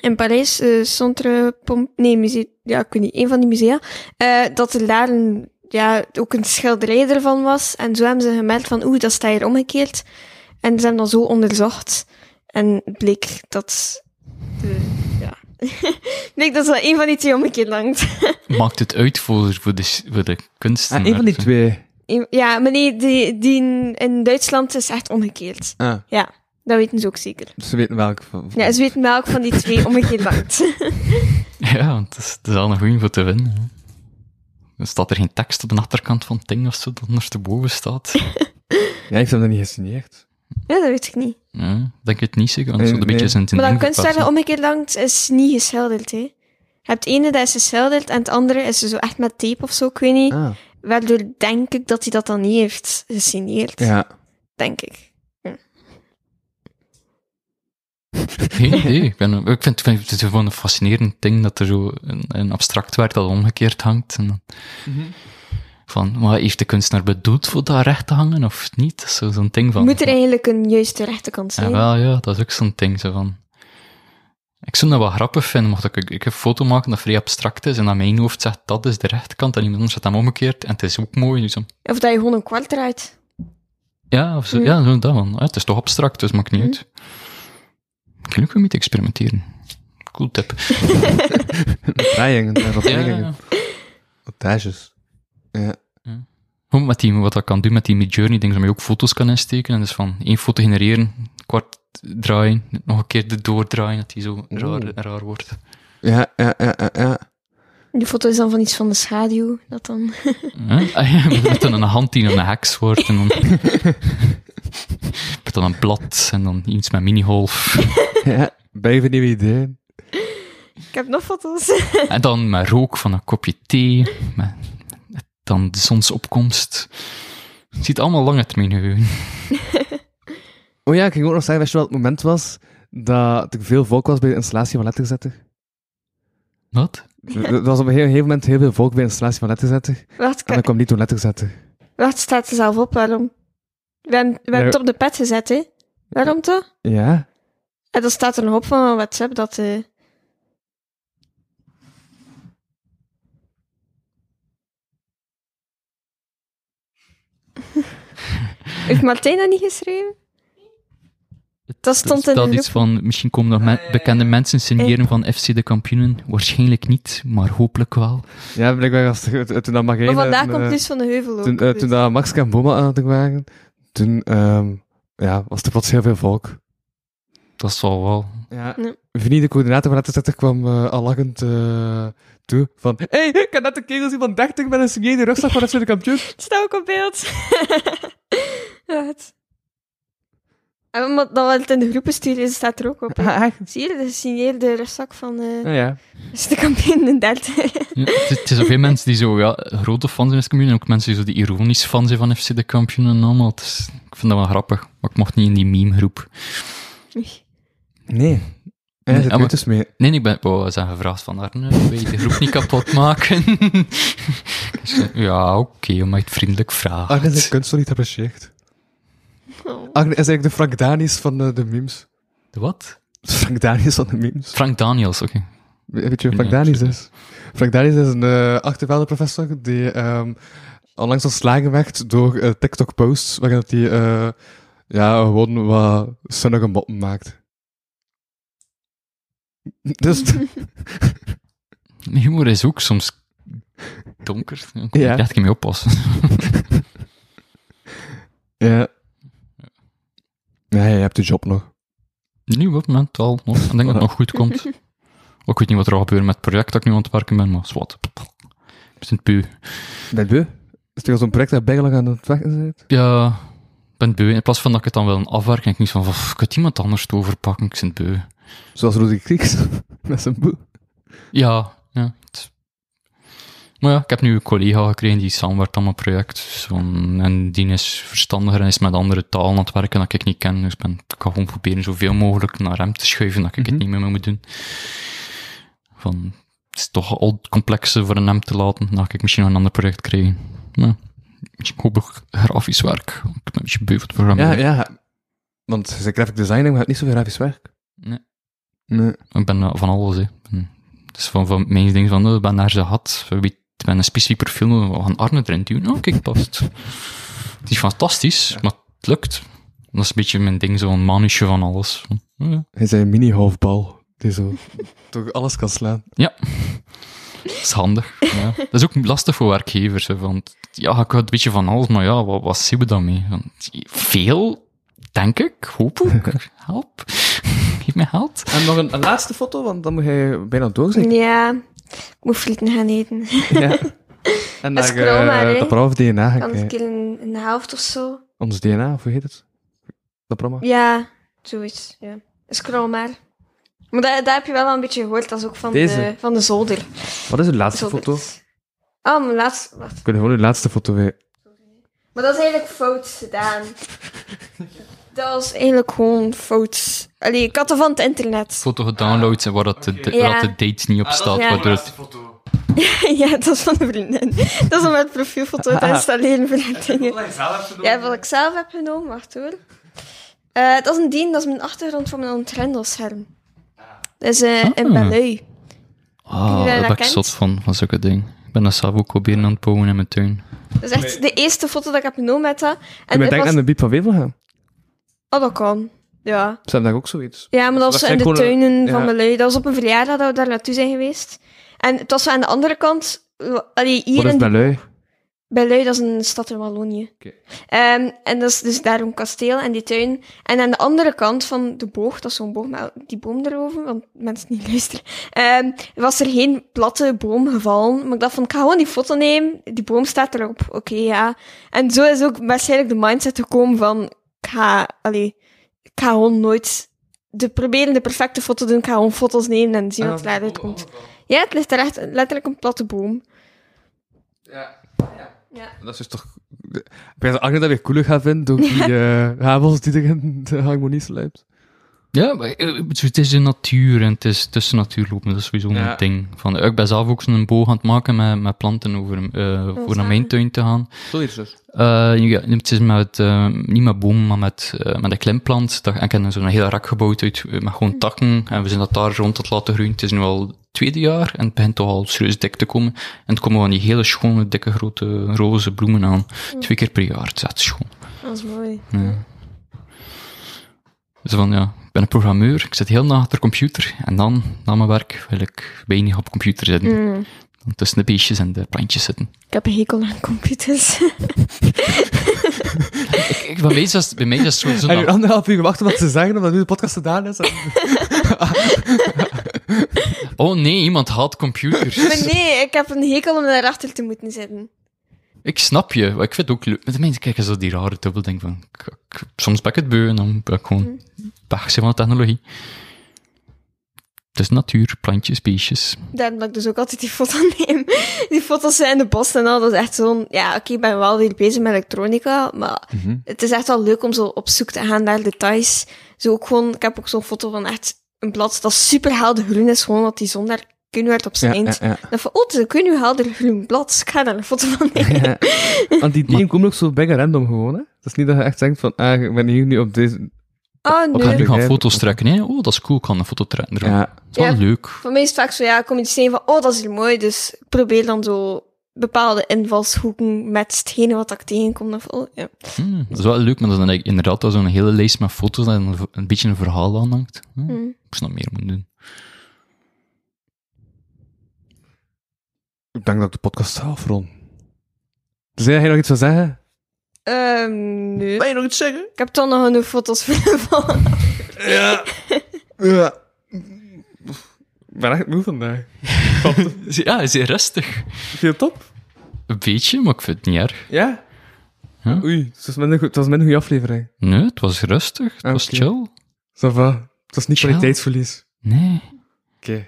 S5: in Parijs, eh, Centre Pomp... Nee, musea, ja, ik weet niet, een van die musea. eh, dat er daar een, ja, ook een schilderij ervan was. En zo hebben ze gemerkt van, oeh, dat staat hier omgekeerd. En ze hebben dat zo onderzocht. En bleek dat... De, ja. *laughs* bleek dat dat een van die twee omgekeerd hangt.
S4: Maakt het uit voor, voor, de, voor de kunst?
S3: Ah, één van die twee.
S5: Eén- ja, maar nee, die, die in- in Duitsland is echt omgekeerd.
S3: Ah,
S5: Ja, dat weten ze ook zeker.
S3: ze weten welk. van-
S5: Ja, ze weten welk van die twee omgekeerd hangt.
S4: *laughs*
S5: *laughs*
S4: Ja, want het is, het is al een goeie voor te winnen. hè. Dan staat er geen tekst op de achterkant van het ding of zo, dat ondersteboven staat.
S3: *laughs* Jij heeft hem dan niet gesigneerd.
S5: Ja, dat weet ik niet.
S4: Ja, ik denk het niet zeker, want het
S3: Nee,
S4: is een beetje
S3: nee.
S4: zijn
S5: maar
S4: ding
S5: dat kunstwerk dat
S4: verpassen.
S5: omgekeerd langs is niet geschilderd, hè. Je hebt ene dat is geschilderd en het andere is zo echt met tape of zo, ik weet niet.
S3: Ah.
S5: Waardoor denk ik dat hij dat dan niet heeft gesigneerd.
S3: Ja.
S5: Denk ik.
S4: Geen idee. Ik, ben, ik vind, ik vind het gewoon een fascinerend ding dat er zo een, een abstract werk dat omgekeerd hangt. En dan-
S3: Mhm.
S4: van, maar heeft de kunstenaar bedoeld voor dat recht te hangen of niet? Dat is zo- Zo'n ding van...
S5: Moet er eigenlijk een juiste rechterkant
S4: Ja,
S5: zijn?
S4: wel, ja, dat is ook zo'n ding. Zo van. Ik zou dat wel grappig vinden, mocht ik, ik een foto maken dat vrij abstract is en aan mijn hoofd zegt dat is de rechterkant en iemand anders zegt hem omgekeerd en het is ook mooi. Dus, dan-
S5: Of dat je gewoon een kwart eruit...
S4: ja, of zo, ja, zo dat van. Ja, het is toch abstract, dus maakt niet uit. Ik wil ook weer mee te experimenteren. Cool tip.
S3: *laughs* Draaiingen, wat
S4: Ja,
S3: dingen. Montages. Ja.
S4: Gewoon met die, wat dat kan doen met die Midjourney dingen, waarmee je ook foto's kan insteken. En dus van één foto genereren, kwart draaien, nog een keer de doordraaien, dat die zo raar, raar wordt.
S3: Ja, ja, ja, ja, ja.
S5: Die foto is dan van iets van de schaduw. Dat dan... *laughs*
S4: Huh? *laughs* Ah, ja, met dan een hand die dan een heks wordt en dan... *laughs* met dan een blad en dan iets met
S5: *laughs*
S4: minigolf.
S3: ja. Blijven nieuwe ideeën.
S5: Ik heb nog foto's. *laughs*
S4: En dan met rook van een kopje thee. Met, met dan de zonsopkomst. Het ziet allemaal lange termijn gebeuren.
S3: Oh ja, ik ging ook nog zeggen, wist je wel het moment was dat er veel volk was bij de installatie van letterzetter?
S4: Wat?
S3: Er er was op een gegeven gegeven moment heel veel volk bij de installatie van letterzetter.
S5: Wacht,
S3: En
S4: Ah,
S5: ka-
S3: dan kwam niet door letterzetter.
S5: wacht, staat er zelf op, waarom? We hebben, we hebben het op de pet gezet, hè. Waarom toch?
S3: Ja?
S5: En dan staat er nog op van WhatsApp dat... eh, Heeft Martijn dat niet geschreven? Dat stond
S4: Er
S5: in de
S4: staat
S5: groep.
S4: iets van, misschien komen nog me- bekende mensen signeren van FC De Kampioenen. Waarschijnlijk niet, maar hopelijk wel.
S3: Ja, blijkbaar was er- toen- toen dat Marijn...
S5: Maar vandaag
S3: eh,
S5: komt Luus van de Heuvel ook.
S3: Toen, eh,
S5: dus.
S3: toen dat Max en Boma aan het waren, toen ehm, ja, was er plots heel veel volk.
S4: Dat zal wel.
S3: Ja.
S5: Ja.
S3: Vinnie, de coördinator van letterzetter, kwam eh, al lachend eh, toe van hey, ik had net een kerel zien van 30 met een signeerde rugzak van FC de kampioen.
S5: Het staat ook op beeld. *laughs* Wat? En omdat Ah, dat we het in de groepen sturen, staat er ook op. hè.
S3: Ah, echt?
S5: Zie je, de gesigneerde rugzak van eh, *laughs*
S3: Nou ja.
S5: is de kampioen in *laughs* 30.
S4: Ja, het, is- het is ook veel mensen die zo ja, grote fans zijn van de kampioenen. En ook mensen die zo die ironisch fan zijn van FC De Kampioenen en allemaal. Het is- ik vind dat wel grappig. Maar ik mocht niet in die meme-groep.
S3: Nee. En
S4: Nee,
S3: hij zit
S4: ah, maar-
S3: nu dus mee.
S4: Nee, nee, ik ben wel eens aan gevraagd van daar, wil je de groep niet kapot maken? *laughs* Ik zei, ja, oké, maar het vriendelijk vraagt.
S3: Arne zijn kunst wel niet apprecieert.
S5: Oh.
S3: Arne is eigenlijk de Frank Daniels van eh, de memes.
S4: De Wat?
S3: Frank Daniels van de memes.
S4: Frank Daniels, oké.
S3: Weet je wie Frank
S4: Nee,
S3: Daniels
S4: absoluut
S3: is? Frank Daniels is een eh achterveldenprofessor die ehm onlangs ontslagen werd door eh, TikTok-posts waarin dat hij eh, ja, gewoon wat zinnige moppen maakt. *laughs* Dus
S4: Humor is ook soms donker. Daar moet
S3: Ja.
S4: ik echt mee oppassen.
S3: ja. Nee, je hebt de job nog.
S4: Nu op het moment al. Nog. Ik denk dat het nog goed
S3: *laughs*
S4: komt. Ik weet niet wat er al gebeurt met het project dat ik nu aan het werken ben, maar zwart. Ik ben pu.
S3: Ben je? Is het wel zo'n project dat bijgelang aan het werken bent?
S4: Ja, ik ben beu. In plaats van dat ik het dan wil afwerken, denk ik niet van, "Pff, ik kan iemand anders het overpakken, ik ben beu.
S3: *laughs* Zoals Rudy Krieks met zijn boek.
S4: Ja, ja. Het- Maar ja, ik heb nu een collega gekregen die samenwerkt aan mijn project. Zo'n- en die is verstandiger en is met andere talen aan het werken dat ik niet ken. Dus ik ben, ik ga gewoon proberen zoveel mogelijk naar hem te schuiven dat ik het niet meer mee moet doen. Van, het is toch al complexer voor een hem te laten. Dan ga ik misschien nog een ander project krijgen. Maar, hopelijk grafisch werk. Ik ben een beetje beu voor het programma.
S3: Ja, ja. Want ze graphic designing, maar het niet zoveel grafisch werk.
S4: Nee.
S3: Nee.
S4: Ik ben eh, van alles, hè. Dus van, van mensen denken van, oh, ik ben naar ze had, ik ben een specifiek profiel, we gaan Arne erin duwen. Oh, kijk, past. Het is fantastisch, maar het lukt. Dat is een beetje mijn ding, zo'n manusje van alles. Hm, Ja.
S3: Hij zei een mini-halfbal, die *laughs* zo toch alles kan slaan.
S4: Dat is *laughs* handig. Ja. Dat is ook lastig voor werkgevers, hè, want ja, ik had een beetje van alles, maar ja, wat, wat zien we daarmee? Want veel, denk ik, *laughs* hopelijk. Help. Geef mij geld.
S3: En nog een, een laatste foto, want dan moet hij bijna door *laughs* zijn.
S5: Ja, ik moet frieten gaan eten.
S3: Ja. En eh,
S5: Dat is corona, hè?
S3: dat prof DNA gaan
S5: Kan een
S3: kijken.
S5: keer een, een helft of zo.
S3: Ons DNA, of hoe heet het? Dat programma?
S5: Ja, zoiets. Ja. Scroll maar. Maar dat, dat heb je wel al een beetje gehoord. Dat is ook van,
S3: Deze?
S5: de, van de zolder.
S3: Wat is uw laatste
S5: Zolder.
S3: foto?
S5: Oh, mijn laatste. Wacht.
S3: Ik wil gewoon uw laatste foto weer.
S5: Maar dat is eigenlijk fout gedaan.
S3: *laughs*
S5: dat was eigenlijk gewoon fout. Allee, ik had er van het internet.
S4: Foto gedownload, waar dat de,
S5: Ja. Ah,
S4: waar dat de date niet op staat,
S5: Ja.
S4: waardoor het
S1: foto.
S5: *laughs* ja, dat is van de vriendin. dat is om het profielfoto
S3: Ah.
S5: te installeren voor dat dingen. Ja, wat ik zelf heb genomen. Wacht hoor. Eh, dat is een dien, dat is mijn achtergrond van mijn ontrendelscherm. Dat is eh een
S4: Ah.
S5: ballet.
S4: Ah,
S5: Die
S4: daar
S5: jij dat
S4: ben ik
S5: kent?
S4: zot van, van zulke dingen. Ik ben dat zelf ook proberen aan het bouwen in mijn tuin.
S5: Dat is echt de eerste foto dat ik heb genomen met dat.
S3: En
S5: En
S3: we
S5: het
S3: denken
S5: was...
S3: aan de Biep van Wevelgem.
S5: Oh, dat kan. Ja.
S3: Ze hebben daar ook zoiets.
S5: Ja, maar
S3: Dat
S5: dat was in
S3: zijn
S5: de
S3: gewoon een-
S5: tuinen
S3: ja.
S5: van mijn lui. Dat was op een verjaardag dat we daar naartoe zijn geweest. En het was aan de andere kant... w- Allee,
S3: Wat
S5: hier
S3: is
S5: in
S3: Belui?
S5: bij Lui, dat is een stad in Wallonië.
S3: Oké.
S5: Ehm, en dat is dus daar een kasteel en die tuin. En aan de andere kant van de boog, dat is zo'n boog met die boom erover, want mensen niet *laughs* luisteren, ehm, was er geen platte boom gevallen. Maar ik dacht van, ik ga gewoon die foto nemen, die boom staat erop, oké, ja. En zo is ook waarschijnlijk de mindset gekomen van, ik ga, allee, ik ga gewoon nooit de, proberen de perfecte foto te doen, ik ga gewoon foto's nemen en zien wat
S3: Ah,
S5: daaruit komt. Ja, het ligt er echt letterlijk een platte boom.
S3: Dat is dus toch... Ik denk dat Agne dat weer cooler gaat vinden door
S5: *laughs*
S3: die eh havels die er in de harmonie sluipt.
S4: Ja, maar eh, het is de natuur en het is tussen natuur lopen, dat is sowieso een
S3: Ja.
S4: ding. Van, eh, ik ben zelf ook zo'n boog aan het maken met, met planten over, eh voor naar mijn
S5: samen.
S4: tuin te gaan.
S3: Zoiets dus.
S4: Eh, ja, het is met, eh, niet met bomen, maar met, eh, met een klimplant. Dat, ik heb zo'n hele rak gebouwd uit, eh, met gewoon takken. En we zijn dat daar rond het laten groeien. Het is nu al het tweede jaar en het begint toch al serieus dik te komen. En het komen van die hele schone, dikke, grote roze bloemen aan. Twee keer per jaar. Het is echt schoon.
S5: Dat is mooi.
S4: Dus van, ja, ik ben een programmeur, ik zit heel de dag achter de computer. En dan, na mijn werk, wil ik weinig op de computer zitten.
S5: Hmm.
S4: Dan tussen de beestjes en de plantjes zitten.
S5: Ik heb een hekel aan computers.
S4: Kijk, bij mij is dat, bij mij is dat zo- zo'n
S3: En
S4: dag-
S3: uw anderhalf uur wachten wat ze zeggen, omdat nu de podcast gedaan is.
S4: *laughs* Oh nee, iemand haalt computers.
S5: *laughs* maar nee, ik heb een hekel om daarachter te moeten zitten.
S4: Ik snap je, maar ik vind het ook leuk. De mensen kijken zo die rare dubbelding van... k- k- soms ben ik het beu en dan ben ik
S5: Hmm.
S4: gewoon weg zijn van de technologie. Het is natuur, plantjes, beestjes.
S5: Daarom dat ik dus ook altijd die foto *laughs* neem. Die foto's zijn in de bos en al. Dat is echt zo'n... Ja, oké, ik ben wel weer bezig met elektronica, maar
S3: Mhm.
S5: het is echt wel leuk om zo op zoek te gaan naar details. Zo ook gewoon... Ik heb ook zo'n foto van echt een blad dat super helder groen is. Gewoon dat die zon daar kun werd op zijn eind.
S3: ja.
S5: Dan van, oh, het is een kun helder groen blad. Ik ga daar een foto van
S3: *laughs*
S5: nemen. *laughs*
S3: Ja. Want die dingen komen ook zo bijna random gewoon, hè? Het is niet dat je echt denkt van, ah, ik ben hier nu op deze...
S5: Oh,
S4: Ik ga
S5: nee.
S4: nu gaan
S3: begrijp ik.
S4: foto's trekken. hè. Oh, dat is cool, ik kan een foto trekken. ervan.
S3: Ja.
S4: Dat is wel
S5: Ja.
S4: leuk.
S5: Voor mij is het vaak zo, ja, ik kom iets tegen van, oh, dat is hier mooi, dus ik probeer dan zo bepaalde invalshoeken met hetgene wat ik tegenkom. Of, oh, ja.
S4: Hmm, dat is wel leuk, maar dat is dan inderdaad wel zo'n hele lijst met foto's en een, een beetje een verhaal aanhangt. Hmm, Ik snap meer moeten doen.
S3: Ik denk dat ik de podcast zelf rond. Dus jij nog iets wil zeggen?
S5: Ehm, nee.
S3: je nog iets zeggen?
S5: Ik heb toch nog genoeg foto's *laughs* van van-
S3: Ja. ja. Ik ben echt moe vandaag.
S4: Ja, zeer rustig.
S3: Vind je het top?
S4: Een beetje, maar ik vind het niet erg.
S3: Ja?
S4: Ja.
S3: Oei, het was minder, goed- het was minder goede aflevering.
S4: Nee, het was rustig, het was
S3: Oké.
S4: chill.
S3: Ça va. Het was niet
S4: Ciao.
S3: kwaliteitsverlies.
S4: Nee.
S3: Oké.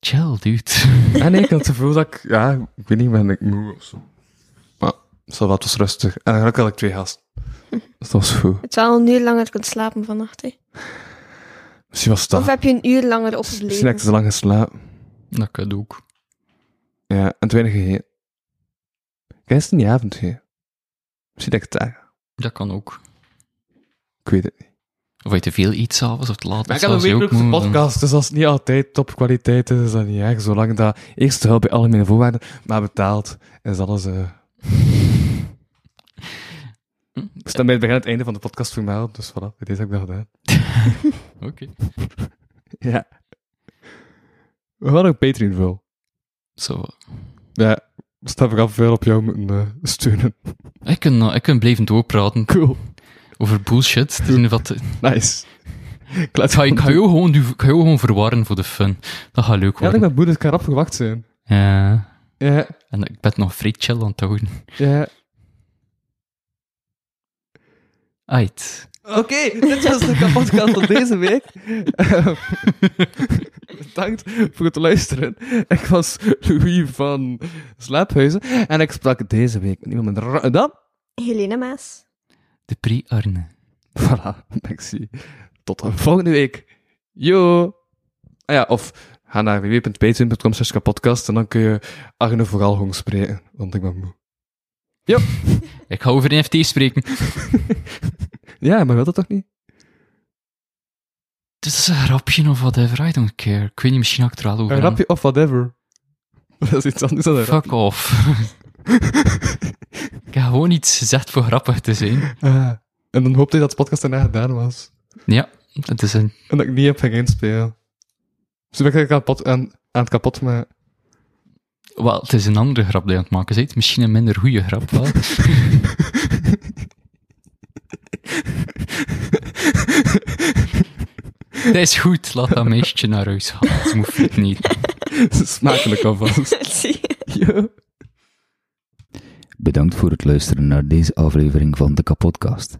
S4: chill, dude. *laughs*
S3: En ik had het gevoel dat ik, ja, ik weet niet, ben ik moe of zo. Maar zo wat was rustig. En gelukkig had ik twee gasten. Dus *laughs* dat was goed.
S5: Het is wel een uur langer kunt slapen vannacht. Hè.
S3: Misschien was het dat.
S5: Of heb je een uur langer
S3: Misschien heb
S5: opgebleven?
S3: ik te lang geslapen.
S4: Dat kan ook.
S3: Ja, en te weinig gegeten. Ik heb het in die avond gegeten. Misschien dat ik het daar.
S4: Dat kan ook.
S3: Ik weet het niet.
S4: Of je te veel iets s'avonds of te laat.
S3: Maar ik heb
S4: dat
S3: een
S4: zou ze ook
S3: wekelijkse
S4: moeten doen.
S3: podcast, dus als het niet altijd topkwaliteit is, is dat niet erg. Zolang dat eerst wel bij algemene voorwaarden, maar betaald, is alles... eh Ik
S4: *laughs*
S3: sta bij het begin en het einde van de podcast vermeld, dus voilà, bij deze heb ik dat gedaan.
S4: Hm, Oké.
S3: Ja. We hadden ook Patreon veel.
S4: Zo.
S3: Ja, stap ik af veel op jou moeten eh, steunen.
S4: Ik kan, eh, ik kan blijven doorpraten
S3: Cool.
S4: over bullshit. Het is niet wat-
S3: Nice. Ik laat
S4: Ik ga, ik ga jou gewoon, ik ga jou gewoon verwarren voor de fun. Dat gaat leuk
S3: Ja, ik
S4: worden.
S3: ben moe, dus ik ga rap gewacht zijn.
S4: Ja.
S3: Ja,
S4: En ik ben nog vrij chill aan het houden.
S3: ja.
S4: Ait.
S3: Oké, dit was de podcast van deze week. Eh, *laughs* Bedankt voor het luisteren. Ik was Louis van Slaaphuizen en ik sprak deze week met iemand met ra- dan.
S5: Helena Maas. *laughs*
S4: De Pri Arne.
S3: *laughs* Voilà, ik zie. Tot de volgende week. Yo! Ah ja, of ga naar www.patreon.com slash podcast en dan kun je Arne vooral gewoon spreken, want ik ben moe.
S4: Ik ga over NFT spreken.
S3: Ja, maar wil dat toch niet?
S4: Dit is een rapje of whatever, I don't care. Ik weet niet, misschien had ik het er wel over.
S3: Een
S4: aan.
S3: rapje of whatever. *laughs* Dat is iets anders dan een
S4: Fuck
S3: rapje.
S4: off. *laughs* ik heb gewoon iets gezegd voor grappig te zijn.
S3: Ah, en dan hoopte je dat de podcast daarna gedaan was.
S4: Ja, dat is een...
S3: En dat ik niet heb gaan inspelen. Dus ben ik eigenlijk kapot, aan, aan het kapot *laughs* maar
S4: Wel, het is een andere grap die je aan het maken bent. Misschien een minder goede grap, wel. dat is goed, laat dat meisje naar huis gaan. Ze moet het niet.
S3: Smakelijk alvast.
S5: Zie je.
S3: Yo.
S2: Bedankt voor het luisteren naar deze aflevering van de Kapodcast.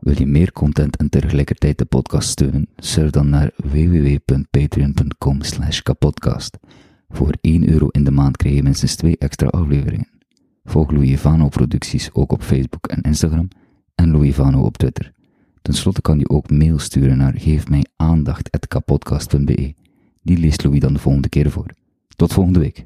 S2: Wil je meer content en tegelijkertijd de podcast steunen? Surf dan naar www.patreon.com slash kapodcast. Voor 1 euro in de maand krijg je minstens 2 extra afleveringen. Volg Louis Vano producties ook op Facebook en Instagram en Louis Vano op Twitter. Ten slotte kan je ook mail sturen naar geefmijaandacht.kapodcast.be. Die leest Louis dan de volgende keer voor. Tot volgende week.